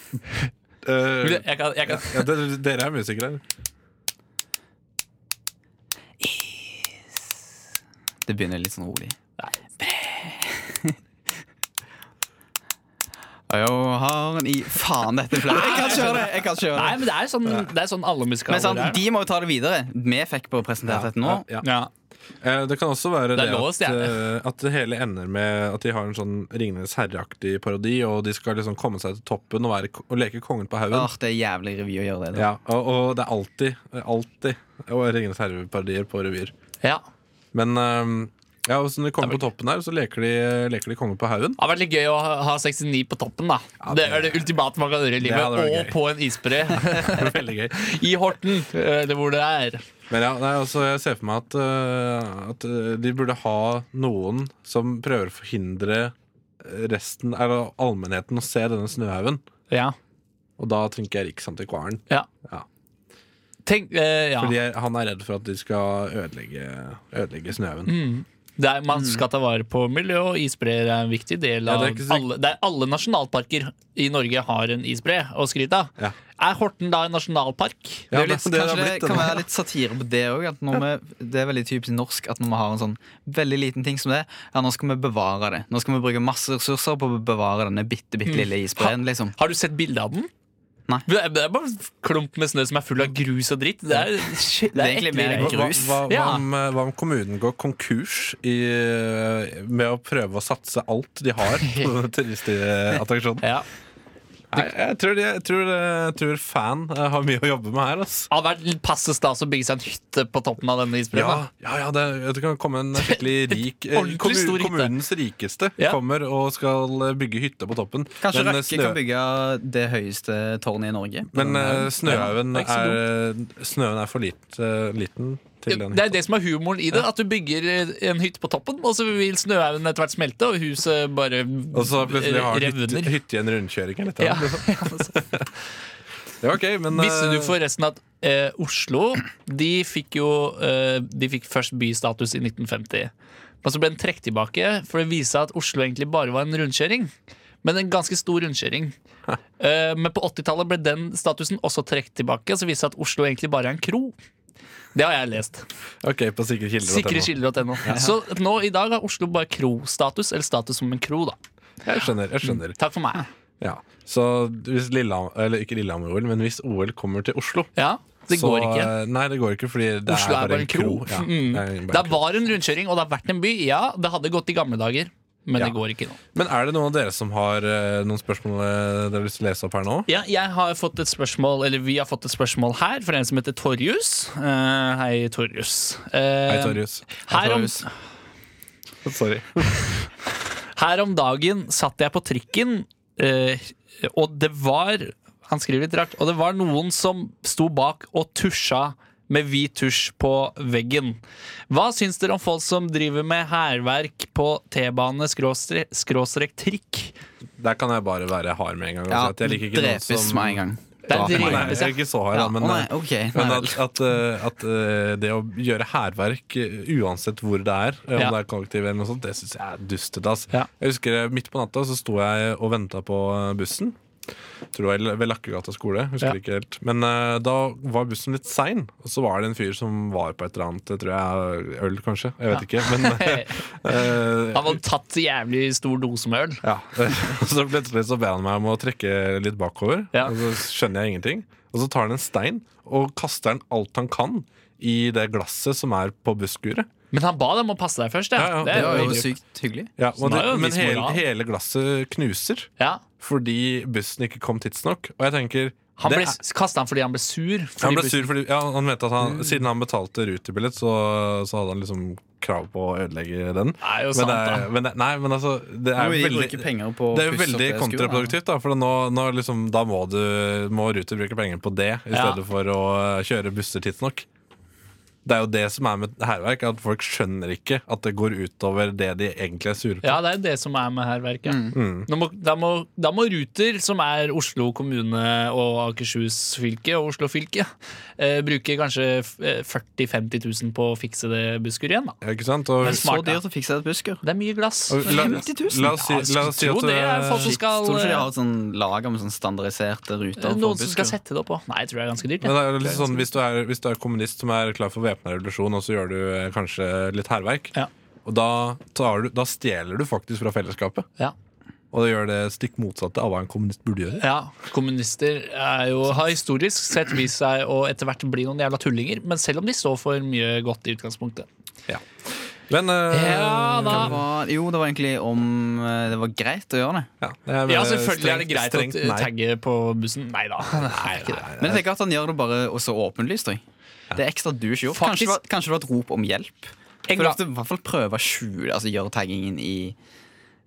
[SPEAKER 2] Eh,
[SPEAKER 10] Jeg kan, jeg kan.
[SPEAKER 2] ja, dere, dere er musikere.
[SPEAKER 3] Det begynner litt sånn rolig. Og jeg har en i Faen, dette er flaut. Jeg kan ikke gjøre det! jeg kan ikke gjøre
[SPEAKER 10] Nei,
[SPEAKER 3] det
[SPEAKER 10] men det er sånn, det er sånn alle musikaler
[SPEAKER 3] Men sant,
[SPEAKER 10] er.
[SPEAKER 3] de må jo ta det videre. Vi fikk bare presentert dette nå.
[SPEAKER 2] Ja.
[SPEAKER 10] Ja.
[SPEAKER 2] Eh, Det kan også være
[SPEAKER 10] Det er
[SPEAKER 2] det,
[SPEAKER 10] lov å
[SPEAKER 2] at,
[SPEAKER 10] stjele.
[SPEAKER 2] eh, at det hele ender med at de har en sånn Ringenes herre-aktig parodi, og de skal liksom komme seg til toppen og, være, ko- og leke kongen på haugen.
[SPEAKER 3] Åh, det er jævlig revy å gjøre det. Da.
[SPEAKER 2] Ja, og, og det er alltid, alltid og Ringenes herre-parodier på revyer.
[SPEAKER 10] ja.
[SPEAKER 2] Men eh, ja, og så når de kommer på toppen her, så leker de, leker de kongen på haugen.
[SPEAKER 10] Det hadde vært litt gøy å ha ha 69 på toppen. da Det er det ultimate man kan gjøre i
[SPEAKER 2] Det
[SPEAKER 10] livet.
[SPEAKER 2] hadde vært
[SPEAKER 10] Og
[SPEAKER 2] gøy.
[SPEAKER 10] på en isbre.
[SPEAKER 2] Veldig gøy.
[SPEAKER 10] I Horten, eh, eller hvor det er.
[SPEAKER 2] Men ja, nei, altså, jeg ser for meg at, eh, at eh, de burde ha noen som prøver å forhindre resten, eller allmennheten, å se denne snøhaugen.
[SPEAKER 10] Ja.
[SPEAKER 2] Og da tenker jeg Riksantikvaren.
[SPEAKER 10] Ja.
[SPEAKER 2] Ja.
[SPEAKER 10] Tenk, eh, ja.
[SPEAKER 2] Fordi jeg, han er redd for at de skal ødelegge, ødelegge snøhaugen.
[SPEAKER 10] Det er, man skal ta vare på miljø, og isbreer er en viktig del
[SPEAKER 2] Mm. Ja,
[SPEAKER 10] av
[SPEAKER 2] det er ikke så-
[SPEAKER 10] alle, det er alle nasjonalparker i Norge har en isbre å skryte av.
[SPEAKER 2] Ja.
[SPEAKER 10] Er Horten da en nasjonalpark?
[SPEAKER 2] Ja,
[SPEAKER 3] Det er jo litt,
[SPEAKER 2] men det har
[SPEAKER 3] kanskje det,
[SPEAKER 2] blitt det
[SPEAKER 3] kan
[SPEAKER 2] nå.
[SPEAKER 3] være litt satire på det òg. Det er veldig typisk norsk at når vi har en sånn veldig liten ting som det, ja, nå skal vi bevare det. Nå skal vi bruke masse ressurser på å bevare denne bitte,
[SPEAKER 10] Mm.
[SPEAKER 3] bitte lille isbreen. Liksom.
[SPEAKER 10] Har du sett bilde av den?
[SPEAKER 3] Nei.
[SPEAKER 10] Det er, det er bare en klump med snø som er full av grus og dritt. Det er, det er,
[SPEAKER 3] egentlig
[SPEAKER 10] ekle
[SPEAKER 3] mer
[SPEAKER 10] greier.
[SPEAKER 2] Hva, hva,
[SPEAKER 3] grus.
[SPEAKER 2] hva, hva,
[SPEAKER 10] Ja.
[SPEAKER 2] om, eh, hva om kommunen går konkurs i, eh, med å prøve å satse alt de har på denne turistattraksjonen?
[SPEAKER 10] Ja.
[SPEAKER 2] Nei, Jeg, tror de- jeg, tror, eh, jeg tror fan eh, har mye å jobbe med her. Ass.
[SPEAKER 10] Det hadde vært litt passe stas å bygge seg en hytte på toppen av denne isbreen. da.
[SPEAKER 2] Ja, ja, ja det, det kan komme en skikkelig rik eh,
[SPEAKER 10] Ordentlig
[SPEAKER 2] kommun-
[SPEAKER 10] stor hytte.
[SPEAKER 2] Kommunens rikeste
[SPEAKER 10] Ja.
[SPEAKER 2] kommer og skal eh, bygge hytte på toppen.
[SPEAKER 3] Kanskje
[SPEAKER 2] Men, eh,
[SPEAKER 3] Røkke
[SPEAKER 2] snø-
[SPEAKER 3] kan bygge det høyeste tårnet i Norge.
[SPEAKER 2] Men eh, snøhaugen
[SPEAKER 10] Ja, det er
[SPEAKER 2] er,
[SPEAKER 10] ikke
[SPEAKER 2] eh, snøen er for lit, eh, liten til den
[SPEAKER 10] Det er det som er humoren i det. At du bygger en hytte på toppen, og så vil snøhaugen etter hvert smelte, og huset bare
[SPEAKER 2] Og så plutselig har han hytte,
[SPEAKER 10] revner.
[SPEAKER 2] hytte i en rundkjøring eller noe.
[SPEAKER 10] Ja.
[SPEAKER 2] Det var ok, men
[SPEAKER 10] Visste du
[SPEAKER 2] eh,
[SPEAKER 10] forresten at eh, Oslo De fikk jo eh, De fikk først bystatus i 1950. Men så ble den trukket tilbake, for det viste seg at Oslo egentlig bare var en rundkjøring. Men en ganske stor rundkjøring. Eh, men på 80-tallet ble den statusen også trukket tilbake, så viste det seg at Oslo egentlig bare er en kro. Det har jeg lest.
[SPEAKER 2] Ok, på sikre kilder.
[SPEAKER 10] Sikre kilder.no. Så nå i dag har Oslo bare krostatus, eller status som en kro, da.
[SPEAKER 2] Jeg skjønner. jeg skjønner
[SPEAKER 10] Mm, Takk for meg.
[SPEAKER 2] ja. Så hvis Lillehammer, eller ikke Lillehammer-OL, men hvis OL kommer til Oslo
[SPEAKER 10] Ja, det
[SPEAKER 2] så,
[SPEAKER 10] går ikke.
[SPEAKER 2] eh, Nei, det går ikke, fordi det
[SPEAKER 10] Oslo er bare en kro.
[SPEAKER 2] Ja,
[SPEAKER 10] Mm.
[SPEAKER 2] det er
[SPEAKER 10] Det
[SPEAKER 2] bare en kro.
[SPEAKER 10] var en rundkjøring, og det har vært en by. Ja, det hadde gått i gamle dager, men
[SPEAKER 2] Ja.
[SPEAKER 10] det går ikke nå.
[SPEAKER 2] Men er det noen av dere som har eh, noen spørsmål eh, dere har lyst til å lese opp her nå?
[SPEAKER 10] Ja, jeg har fått et spørsmål, eller vi har fått et spørsmål her fra en som heter Torjus. Eh, hei, Torjus. Eh,
[SPEAKER 2] Hei, Torjus.
[SPEAKER 10] Her om,
[SPEAKER 3] Torjus.
[SPEAKER 2] Sorry.
[SPEAKER 10] her om dagen satt jeg på trikken, eh, og det var Han skriver litt rart. Og det var noen som sto bak og tusja med hvit tusj på veggen. Hva syns dere om folk som driver med hærverk på T-bane skråstre- skråstrek trikk?
[SPEAKER 2] Der kan jeg bare være hard med en gang. og si altså, at jeg liker ikke noen
[SPEAKER 3] drepes
[SPEAKER 2] som-
[SPEAKER 3] med en gang.
[SPEAKER 10] er
[SPEAKER 3] Drap med en
[SPEAKER 2] Nei,
[SPEAKER 3] gang.
[SPEAKER 10] drepes,
[SPEAKER 2] jeg er ikke så hard,
[SPEAKER 3] Ja,
[SPEAKER 2] da, men
[SPEAKER 3] å nei,
[SPEAKER 2] eh,
[SPEAKER 3] ok, nei
[SPEAKER 2] Men
[SPEAKER 3] vel.
[SPEAKER 2] at, at, eh, at eh, det å gjøre hærverk eh, uansett hvor det er, eh, om
[SPEAKER 10] Ja.
[SPEAKER 2] det er kollektiv eller noe sånt, det syns jeg er dustete. ass.
[SPEAKER 10] Ja.
[SPEAKER 2] Jeg husker eh, midt på natta så sto jeg og venta på eh, bussen. Tror jeg l- Ved Lakkegata skole.
[SPEAKER 10] Ja.
[SPEAKER 2] husker ikke helt Men eh, da var bussen litt sein, og så var det en fyr som var på et eller annet, eh, tror jeg, øl kanskje. Jeg vet ikke. Men eh,
[SPEAKER 10] Han hadde tatt jævlig stor dose med øl.
[SPEAKER 2] ja. Og så plutselig så ber han meg om å trekke litt bakover,
[SPEAKER 10] Ja.
[SPEAKER 2] og så skjønner jeg ingenting. Og så tar han en stein og kaster den alt han kan i det glasset som er på busskuret.
[SPEAKER 10] Men han ba dem å passe deg først.
[SPEAKER 2] Ja,
[SPEAKER 10] Ja.
[SPEAKER 2] ja,
[SPEAKER 10] Det er
[SPEAKER 3] Det var
[SPEAKER 10] jo
[SPEAKER 3] jo
[SPEAKER 10] hyggelig.
[SPEAKER 3] sykt hyggelig.
[SPEAKER 2] Ja, og
[SPEAKER 10] Så det
[SPEAKER 2] det,
[SPEAKER 10] er jo en
[SPEAKER 2] men
[SPEAKER 10] viss
[SPEAKER 2] hele,
[SPEAKER 10] moral.
[SPEAKER 2] hele glasset knuser
[SPEAKER 10] ja.
[SPEAKER 2] fordi bussen ikke kom tidsnok. Og jeg tenker
[SPEAKER 10] Han
[SPEAKER 2] det
[SPEAKER 10] ble,
[SPEAKER 2] er-
[SPEAKER 10] kastet han fordi han ble sur? Fordi Mm.
[SPEAKER 2] han ble
[SPEAKER 10] bussen-
[SPEAKER 2] sur fordi ja, han mente at han, siden han betalte rutebillett, så, så hadde han liksom krav på å ødelegge den.
[SPEAKER 10] Det er jo
[SPEAKER 2] Men,
[SPEAKER 10] sant,
[SPEAKER 2] det
[SPEAKER 10] da.
[SPEAKER 2] er, men det, nei, men altså Det er
[SPEAKER 3] Nå vil de
[SPEAKER 2] veldig,
[SPEAKER 3] bruke penger på
[SPEAKER 2] det er
[SPEAKER 3] å pusse
[SPEAKER 2] jo
[SPEAKER 3] opp
[SPEAKER 2] veldig
[SPEAKER 3] det skuret, da.
[SPEAKER 2] kontraproduktivt, da. For nå, nå liksom, da må, du, må Ruter bruke penger på det, i
[SPEAKER 10] Ja.
[SPEAKER 2] stedet for å eh, kjøre busser tidsnok. Det er jo det som er med hærverk, at folk skjønner ikke at det går utover det de egentlig er sure på.
[SPEAKER 10] Ja, det er det som er med hærverk. Ja.
[SPEAKER 2] Mm.
[SPEAKER 10] Nå må, da, må, da må Ruter, som er Oslo kommune og Akershus fylke og Oslo fylke, eh, bruke kanskje f- eh, 40 000-50 000 på å fikse det busskuret igjen. Da.
[SPEAKER 2] Ikke sant? Og,
[SPEAKER 10] Men
[SPEAKER 3] Så
[SPEAKER 10] smart, da.
[SPEAKER 3] dyrt å fikse et busskur.
[SPEAKER 10] Det er mye glass.
[SPEAKER 2] og la,
[SPEAKER 3] 50 000?
[SPEAKER 2] la oss si, la oss si
[SPEAKER 10] Jo,
[SPEAKER 2] at
[SPEAKER 10] det er folk
[SPEAKER 2] du-
[SPEAKER 10] som
[SPEAKER 3] Shit,
[SPEAKER 10] skal,
[SPEAKER 3] Tror du ikke de
[SPEAKER 10] eh,
[SPEAKER 3] har et sånn lager med sånn standardiserte ruter? for
[SPEAKER 10] Noen som skal
[SPEAKER 3] busskur?
[SPEAKER 10] sette det opp òg. Nei, jeg tror det er ganske dyrt.
[SPEAKER 2] men
[SPEAKER 10] Ja.
[SPEAKER 2] det er litt sånn, hvis, du er, hvis du er kommunist som er klar for væpna revolusjon, og så gjør du eh, kanskje litt hærverk,
[SPEAKER 10] Ja.
[SPEAKER 2] og da, tar du, da stjeler du faktisk fra fellesskapet.
[SPEAKER 10] Ja.
[SPEAKER 2] Og det gjør det stikk motsatte av hva en kommunist burde gjøre.
[SPEAKER 10] Ja, Kommunister er jo, har historisk sett vist seg å etter hvert bli noen jævla tullinger, men selv om de står for mye godt i utgangspunktet.
[SPEAKER 2] Men eh,
[SPEAKER 10] Ja da!
[SPEAKER 3] Det var, jo, det var egentlig om eh, det var greit å gjøre det.
[SPEAKER 2] ja, det er
[SPEAKER 10] Ja,
[SPEAKER 2] bare
[SPEAKER 10] selvfølgelig er det
[SPEAKER 2] strengt-
[SPEAKER 10] greit å
[SPEAKER 2] strengt nei.
[SPEAKER 10] tagge på bussen. Nei da. Nei, ikke det.
[SPEAKER 3] Men jeg tenker at han gjør det bare og så åpenlyst. jeg. Det er ekstra du ikke gjorde. Kanskje,
[SPEAKER 10] Faktisk-
[SPEAKER 3] det var- kanskje det var et rop om hjelp?
[SPEAKER 10] En
[SPEAKER 3] For
[SPEAKER 10] gang-
[SPEAKER 3] at du i hvert fall prøve å skjule altså gjøre taggingen i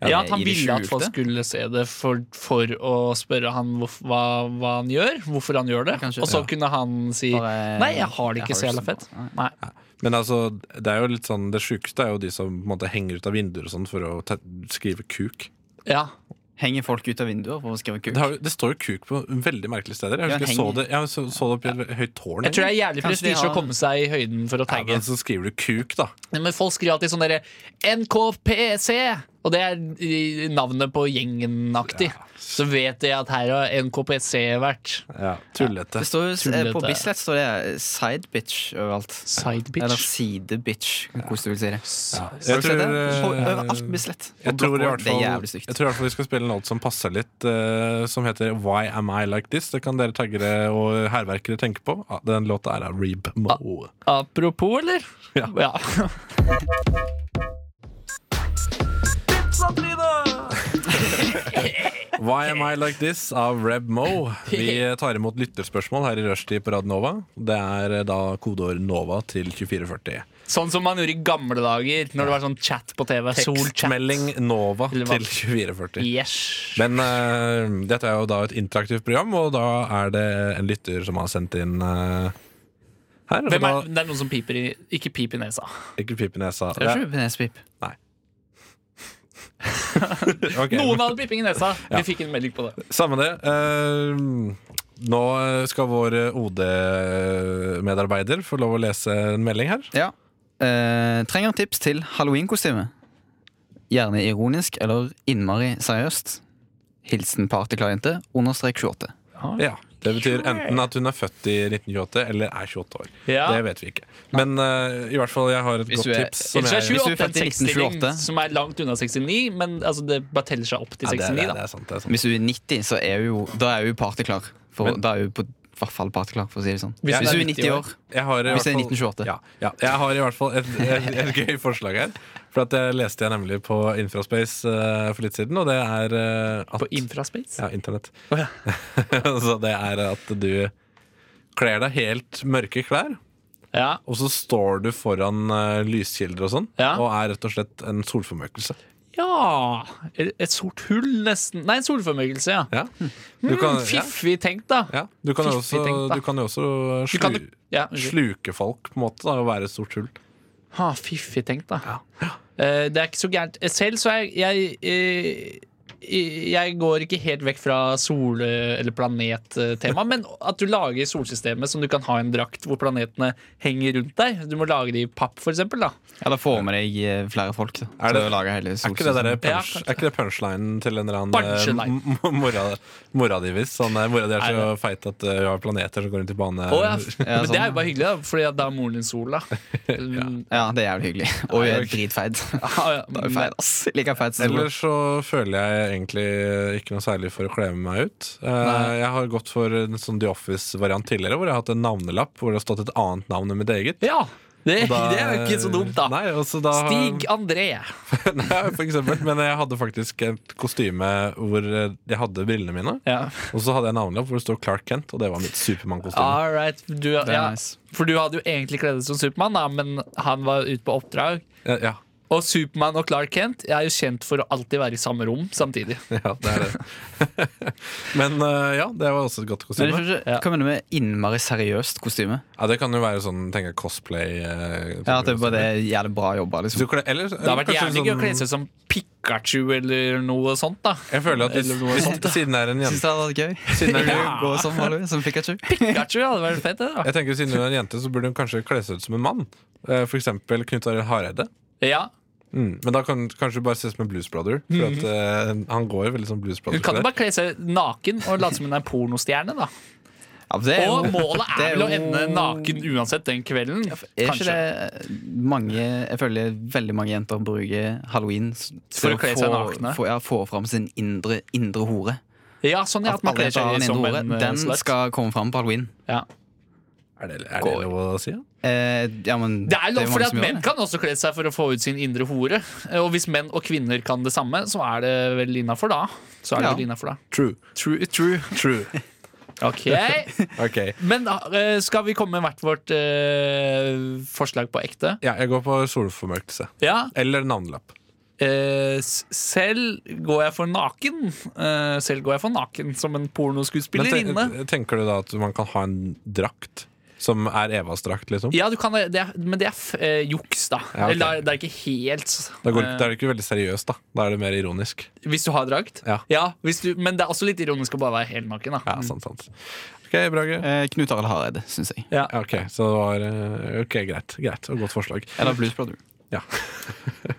[SPEAKER 10] Ja, at han
[SPEAKER 3] i det
[SPEAKER 10] ville at folk
[SPEAKER 3] skjulte.
[SPEAKER 10] skulle se det for, for å spørre han hvorf- hva, hva han gjør, hvorfor han gjør det.
[SPEAKER 3] Kanskje.
[SPEAKER 10] og så
[SPEAKER 3] Ja.
[SPEAKER 10] kunne han si
[SPEAKER 3] Bare-
[SPEAKER 10] Nei, jeg har det ikke
[SPEAKER 3] jeg
[SPEAKER 10] så
[SPEAKER 3] har det
[SPEAKER 10] jævla
[SPEAKER 3] sånn."
[SPEAKER 10] fett.
[SPEAKER 3] ikke
[SPEAKER 10] Nei.
[SPEAKER 2] Men altså, det er jo litt sånn Det sjukeste er jo de som på en måte, henger ut av vinduer og sånn for å ta, skrive kuk.
[SPEAKER 10] Ja.
[SPEAKER 3] Henger folk ut av vinduer for å skrive kuk?
[SPEAKER 2] Det, har, jo- det står jo kuk på veldig merkelige steder. Jeg
[SPEAKER 3] Ja,
[SPEAKER 2] husker jeg så
[SPEAKER 3] henger.
[SPEAKER 2] det, jeg så, så det oppi et høyt tårn.
[SPEAKER 10] Jeg tror det er
[SPEAKER 3] Kanskje
[SPEAKER 10] jævlig
[SPEAKER 3] de
[SPEAKER 10] prestisje å
[SPEAKER 3] har-
[SPEAKER 10] komme seg i høyden for å
[SPEAKER 2] Ja,
[SPEAKER 10] tagge.
[SPEAKER 2] men så skriver du kuk, da.
[SPEAKER 10] Men folk skriver alltid sånn derre NKPC! Og det er i- navnet på gjengen-aktig. Så vet jeg at her har NKPC vært.
[SPEAKER 2] Tullete.
[SPEAKER 3] Det står jo,
[SPEAKER 10] Tullete.
[SPEAKER 3] eh, på Bislett står det sidebitch overalt. Eller
[SPEAKER 10] Sidebitch.
[SPEAKER 3] sidebitch, hvordan du vil si det.
[SPEAKER 2] Ja.
[SPEAKER 3] Har
[SPEAKER 2] Jeg
[SPEAKER 3] du sett
[SPEAKER 2] tror,
[SPEAKER 3] det? På- Overalt på
[SPEAKER 2] eh,
[SPEAKER 3] Bislett. På
[SPEAKER 2] jeg tror i
[SPEAKER 3] Blackboard.
[SPEAKER 2] hvert fall
[SPEAKER 3] Det er
[SPEAKER 2] Jeg
[SPEAKER 3] jævlig
[SPEAKER 2] tror
[SPEAKER 3] stygt.
[SPEAKER 2] i hvert fall vi skal spille en låt som passer litt, eh, som heter Why Am I Like This. Det kan dere taggere og hærverkere tenke på. Ah, Den låta er av Reeb Moe.
[SPEAKER 10] Ah. Apropos, eller?
[SPEAKER 2] Ja.
[SPEAKER 10] ja.
[SPEAKER 2] Why Am I Like This av Reb Mo. Vi tar imot lytterspørsmål her i rushtid på Radio Nova. Det er eh, da kodeord NOVA til 2440.
[SPEAKER 10] Sånn som man gjorde i gamle dager, når det var sånn chat på TV. Solchat.
[SPEAKER 2] Tekstmelding NOVA
[SPEAKER 10] Eller
[SPEAKER 2] til
[SPEAKER 10] hva?
[SPEAKER 2] 2440.
[SPEAKER 10] Yes.
[SPEAKER 2] Men eh, dette er jo da et interaktivt program, og da er det en lytter som har sendt inn eh, her. og
[SPEAKER 10] Hvem
[SPEAKER 2] da,
[SPEAKER 10] er, det er noen som piper i Ikke pip i nesa.
[SPEAKER 2] Ikke pip i nesa.
[SPEAKER 3] Det er ikke penespip.
[SPEAKER 2] Ok,
[SPEAKER 10] Noen hadde piping i nesa! Vi fikk en melding på det.
[SPEAKER 2] Samme det. Eh, nå skal vår OD-medarbeider få lov å lese en melding her.
[SPEAKER 3] Ja. Eh, trenger tips til halloweenkostyme. Gjerne ironisk eller innmari seriøst. Hilsen partyklarjente, understrek 28.
[SPEAKER 10] Ah,
[SPEAKER 2] Ja, Det betyr enten at hun er født i 1928 eller er 28 år.
[SPEAKER 10] Ja.
[SPEAKER 2] Det vet vi ikke. Men eh, i hvert fall, jeg har et
[SPEAKER 3] Hvis
[SPEAKER 2] godt
[SPEAKER 3] du er-
[SPEAKER 2] tips.
[SPEAKER 10] Ellers er
[SPEAKER 2] jeg-
[SPEAKER 10] 28
[SPEAKER 3] Hvis du er
[SPEAKER 10] en
[SPEAKER 3] født i
[SPEAKER 10] tekststilling
[SPEAKER 3] 1928.
[SPEAKER 10] som er langt unna 69, men altså, det bare teller seg opp til
[SPEAKER 2] ja, det,
[SPEAKER 10] 69.
[SPEAKER 2] er- det, er-
[SPEAKER 10] da.
[SPEAKER 2] det er sant. Det er sant.
[SPEAKER 3] Hvis du er 90, så er hun jo, da er hun partyklar. For, da er hun på i hvert fall partyklar, for å si det sånn.
[SPEAKER 10] Hvis
[SPEAKER 3] Hvis,
[SPEAKER 2] du
[SPEAKER 3] du er
[SPEAKER 2] er
[SPEAKER 3] 90 år.
[SPEAKER 2] Jeg har i
[SPEAKER 3] Hvis
[SPEAKER 2] hvert
[SPEAKER 3] det er
[SPEAKER 2] fall-
[SPEAKER 3] 1928.
[SPEAKER 2] Ja, ja, jeg har i hvert fall et, et, et gøy forslag her. For at det leste jeg nemlig på Infraspace eh, for litt siden, og det er eh, at
[SPEAKER 10] På infraspace.
[SPEAKER 2] Ja, internett. Så det er at du kler deg helt mørke klær,
[SPEAKER 10] Ja.
[SPEAKER 2] og så står du foran eh, lyskilder og sånn,
[SPEAKER 10] Ja.
[SPEAKER 2] og er rett og slett en solformørkelse.
[SPEAKER 10] Ja Et sort hull, nesten. Nei, en solformørkelse, ja. Hmm,
[SPEAKER 2] Ja. Du kan, ja,
[SPEAKER 10] Fiffig tenkt, da.
[SPEAKER 2] ja. Du kan jo
[SPEAKER 10] Hm.
[SPEAKER 2] også,
[SPEAKER 10] Mm, Fiffig tenkt, da.
[SPEAKER 2] du kan jo også
[SPEAKER 10] Du
[SPEAKER 2] slu,
[SPEAKER 10] kan jo- ja, unnskyld.
[SPEAKER 2] sluke folk, på en måte, da, og være et stort hull.
[SPEAKER 10] Ha, fiffig tenkt, da. Eh, det er ikke så gærent. Selv så er jeg eh, jeg går ikke helt vekk fra sol- eh, eller planettema, men at du lager solsystemet som du kan ha i en drakt hvor planetene henger rundt deg. Du må lage det i papp, for eksempel. Da.
[SPEAKER 3] Eller få med deg eh, flere folk. Da.
[SPEAKER 2] Er
[SPEAKER 3] Er
[SPEAKER 2] det-
[SPEAKER 3] det, så lager hele
[SPEAKER 2] Er ikke det, der
[SPEAKER 3] solsystemet.
[SPEAKER 2] punch,
[SPEAKER 10] Ja, kanskje.
[SPEAKER 2] er ikke det punchlinen til en eller annen eh,
[SPEAKER 10] Punchline.
[SPEAKER 2] m- m- mora, mora di, hvis? Sånn, eh, mora di er så feit at eh, hun har planeter som går rundt i bane.
[SPEAKER 10] Å,
[SPEAKER 3] Ja,
[SPEAKER 10] ja. Men det er
[SPEAKER 3] sånn.
[SPEAKER 10] jo bare hyggelig, da, Fordi at da er moren din sol. Da. ja.
[SPEAKER 3] Ja, det er jævlig hyggelig. Og hun er dritfeit.
[SPEAKER 10] Ja,
[SPEAKER 3] Da er hun feit, ass. Like feit som
[SPEAKER 2] Ellers så føler jeg egentlig ikke noe særlig for å kle meg ut. Eh, Jeg har gått for en sånn The Office-variant tidligere, hvor jeg har hatt en navnelapp hvor det har stått et annet navn enn mitt eget.
[SPEAKER 10] ja. Det,
[SPEAKER 2] Og da-
[SPEAKER 10] det er jo ikke så dumt, da.
[SPEAKER 2] Nei, og så da
[SPEAKER 10] Stig André.
[SPEAKER 2] Nei, for eksempel. Men jeg hadde faktisk et kostyme hvor eh, jeg hadde brillene mine.
[SPEAKER 10] Ja.
[SPEAKER 2] Og så hadde jeg en navnelapp hvor det står Clark Kent, og det var mitt Supermann-kostyme.
[SPEAKER 10] All right. Du,
[SPEAKER 3] er
[SPEAKER 10] ja.
[SPEAKER 3] nice.
[SPEAKER 10] For du hadde jo egentlig kledd deg som Supermann, da, men han var ute på oppdrag.
[SPEAKER 2] Ja, ja,
[SPEAKER 10] Og Supermann og Clark Kent Jeg er jo kjent for å alltid være i samme rom samtidig.
[SPEAKER 2] ja, det er det. Men eh, ja, det var også et godt
[SPEAKER 3] Men jeg
[SPEAKER 2] kostyme.
[SPEAKER 3] skjønner ikke, Hva mener du med innmari seriøst kostyme?
[SPEAKER 2] Ja, det kan jo være sånn tenker jeg, cosplay. eh,
[SPEAKER 3] Ja, At det
[SPEAKER 2] type
[SPEAKER 3] bare er jævlig bra jobba.
[SPEAKER 2] Så sånn-
[SPEAKER 3] Liksom.
[SPEAKER 2] du kler- eller,
[SPEAKER 10] Det har vært jævlig gøy å
[SPEAKER 3] sånn-
[SPEAKER 10] kle seg som Pikachu eller noe sånt. da
[SPEAKER 2] Jeg føler at hvis,
[SPEAKER 10] Eller noe
[SPEAKER 2] hvis,
[SPEAKER 10] sånt, da.
[SPEAKER 2] siden det er en
[SPEAKER 3] Syns
[SPEAKER 2] jente
[SPEAKER 3] det hadde vært gøy? Siden du går som Halloween, som Pikachu?
[SPEAKER 10] Pikachu hadde vært fett, det. da
[SPEAKER 2] Jeg tenker Siden hun er en jente, så burde hun kanskje kle seg ut som en mann. Eh, For eksempel Knut Arild Hareide.
[SPEAKER 10] Ja,
[SPEAKER 2] Mm. Men da kan kanskje du bare se ut som en Blues Brother. For at, eh, han går jo veldig som Blues
[SPEAKER 10] Mhm. Hun kan jo
[SPEAKER 2] Brother.
[SPEAKER 10] bare kle seg naken og late som hun er pornostjerne. da
[SPEAKER 3] Ja, for det er
[SPEAKER 10] Og
[SPEAKER 3] jo-
[SPEAKER 10] målet
[SPEAKER 3] det
[SPEAKER 10] er
[SPEAKER 3] er
[SPEAKER 10] vel å
[SPEAKER 3] jo-
[SPEAKER 10] ende naken uansett den kvelden.
[SPEAKER 3] Er
[SPEAKER 10] Kanskje.
[SPEAKER 3] ikke det mange Jeg føler veldig mange jenter bruker halloween s-
[SPEAKER 10] For
[SPEAKER 3] til
[SPEAKER 10] å kle seg nakne.
[SPEAKER 3] Få, ja, få fram sin indre, indre hore.
[SPEAKER 10] Ja, sånn ja,
[SPEAKER 3] At
[SPEAKER 10] at man kler
[SPEAKER 3] Margrethe har
[SPEAKER 10] seg
[SPEAKER 3] en indre
[SPEAKER 10] som
[SPEAKER 3] hore.
[SPEAKER 10] en eh,
[SPEAKER 3] Den
[SPEAKER 10] slut.
[SPEAKER 3] skal komme fram på halloween.
[SPEAKER 10] Ja.
[SPEAKER 2] Er det, er det
[SPEAKER 3] Går.
[SPEAKER 2] lov å si? Ja?
[SPEAKER 3] Eh, ja, men
[SPEAKER 10] Det er lov,
[SPEAKER 3] jo
[SPEAKER 10] fordi
[SPEAKER 3] mange
[SPEAKER 10] at
[SPEAKER 3] som gjør
[SPEAKER 10] Menn
[SPEAKER 3] det. liksom
[SPEAKER 10] kan også kle seg for å få ut sin indre hore. Eh, Og hvis menn og kvinner kan det samme, så er det vel innafor da. Så er det
[SPEAKER 3] Ja.
[SPEAKER 10] vel innenfor da.
[SPEAKER 2] True.
[SPEAKER 10] True, true.
[SPEAKER 2] True.
[SPEAKER 10] Ok
[SPEAKER 2] Ok.
[SPEAKER 10] Men eh, skal vi komme med hvert vårt eh, forslag på ekte?
[SPEAKER 2] Ja, jeg går på solformørkelse.
[SPEAKER 10] Ja.
[SPEAKER 2] Eller navnelapp.
[SPEAKER 10] eh, s- selv går jeg for naken. Eh, selv går jeg for naken som en
[SPEAKER 2] Men ten-
[SPEAKER 10] pornoskuespillerinne.
[SPEAKER 2] tenker du da at man kan ha en drakt som er Evas drakt, liksom?
[SPEAKER 10] Ja, du kan, det er, men det er f eh, juks, da.
[SPEAKER 2] Ja, ok.
[SPEAKER 10] Eller det er, det er ikke helt
[SPEAKER 2] Da, går,
[SPEAKER 10] eh,
[SPEAKER 2] da er det ikke veldig seriøst, da. Da er det mer ironisk.
[SPEAKER 10] Hvis du har drakt?
[SPEAKER 2] Ja.
[SPEAKER 10] hvis du, men det er også litt ironisk å bare være helt naken. Da.
[SPEAKER 2] Ja, sant, sant. OK, Brage.
[SPEAKER 3] Eh, Knut Arild Hareide, syns jeg.
[SPEAKER 10] Ja.
[SPEAKER 2] Ja, Ok, så det var eh, Ok, greit. greit og Godt forslag.
[SPEAKER 3] Eller Blues Brother.
[SPEAKER 2] Ja.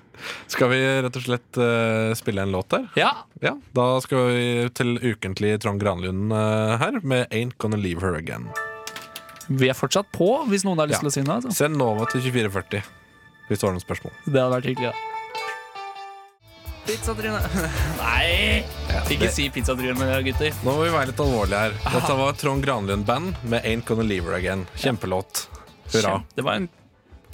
[SPEAKER 2] Skal vi rett og slett eh, spille en låt der?
[SPEAKER 10] Ja,
[SPEAKER 2] Ja, Da skal vi til ukentlig Trond Granlund eh, her med 'Ain't Gonna Leave Her Again'.
[SPEAKER 10] Vi er fortsatt på, hvis noen har lyst til
[SPEAKER 2] Ja.
[SPEAKER 10] å si noe. Altså.
[SPEAKER 2] Send Nova til 2440 hvis du har noen spørsmål.
[SPEAKER 10] Det hadde vært hyggelig. da. Pizza, Trine. Nei! Ikke
[SPEAKER 2] det-
[SPEAKER 10] si Pizza, Trine, gutter.
[SPEAKER 2] Nå må vi være litt alvorlige her. Dette var Trond Granlund-band med 'Ain't Gonna Leave Her Again'. Kjempelåt. Hurra.
[SPEAKER 10] Kjem- Det var en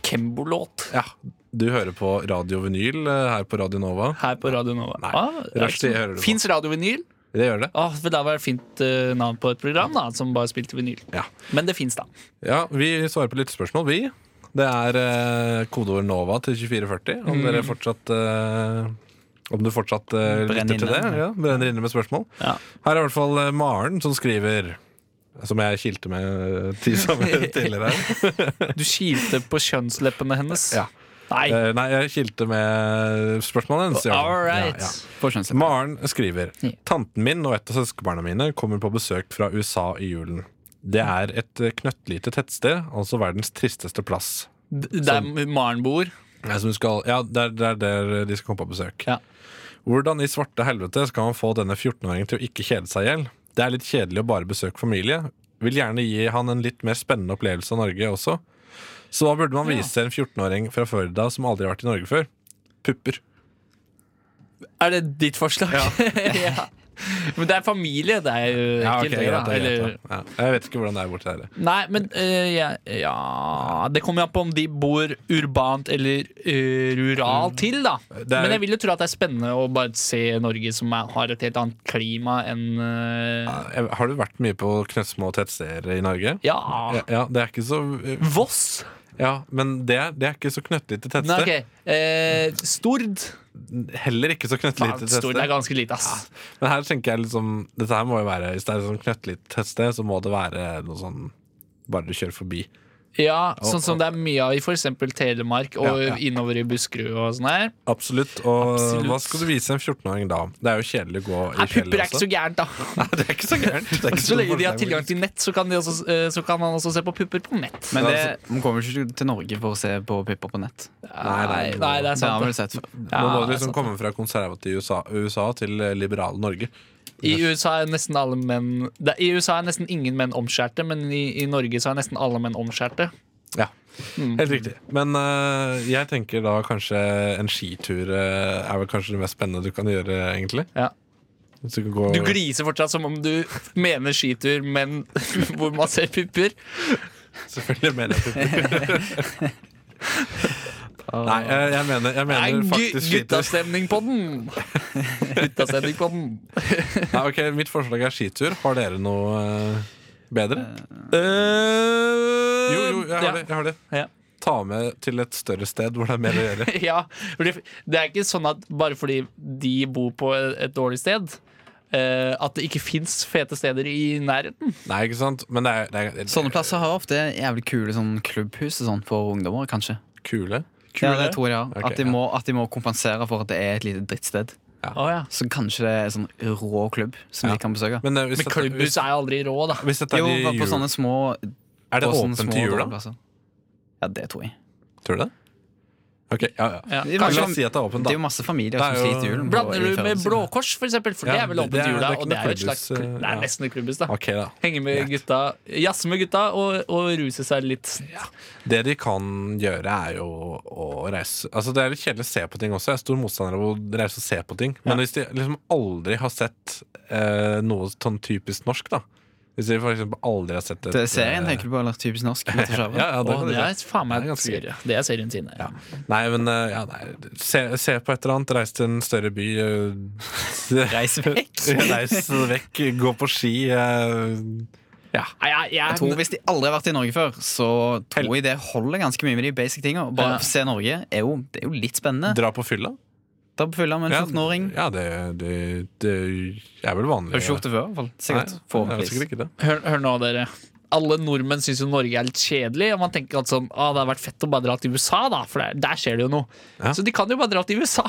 [SPEAKER 10] Kembo-låt
[SPEAKER 2] Ja, Du hører på Radio Vinyl eh, her på Radio Nova.
[SPEAKER 10] her på Radio Nova.
[SPEAKER 2] Nei.
[SPEAKER 10] Ah, det er ikke
[SPEAKER 2] Rushdie
[SPEAKER 10] så-
[SPEAKER 2] hører du på.
[SPEAKER 10] Fins Radio Vinyl?
[SPEAKER 2] Det gjør det.
[SPEAKER 10] Ah, for det var et fint eh, navn på et program da, som bare spilte vinyl.
[SPEAKER 2] Ja.
[SPEAKER 10] Men det fins, da.
[SPEAKER 2] Ja, Vi svarer på lyttespørsmål, vi. Det er eh, kodeord NOVA til 2440. Om,
[SPEAKER 10] Mm.
[SPEAKER 2] dere fortsatt, eh, om du fortsatt eh,
[SPEAKER 3] Brenner
[SPEAKER 2] lytter til det.
[SPEAKER 3] inne.
[SPEAKER 2] Ja, brenner inne med spørsmål.
[SPEAKER 10] Ja.
[SPEAKER 2] Her er i hvert fall eh, Maren som skriver. Som jeg kilte med eh, tisa med tidligere. her.
[SPEAKER 10] Du kilte på kjønnsleppene hennes.
[SPEAKER 2] Ja.
[SPEAKER 10] Nei!
[SPEAKER 2] Eh, Nei, jeg kilte med spørsmålet hennes. i hvert fall.
[SPEAKER 10] All right.
[SPEAKER 2] Ja, ja.
[SPEAKER 3] På kjønnslipp.
[SPEAKER 2] Maren skriver Tanten min og et av søskenbarna mine kommer på besøk fra USA i julen. Det er et eh, knøttlite tettsted, altså verdens tristeste plass.
[SPEAKER 10] D- Der Maren bor.
[SPEAKER 2] Nei, som du skal, ja, det er, det er der de skal komme på besøk.
[SPEAKER 10] Ja.
[SPEAKER 2] Hvordan i svarte helvete skal man få denne 14-åringen til å ikke kjede seg i hjel? Det er litt kjedelig å bare besøke familie. Vil gjerne gi han en litt mer spennende opplevelse av Norge også. Så hva burde man vise en 14-åring fra Førda som aldri har vært i Norge før? Pupper.
[SPEAKER 10] Er det ditt forslag? Ja. Men det er familie, det er jo
[SPEAKER 2] Ja, ok,
[SPEAKER 10] ekkelt. det,
[SPEAKER 2] greit,
[SPEAKER 10] da.
[SPEAKER 2] det er greit,
[SPEAKER 10] Eller,
[SPEAKER 2] da. ja. Jeg vet ikke hvordan det er borti her.
[SPEAKER 10] nei, men eh, ja, ja Det kommer jo an på om de bor urbant eller eh, ruralt til, da.
[SPEAKER 2] Mm. Det er-
[SPEAKER 10] Men jeg vil jo tro at det er spennende å bare se Norge som er, har et helt annet klima enn eh,
[SPEAKER 2] Jeg- Har du vært mye på knøttsmå tettsteder i Norge?
[SPEAKER 10] Ja.
[SPEAKER 2] Ja, ja, det er ikke så
[SPEAKER 10] Voss!
[SPEAKER 2] Ja, men det er, det er ikke så knøttlite tettsted.
[SPEAKER 10] Nei, ok. Eh, Stord.
[SPEAKER 2] Heller ikke så knøttlite
[SPEAKER 10] Faen, Stord er
[SPEAKER 2] tettsted.
[SPEAKER 10] ganske lite, ass.
[SPEAKER 2] Men her tenker jeg liksom Dette her må jo være Hvis det er et sånn knøttlite tettsted, så må det være noe sånn Bare du kjører forbi.
[SPEAKER 10] Ja,
[SPEAKER 2] Og-
[SPEAKER 10] Sånn som det er mye av i f.eks. Telemark og
[SPEAKER 2] Ja, ja.
[SPEAKER 10] innover i Buskerud og sånn her.
[SPEAKER 2] Absolutt. Og
[SPEAKER 10] Absolutt.
[SPEAKER 2] hva skal du vise en 14-åring da? Det er jo kjedelig å gå i
[SPEAKER 10] Nei, pupper er
[SPEAKER 2] fjellet
[SPEAKER 10] ikke
[SPEAKER 2] også.
[SPEAKER 10] så gærent, da.
[SPEAKER 2] Nei, det er ikke så gærent. Det er ikke
[SPEAKER 10] Så lenge de har
[SPEAKER 2] forferdelig.
[SPEAKER 10] tilgang til nett, så kan, de også, eh, så kan han også se på pupper på nett.
[SPEAKER 3] Men det, man kommer jo ikke til Norge for å se på pupper på nett.
[SPEAKER 2] Nei, nei, nå-
[SPEAKER 10] altså- nei, det er
[SPEAKER 3] Det har
[SPEAKER 10] sant.
[SPEAKER 3] vi vel
[SPEAKER 10] det.
[SPEAKER 3] sett før.
[SPEAKER 10] Ja,
[SPEAKER 2] Nå må du
[SPEAKER 10] det er
[SPEAKER 2] liksom
[SPEAKER 10] sant.
[SPEAKER 2] komme fra konservative USA, USA til eh, liberale Norge.
[SPEAKER 10] I USA er nesten alle menn det, I USA er nesten ingen menn omskjærte, men i, i Norge så er nesten alle menn omskjærte.
[SPEAKER 2] Ja,
[SPEAKER 10] Mm.
[SPEAKER 2] helt riktig. Men eh, jeg tenker da kanskje en skitur eh, er vel kanskje det mest spennende du kan gjøre, egentlig.
[SPEAKER 10] Ja.
[SPEAKER 2] Hvis du kan gå
[SPEAKER 10] Du gliser fortsatt som om du mener skitur, men hvor man ser pupper.
[SPEAKER 2] Selvfølgelig mener jeg Nei, eh, jeg mener, jeg
[SPEAKER 10] Det er
[SPEAKER 2] mener
[SPEAKER 10] gu-
[SPEAKER 2] faktisk skitur.
[SPEAKER 10] guttastemning på den! Guttastemning på den.
[SPEAKER 2] Nei, ok, Mitt forslag er skitur. Har dere noe eh, bedre? Eh, Jo, jo, jeg har det. Jeg har det.
[SPEAKER 10] Ja.
[SPEAKER 2] Ta med til et større sted hvor det er mer å gjøre.
[SPEAKER 10] ja, for det, det er ikke sånn at bare fordi de bor på et dårlig sted, eh, at det ikke fins fete steder i nærheten.
[SPEAKER 2] Nei, ikke sant? Men det er, det er, det er
[SPEAKER 3] Sånne plasser har ofte jævlig kule sånn klubbhus og sånn for ungdommer, kanskje.
[SPEAKER 2] kule.
[SPEAKER 3] Ja, det tror jeg, ja.
[SPEAKER 2] Ok,
[SPEAKER 3] at, de
[SPEAKER 2] ja.
[SPEAKER 3] må, at de må kompensere for at det er et lite drittsted.
[SPEAKER 10] Å ja.
[SPEAKER 3] Så kanskje det er en sånn rå klubb som
[SPEAKER 2] Ja.
[SPEAKER 3] de kan besøke.
[SPEAKER 2] Men, eh, hvis
[SPEAKER 10] Men
[SPEAKER 2] dette-
[SPEAKER 10] klubbhus
[SPEAKER 2] hvis,
[SPEAKER 10] er aldri rå, da.
[SPEAKER 2] hvis dette
[SPEAKER 3] Jo,
[SPEAKER 2] er, de
[SPEAKER 3] på
[SPEAKER 2] jul-
[SPEAKER 3] sånne små
[SPEAKER 2] er det
[SPEAKER 3] på sånne
[SPEAKER 2] åpent
[SPEAKER 3] små
[SPEAKER 2] til jul, da?
[SPEAKER 3] dårlige plasser. Ja, det tror jeg.
[SPEAKER 2] Tror du det? Ok, ja, ja.
[SPEAKER 10] Ja.
[SPEAKER 3] Det er
[SPEAKER 2] Kanskje
[SPEAKER 3] mange-
[SPEAKER 2] han sier at det er åpent,
[SPEAKER 3] Det er
[SPEAKER 2] da.
[SPEAKER 3] jo masse familier
[SPEAKER 2] Det
[SPEAKER 3] som
[SPEAKER 2] er jo-
[SPEAKER 3] sliter julen. på-
[SPEAKER 10] Blander
[SPEAKER 3] i
[SPEAKER 10] du med
[SPEAKER 3] følelsene.
[SPEAKER 10] Blå Kors, for eksempel? For det
[SPEAKER 2] Ja,
[SPEAKER 10] er vel
[SPEAKER 2] det
[SPEAKER 10] åpent
[SPEAKER 2] er- det
[SPEAKER 10] jula,
[SPEAKER 2] er ikke
[SPEAKER 10] og det
[SPEAKER 2] noe
[SPEAKER 10] er jo et
[SPEAKER 2] klubbhus,
[SPEAKER 10] slags
[SPEAKER 2] eh,
[SPEAKER 10] Det
[SPEAKER 2] ja.
[SPEAKER 10] er nesten et klubbhus, da.
[SPEAKER 2] Ok, da.
[SPEAKER 10] Henge med
[SPEAKER 2] Greit.
[SPEAKER 10] gutta, jazze med gutta og, og ruse seg litt.
[SPEAKER 2] Det de kan gjøre, er jo å reise Altså Det er litt kjedelig å se på ting også. Jeg er stor motstander av å reise og se på ting. Men hvis de liksom aldri har sett eh, noe sånn typisk norsk, da Hvis de for eksempel aldri har sett et
[SPEAKER 3] Det er serien,
[SPEAKER 2] eh,
[SPEAKER 3] tenker du på, eller typisk norsk? Mette Skjerven?
[SPEAKER 2] Ja, ja, det
[SPEAKER 10] Å,
[SPEAKER 2] kan
[SPEAKER 10] det
[SPEAKER 2] de
[SPEAKER 10] er
[SPEAKER 2] si.
[SPEAKER 10] faen meg
[SPEAKER 2] Det er ganske gøy.
[SPEAKER 10] serie. Det er serien sin. Ja.
[SPEAKER 2] Nei, men eh, ja, nei. Se, se på et eller annet. Reis til en større by. eh,
[SPEAKER 3] Reis vekk!
[SPEAKER 2] Reis vekk. Gå på ski. eh,
[SPEAKER 10] Nei, jeg,
[SPEAKER 3] Jeg
[SPEAKER 10] jeg,
[SPEAKER 3] tror Hvis de aldri har vært i Norge før, så tror jeg det holder ganske mye med de basic tinga. Bare
[SPEAKER 10] Ja.
[SPEAKER 3] se Norge er jo, det er jo litt spennende.
[SPEAKER 2] dra på fylla.
[SPEAKER 3] Da fyller med en 14-åring.
[SPEAKER 2] Ja, det, det, det er vel vanlig.
[SPEAKER 3] Har du ikke gjort det før? i hvert fall. Sikkert.
[SPEAKER 2] Nei, jeg vet
[SPEAKER 3] Forhåpentligvis.
[SPEAKER 2] sikkert ikke det.
[SPEAKER 10] hør, hør nå, dere. Alle nordmenn syns jo Norge er litt kjedelig. Og man tenker at sånn, ah, det hadde vært fett å bare dra til USA, da, for der, der skjer det jo noe.
[SPEAKER 2] Ja.
[SPEAKER 10] Så de kan jo bare dra til USA.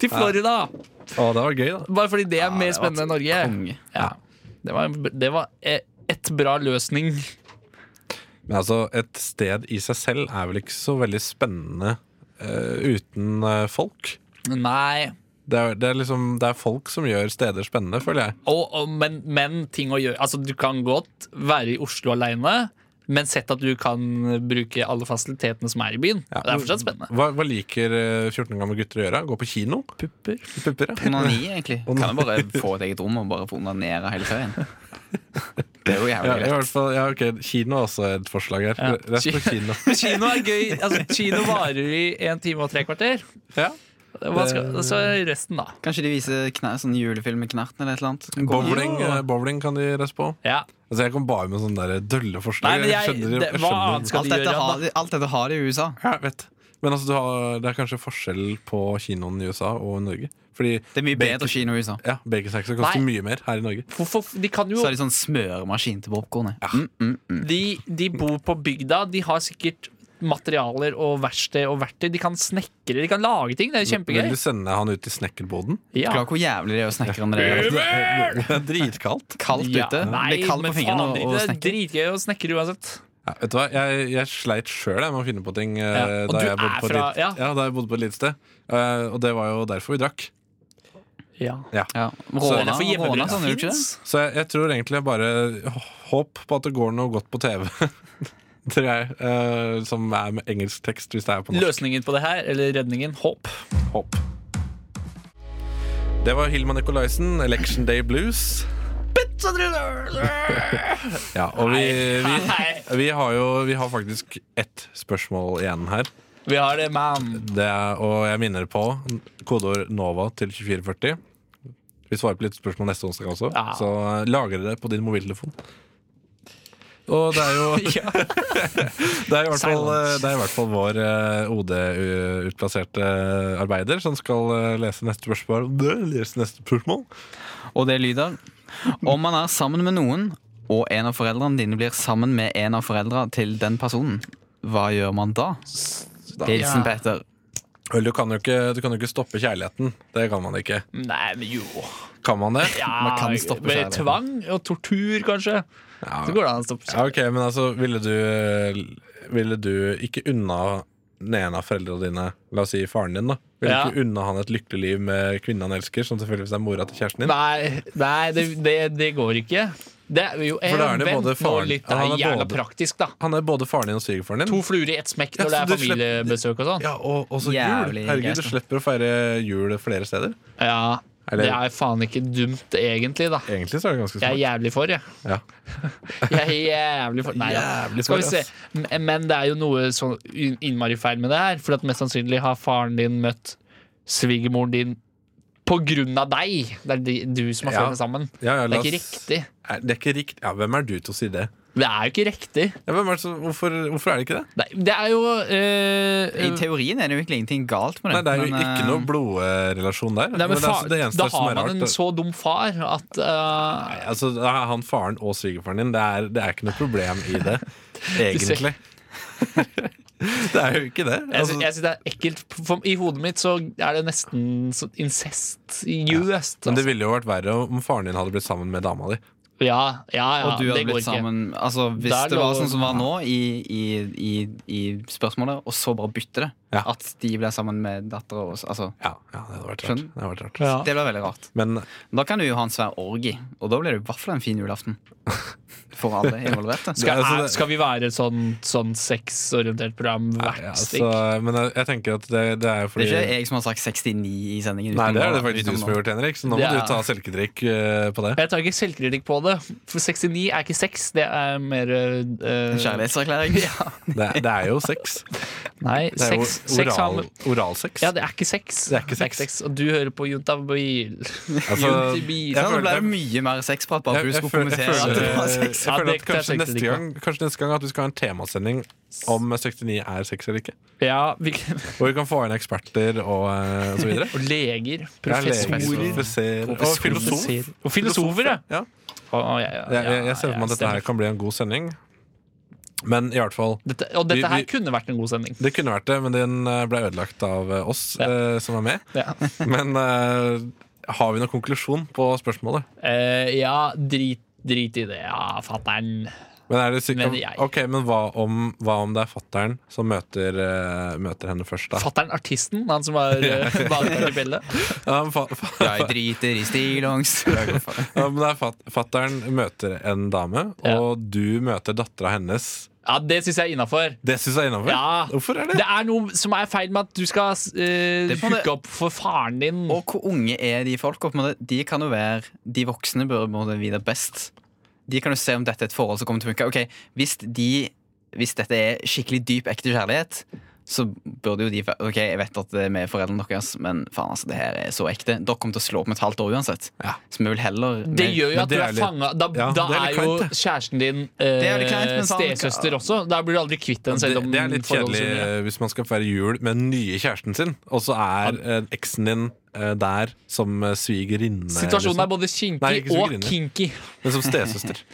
[SPEAKER 10] til Florida.
[SPEAKER 2] Å, det var gøy, da.
[SPEAKER 10] Bare fordi det er mer spennende enn Norge.
[SPEAKER 3] Konge.
[SPEAKER 10] Ja. Det var, det var eh, et bra løsning.
[SPEAKER 2] Men altså, et sted i seg selv er vel ikke så veldig spennende eh, uten eh, folk.
[SPEAKER 10] Nei.
[SPEAKER 2] Det er, det, er liksom, det er folk som gjør steder spennende, føler jeg.
[SPEAKER 10] Og, og, men, men ting å gjøre Altså, du kan godt være i Oslo aleine, men sett at du kan bruke alle fasilitetene som er i byen.
[SPEAKER 2] Ja.
[SPEAKER 10] Det er fortsatt spennende.
[SPEAKER 2] Hva, hva liker eh, 14 år gamle gutter å gjøre? Gå på kino?
[SPEAKER 10] Pupper.
[SPEAKER 2] Pupper, ja.
[SPEAKER 3] Onani, egentlig. Kan jeg bare få et eget rom og bare få onanere hele ferien? Det er jo
[SPEAKER 2] Ja,
[SPEAKER 3] jævlig
[SPEAKER 2] i
[SPEAKER 3] greit.
[SPEAKER 2] hvert fall, ja, ok, Kino er også et forslag her.
[SPEAKER 10] Ja.
[SPEAKER 2] Rett på kino.
[SPEAKER 10] Kino er gøy. Altså, kino varer i en time og tre kvarter.
[SPEAKER 2] Ja.
[SPEAKER 10] Hva skal, så er resten, da.
[SPEAKER 3] Kanskje de viser kna- sånn julefilm med Knerten eller et eller annet? Kan gå-
[SPEAKER 2] Bowling, eh, bowling kan de reise på.
[SPEAKER 10] Ja.
[SPEAKER 2] Altså, jeg kom bare med sånne der dølle
[SPEAKER 10] Nei,
[SPEAKER 2] forslag.
[SPEAKER 10] men jeg,
[SPEAKER 2] skjønner-
[SPEAKER 10] det, hva
[SPEAKER 2] skjønner-
[SPEAKER 10] annet skal
[SPEAKER 3] alt,
[SPEAKER 10] de
[SPEAKER 3] dette
[SPEAKER 10] gjøre?
[SPEAKER 3] har,
[SPEAKER 10] Da?
[SPEAKER 3] de- alt dette har de i USA.
[SPEAKER 2] Ja, jeg vet. Men altså, du har, det er kanskje forskjell på kinoen i USA og Norge. Fordi
[SPEAKER 3] Det er mye bedre kino i USA.
[SPEAKER 2] ja, baconsaxer koster
[SPEAKER 10] Nei.
[SPEAKER 2] mye mer her i Norge.
[SPEAKER 10] Hvorfor, de kan jo
[SPEAKER 3] Så er det sånn smøremaskin til popkornet. Mm,
[SPEAKER 10] de, de bor på bygda, de har sikkert materialer og verksted og verktøy. De kan snekre, de kan lage ting. Det er jo
[SPEAKER 2] Vil
[SPEAKER 10] kjempegøy.
[SPEAKER 2] du sende han ut i snekkerboden?
[SPEAKER 10] Ja.
[SPEAKER 3] Klar hvor jævlig det er å snekre når det er
[SPEAKER 2] Det er det er dritkaldt.
[SPEAKER 3] kaldt
[SPEAKER 10] Ja,
[SPEAKER 3] ute.
[SPEAKER 10] Nei,
[SPEAKER 3] Blir kald
[SPEAKER 10] men
[SPEAKER 3] på fingrene
[SPEAKER 10] faen,
[SPEAKER 3] og, og
[SPEAKER 10] det er
[SPEAKER 3] snekre.
[SPEAKER 10] dritgøy å snekre uansett.
[SPEAKER 2] Ja, vet du hva? Jeg, jeg sleit sjøl med å finne på ting eh,
[SPEAKER 10] Ja, og
[SPEAKER 2] da,
[SPEAKER 10] du
[SPEAKER 2] jeg bodde
[SPEAKER 10] er
[SPEAKER 2] på et
[SPEAKER 10] fra-
[SPEAKER 2] lit-
[SPEAKER 10] ja.
[SPEAKER 2] ja, da jeg bodde på et lite sted. Eh, og det var jo derfor vi drakk.
[SPEAKER 10] Ja.
[SPEAKER 3] Ja.
[SPEAKER 2] Så det
[SPEAKER 3] Råna, råna sånn, gjør
[SPEAKER 10] For
[SPEAKER 3] du
[SPEAKER 10] hjemmebrent
[SPEAKER 3] ikke det?
[SPEAKER 10] fins.
[SPEAKER 2] Så jeg, jeg tror egentlig jeg bare håp på at det går noe godt på TV. tror jeg. eh, som er med engelsk tekst, hvis det er på norsk.
[SPEAKER 10] Løsningen på det her, eller redningen, håp.
[SPEAKER 2] Håp. Det var Hilma Nicolaisen, 'Election Day Blues'. Ja, og vi, vi,
[SPEAKER 10] Hei.
[SPEAKER 2] vi har jo vi har faktisk ett spørsmål igjen her.
[SPEAKER 10] Vi har det, man.
[SPEAKER 2] Det er, og jeg minner på kodeord NOVA til 2440. Vi svarer på litt spørsmål neste onsdag også,
[SPEAKER 10] Ja.
[SPEAKER 2] så eh, lagre det på din mobiltelefon. Og det er jo
[SPEAKER 10] Ja.
[SPEAKER 2] Det er i hvert fall, eh, det er i hvert fall vår eh, OD-utplasserte arbeider som skal eh, lese neste spørsmål. Det, lese neste spørsmål.
[SPEAKER 3] Og det lyder Om man er sammen med noen, og en av foreldrene dine blir sammen med en av foreldra til den personen, hva gjør man da? Hilsen
[SPEAKER 10] Ja.
[SPEAKER 3] Petter.
[SPEAKER 2] Vel, du kan, jo ikke, du kan jo ikke stoppe kjærligheten. Det kan man ikke.
[SPEAKER 10] Nei, men jo.
[SPEAKER 2] Kan man det?
[SPEAKER 10] Ja,
[SPEAKER 3] Man kan stoppe
[SPEAKER 10] med
[SPEAKER 3] kjærligheten.
[SPEAKER 10] tvang og tortur, kanskje.
[SPEAKER 2] Ja.
[SPEAKER 10] Så går det an å stoppe
[SPEAKER 2] Ja,
[SPEAKER 10] kjærligheten.
[SPEAKER 2] ok, men altså, ville du, eh, ville du ikke unna den ene av foreldrene dine, la oss si faren din, da? Ville
[SPEAKER 10] Ja.
[SPEAKER 2] du ikke unna han et lykkelig liv med kvinnen han elsker, som selvfølgelig er mora til kjæresten din?
[SPEAKER 10] Nei, nei det, det, det går ikke. Det er jo
[SPEAKER 2] For da er det
[SPEAKER 10] vent
[SPEAKER 2] både
[SPEAKER 10] nå
[SPEAKER 2] faren-
[SPEAKER 10] litt, det
[SPEAKER 2] han
[SPEAKER 10] er
[SPEAKER 2] er
[SPEAKER 10] jævla
[SPEAKER 2] både-
[SPEAKER 10] praktisk, da.
[SPEAKER 2] Han er både faren din og svigerfaren din.
[SPEAKER 10] To fluer i ett smekk
[SPEAKER 2] Ja,
[SPEAKER 10] når det
[SPEAKER 2] så
[SPEAKER 10] er
[SPEAKER 2] du slipper-
[SPEAKER 10] familiebesøk og sånn.
[SPEAKER 2] Ja, og og så jul!
[SPEAKER 3] Jævlig
[SPEAKER 2] Herregud,
[SPEAKER 3] greit,
[SPEAKER 2] du
[SPEAKER 3] da.
[SPEAKER 2] slipper å feire jul flere steder.
[SPEAKER 10] Ja,
[SPEAKER 2] Eller-
[SPEAKER 10] det er faen ikke dumt, egentlig, da.
[SPEAKER 2] Egentlig så er det ganske
[SPEAKER 10] Jeg er
[SPEAKER 2] smart.
[SPEAKER 10] jævlig for, jeg.
[SPEAKER 2] Ja.
[SPEAKER 10] Jeg er jævlig for Nei, da.
[SPEAKER 2] Jævlig
[SPEAKER 10] Skal vi
[SPEAKER 2] for,
[SPEAKER 10] se. M- eh, Men det er jo noe så in- innmari feil med det her. For at mest sannsynlig har faren din møtt svigermoren din på grunn av deg. Det er de- du som har
[SPEAKER 2] Ja.
[SPEAKER 10] ført dem sammen.
[SPEAKER 2] Ja, ja,
[SPEAKER 10] Det
[SPEAKER 2] la
[SPEAKER 10] er ikke
[SPEAKER 2] oss-
[SPEAKER 10] riktig.
[SPEAKER 2] Er- Det er ikke riktig. Ja, hvem er du til å si det?
[SPEAKER 10] Det er jo ikke riktig.
[SPEAKER 2] Ja, hvem er det som, hvorfor, hvorfor er det ikke det?
[SPEAKER 10] Det er, det er jo eh,
[SPEAKER 3] I teorien er det jo egentlig ingenting galt med det.
[SPEAKER 2] Nei, Det er jo
[SPEAKER 3] men,
[SPEAKER 2] ikke
[SPEAKER 3] eh,
[SPEAKER 2] noe blodrelasjon der.
[SPEAKER 10] Nei, men
[SPEAKER 2] det er altså
[SPEAKER 10] far,
[SPEAKER 2] det eneste
[SPEAKER 10] da
[SPEAKER 2] som
[SPEAKER 10] har
[SPEAKER 2] er
[SPEAKER 10] man
[SPEAKER 2] rart,
[SPEAKER 10] en
[SPEAKER 2] da.
[SPEAKER 10] så dum far at eh,
[SPEAKER 2] Nei, altså, da er han faren og svigerfaren din, det er, det er ikke noe problem i det. Egentlig. det er jo ikke det.
[SPEAKER 10] Jeg, sy
[SPEAKER 2] Altså,
[SPEAKER 10] jeg synes det er ekkelt. For, I hodet mitt så er det nesten så incest. Just.
[SPEAKER 2] men det ville jo vært verre om faren din hadde blitt sammen med dama di.
[SPEAKER 10] altså. Ja, ja, ja
[SPEAKER 3] og du
[SPEAKER 10] det
[SPEAKER 3] hadde
[SPEAKER 10] går
[SPEAKER 3] blitt
[SPEAKER 10] ikke.
[SPEAKER 3] sammen Altså Hvis
[SPEAKER 10] Der
[SPEAKER 3] det var
[SPEAKER 10] lå-
[SPEAKER 3] sånn som var nå i, i, i, i spørsmålet, og så bare bytte det
[SPEAKER 2] Ja.
[SPEAKER 3] At de ble sammen med dattera og altså,
[SPEAKER 2] Ja, ja, det hadde vært rart.
[SPEAKER 3] Skjønner.
[SPEAKER 2] Det hadde vært rart.
[SPEAKER 10] Ja.
[SPEAKER 3] Det ble veldig rart.
[SPEAKER 2] Men eh,
[SPEAKER 3] Da kan du jo ha en svær orgi, og da blir det i hvert fall en fin julaften. For alle involverte.
[SPEAKER 10] Skal,
[SPEAKER 2] altså,
[SPEAKER 10] er,
[SPEAKER 2] det-
[SPEAKER 10] skal vi være et sånn, sånn sexorientert program hvert
[SPEAKER 2] ja, altså-
[SPEAKER 10] stikk?
[SPEAKER 2] så, men eh, jeg, jeg tenker at det, det er jo
[SPEAKER 3] Det
[SPEAKER 2] fordi
[SPEAKER 3] er ikke jeg som har sagt 69 i sendingen.
[SPEAKER 2] Nei,
[SPEAKER 3] utenom
[SPEAKER 2] det er
[SPEAKER 3] nå,
[SPEAKER 2] det faktisk
[SPEAKER 3] utenom
[SPEAKER 2] du som har
[SPEAKER 3] nå.
[SPEAKER 2] gjort, Henrik. Så nå må
[SPEAKER 10] Det er-
[SPEAKER 2] du ta selvkritikk eh, på det.
[SPEAKER 10] Jeg tar ikke selvkritikk på det, for 69 er ikke sex. Det er mer eh,
[SPEAKER 3] Kjærlighetserklæring.
[SPEAKER 2] Det, er- det er jo sex.
[SPEAKER 10] Nei,
[SPEAKER 2] Det er jo
[SPEAKER 10] sex, sex har
[SPEAKER 2] oral,
[SPEAKER 10] med
[SPEAKER 2] oralsex.
[SPEAKER 10] ja, det er ikke sex.
[SPEAKER 2] Det er ikke sex.
[SPEAKER 10] Og du hører på Juntabil.
[SPEAKER 2] Altså,
[SPEAKER 10] Juntabil.
[SPEAKER 2] jeg
[SPEAKER 3] Ja, det
[SPEAKER 2] følte-
[SPEAKER 3] Sånn, ble mye mer sexprat bare for du
[SPEAKER 2] Jeg, jeg,
[SPEAKER 3] skulle
[SPEAKER 2] føler- jeg,
[SPEAKER 3] kommentere. at
[SPEAKER 2] føler,
[SPEAKER 3] det var
[SPEAKER 2] jeg
[SPEAKER 3] sex.
[SPEAKER 10] Ja,
[SPEAKER 2] føler
[SPEAKER 10] det
[SPEAKER 2] at
[SPEAKER 10] kan jeg
[SPEAKER 2] kanskje neste,
[SPEAKER 10] selvkritikk på.
[SPEAKER 2] gang, kanskje neste gang at vi skal ha en temasending om 69 er sex eller ikke.
[SPEAKER 10] Ja, vi,
[SPEAKER 2] Og vi kan få inn eksperter og, eh, og så videre.
[SPEAKER 10] og leger.
[SPEAKER 2] Ja, leger,
[SPEAKER 10] Professorer.
[SPEAKER 2] professer- Og filosof.
[SPEAKER 10] Og filosofer, ja.
[SPEAKER 2] Ja.
[SPEAKER 10] Å, ja, ja,
[SPEAKER 2] Jeg, jeg,
[SPEAKER 10] ja,
[SPEAKER 2] jeg ser for
[SPEAKER 10] ja,
[SPEAKER 2] meg at dette
[SPEAKER 10] stemmer.
[SPEAKER 2] her kan bli en god sending. Men i hvert fall
[SPEAKER 10] Dette, og
[SPEAKER 2] Vi-
[SPEAKER 10] dette her
[SPEAKER 2] vi-
[SPEAKER 10] kunne vært en god sending.
[SPEAKER 2] Det kunne vært det, men den eh, ble ødelagt av eh, oss
[SPEAKER 10] Ja.
[SPEAKER 2] eh, som var med.
[SPEAKER 10] Ja,
[SPEAKER 2] Men eh, har vi noen konklusjon på spørsmålet?
[SPEAKER 10] Eh, ja drit, drit i det. Ja, fatter'n.
[SPEAKER 2] Men er det sykt
[SPEAKER 10] Men
[SPEAKER 2] om,
[SPEAKER 10] jeg-
[SPEAKER 2] Ok, men hva om, hva om det er fattern som møter, eh, møter henne først, da?
[SPEAKER 10] Fatter'n artisten, han som var eh, badekar i Belle.
[SPEAKER 2] Ja, men fa fa
[SPEAKER 3] Jeg driter i stillongs.
[SPEAKER 2] ja, men det er fat fattern møter en dame,
[SPEAKER 10] Ja.
[SPEAKER 2] og du møter dattera hennes.
[SPEAKER 10] Ja, det syns jeg er innafor.
[SPEAKER 2] Det syns jeg er innafor.
[SPEAKER 10] Ja.
[SPEAKER 2] Hvorfor er det?
[SPEAKER 10] Det er noe som er feil med at du skal uh,
[SPEAKER 3] Det må det-
[SPEAKER 10] hooke opp for faren din.
[SPEAKER 3] Og hvor unge er de folka? på en måte? De kan jo være De voksne bør må det vite best. De kan jo se om dette er et forhold som kommer til å funke. Ok, hvis, de, hvis dette er skikkelig dyp, ekte kjærlighet, så burde jo de være- Ok, jeg vet at det er med foreldrene deres, men faen, altså, det her er så ekte. Dere kommer til å slå opp om et halvt år ufanget.
[SPEAKER 2] Ja.
[SPEAKER 3] Så vi vil heller
[SPEAKER 10] Det gjør jo
[SPEAKER 2] men
[SPEAKER 10] at
[SPEAKER 2] det
[SPEAKER 10] du
[SPEAKER 2] er
[SPEAKER 10] er
[SPEAKER 2] litt-
[SPEAKER 10] fanga. Da,
[SPEAKER 2] ja,
[SPEAKER 10] da
[SPEAKER 2] det er
[SPEAKER 10] er,
[SPEAKER 2] litt
[SPEAKER 10] jo
[SPEAKER 2] kleint, det.
[SPEAKER 10] kjæresten din
[SPEAKER 3] er litt kleint,
[SPEAKER 10] eh,
[SPEAKER 3] men faen,
[SPEAKER 10] stesøster også. Da blir du aldri kvitt den.
[SPEAKER 2] Det,
[SPEAKER 10] Selv om
[SPEAKER 2] det er litt
[SPEAKER 10] forholdet
[SPEAKER 2] kjedelig
[SPEAKER 10] så mye.
[SPEAKER 2] eh, hvis man skal feire jul med den nye kjæresten sin, og så er eh, eksen din eh, der som eh, svigerinne.
[SPEAKER 10] Situasjonen
[SPEAKER 2] liksom.
[SPEAKER 10] er både kinkig
[SPEAKER 2] Nei, ikke så
[SPEAKER 10] og
[SPEAKER 2] grinende.
[SPEAKER 10] kinky.
[SPEAKER 2] Men som stesøster.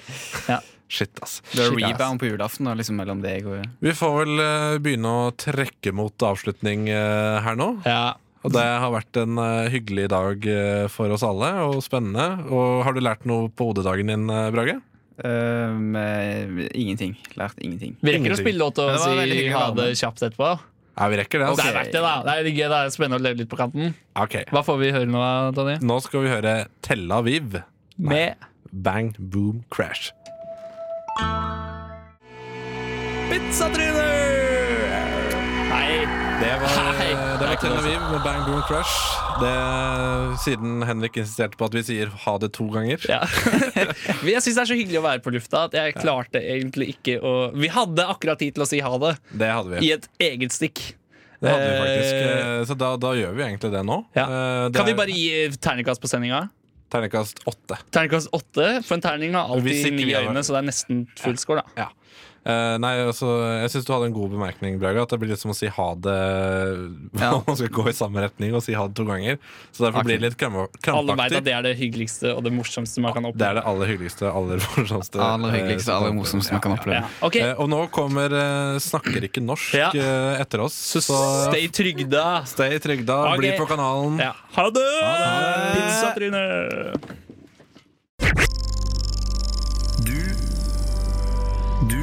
[SPEAKER 10] Ja.
[SPEAKER 2] Shit, ass.
[SPEAKER 3] Det er
[SPEAKER 10] Shit, ass.
[SPEAKER 3] rebound på julaften da, liksom, mellom deg og
[SPEAKER 2] Vi får vel eh, begynne å trekke mot avslutning eh, her nå.
[SPEAKER 10] Ja.
[SPEAKER 2] Og det har vært en eh, hyggelig dag eh, for oss alle, og spennende. Og har du lært noe på hodedagen din, eh, Brage?
[SPEAKER 3] Øhm, eh, Ingenting. Lært ingenting.
[SPEAKER 10] Vi rekker å
[SPEAKER 2] Ingenting.
[SPEAKER 10] spille låt
[SPEAKER 3] Men
[SPEAKER 10] og
[SPEAKER 3] det var veldig
[SPEAKER 10] si
[SPEAKER 3] hyggelig
[SPEAKER 10] ha
[SPEAKER 3] å være
[SPEAKER 10] det
[SPEAKER 3] med.
[SPEAKER 10] kjapt etterpå.
[SPEAKER 2] Ja, vi rekker det.
[SPEAKER 10] Det
[SPEAKER 2] Altså.
[SPEAKER 10] er verdt det, da. Det er, gøy, det er spennende å leve litt på kanten.
[SPEAKER 2] Ok.
[SPEAKER 10] Hva får vi høre nå, Tonje?
[SPEAKER 2] Nå skal vi høre Tel Aviv.
[SPEAKER 10] Med
[SPEAKER 2] Bang, boom, crash.
[SPEAKER 10] Pizzatryner! Nei.
[SPEAKER 2] Det var, eh,
[SPEAKER 10] Hei.
[SPEAKER 2] det var Tel Aviv med Bang Boom Crush. Det, siden Henrik insisterte på at vi sier ha det to ganger.
[SPEAKER 10] Ja. Men jeg syns det er så hyggelig å være på lufta at jeg klarte egentlig ikke å Vi hadde akkurat tid til å si ha det
[SPEAKER 2] Det hadde vi.
[SPEAKER 10] i et eget stikk.
[SPEAKER 2] Det hadde vi faktisk.
[SPEAKER 10] Eh,
[SPEAKER 2] Eh, Så da, da gjør vi egentlig det nå.
[SPEAKER 10] Ja.
[SPEAKER 2] Eh, det
[SPEAKER 10] Kan vi
[SPEAKER 2] er
[SPEAKER 10] bare gi terningkast på sendinga?
[SPEAKER 2] Terningkast åtte.
[SPEAKER 10] Terningkast åtte, for en terning har
[SPEAKER 2] Hvis
[SPEAKER 10] alltid
[SPEAKER 2] ikke
[SPEAKER 10] ni
[SPEAKER 2] vi har-
[SPEAKER 10] øyne, så det er nesten full score, da.
[SPEAKER 2] Ja. Eh, nei, altså, jeg syns du hadde en god bemerkning, Braga. At det blir litt som å si ha det
[SPEAKER 3] Ja.
[SPEAKER 2] Man skal gå i samme retning og si ha det to ganger. Så derfor
[SPEAKER 3] Akkurat.
[SPEAKER 2] blir det litt kramp-
[SPEAKER 10] Alle veit at
[SPEAKER 2] krampaktig.
[SPEAKER 10] det er det hyggeligste og det morsomste man kan
[SPEAKER 2] Det er
[SPEAKER 10] oppleve.
[SPEAKER 2] det aller hyggeligste, aller morsomste.
[SPEAKER 3] Aller
[SPEAKER 2] eh,
[SPEAKER 3] hyggeligste,
[SPEAKER 2] som
[SPEAKER 3] aller
[SPEAKER 2] kan
[SPEAKER 3] morsomste man kan oppleve.
[SPEAKER 10] Ja. Ok,
[SPEAKER 2] Eh, Og nå kommer eh, Snakker ikke norsk
[SPEAKER 10] Ja.
[SPEAKER 2] eh, etter oss.
[SPEAKER 10] så stay trygda.
[SPEAKER 2] stay trygda,
[SPEAKER 10] Ok.
[SPEAKER 2] bli på kanalen.
[SPEAKER 10] Ja. Ha det!
[SPEAKER 2] det!
[SPEAKER 10] Pizzatryne!
[SPEAKER 9] Du Du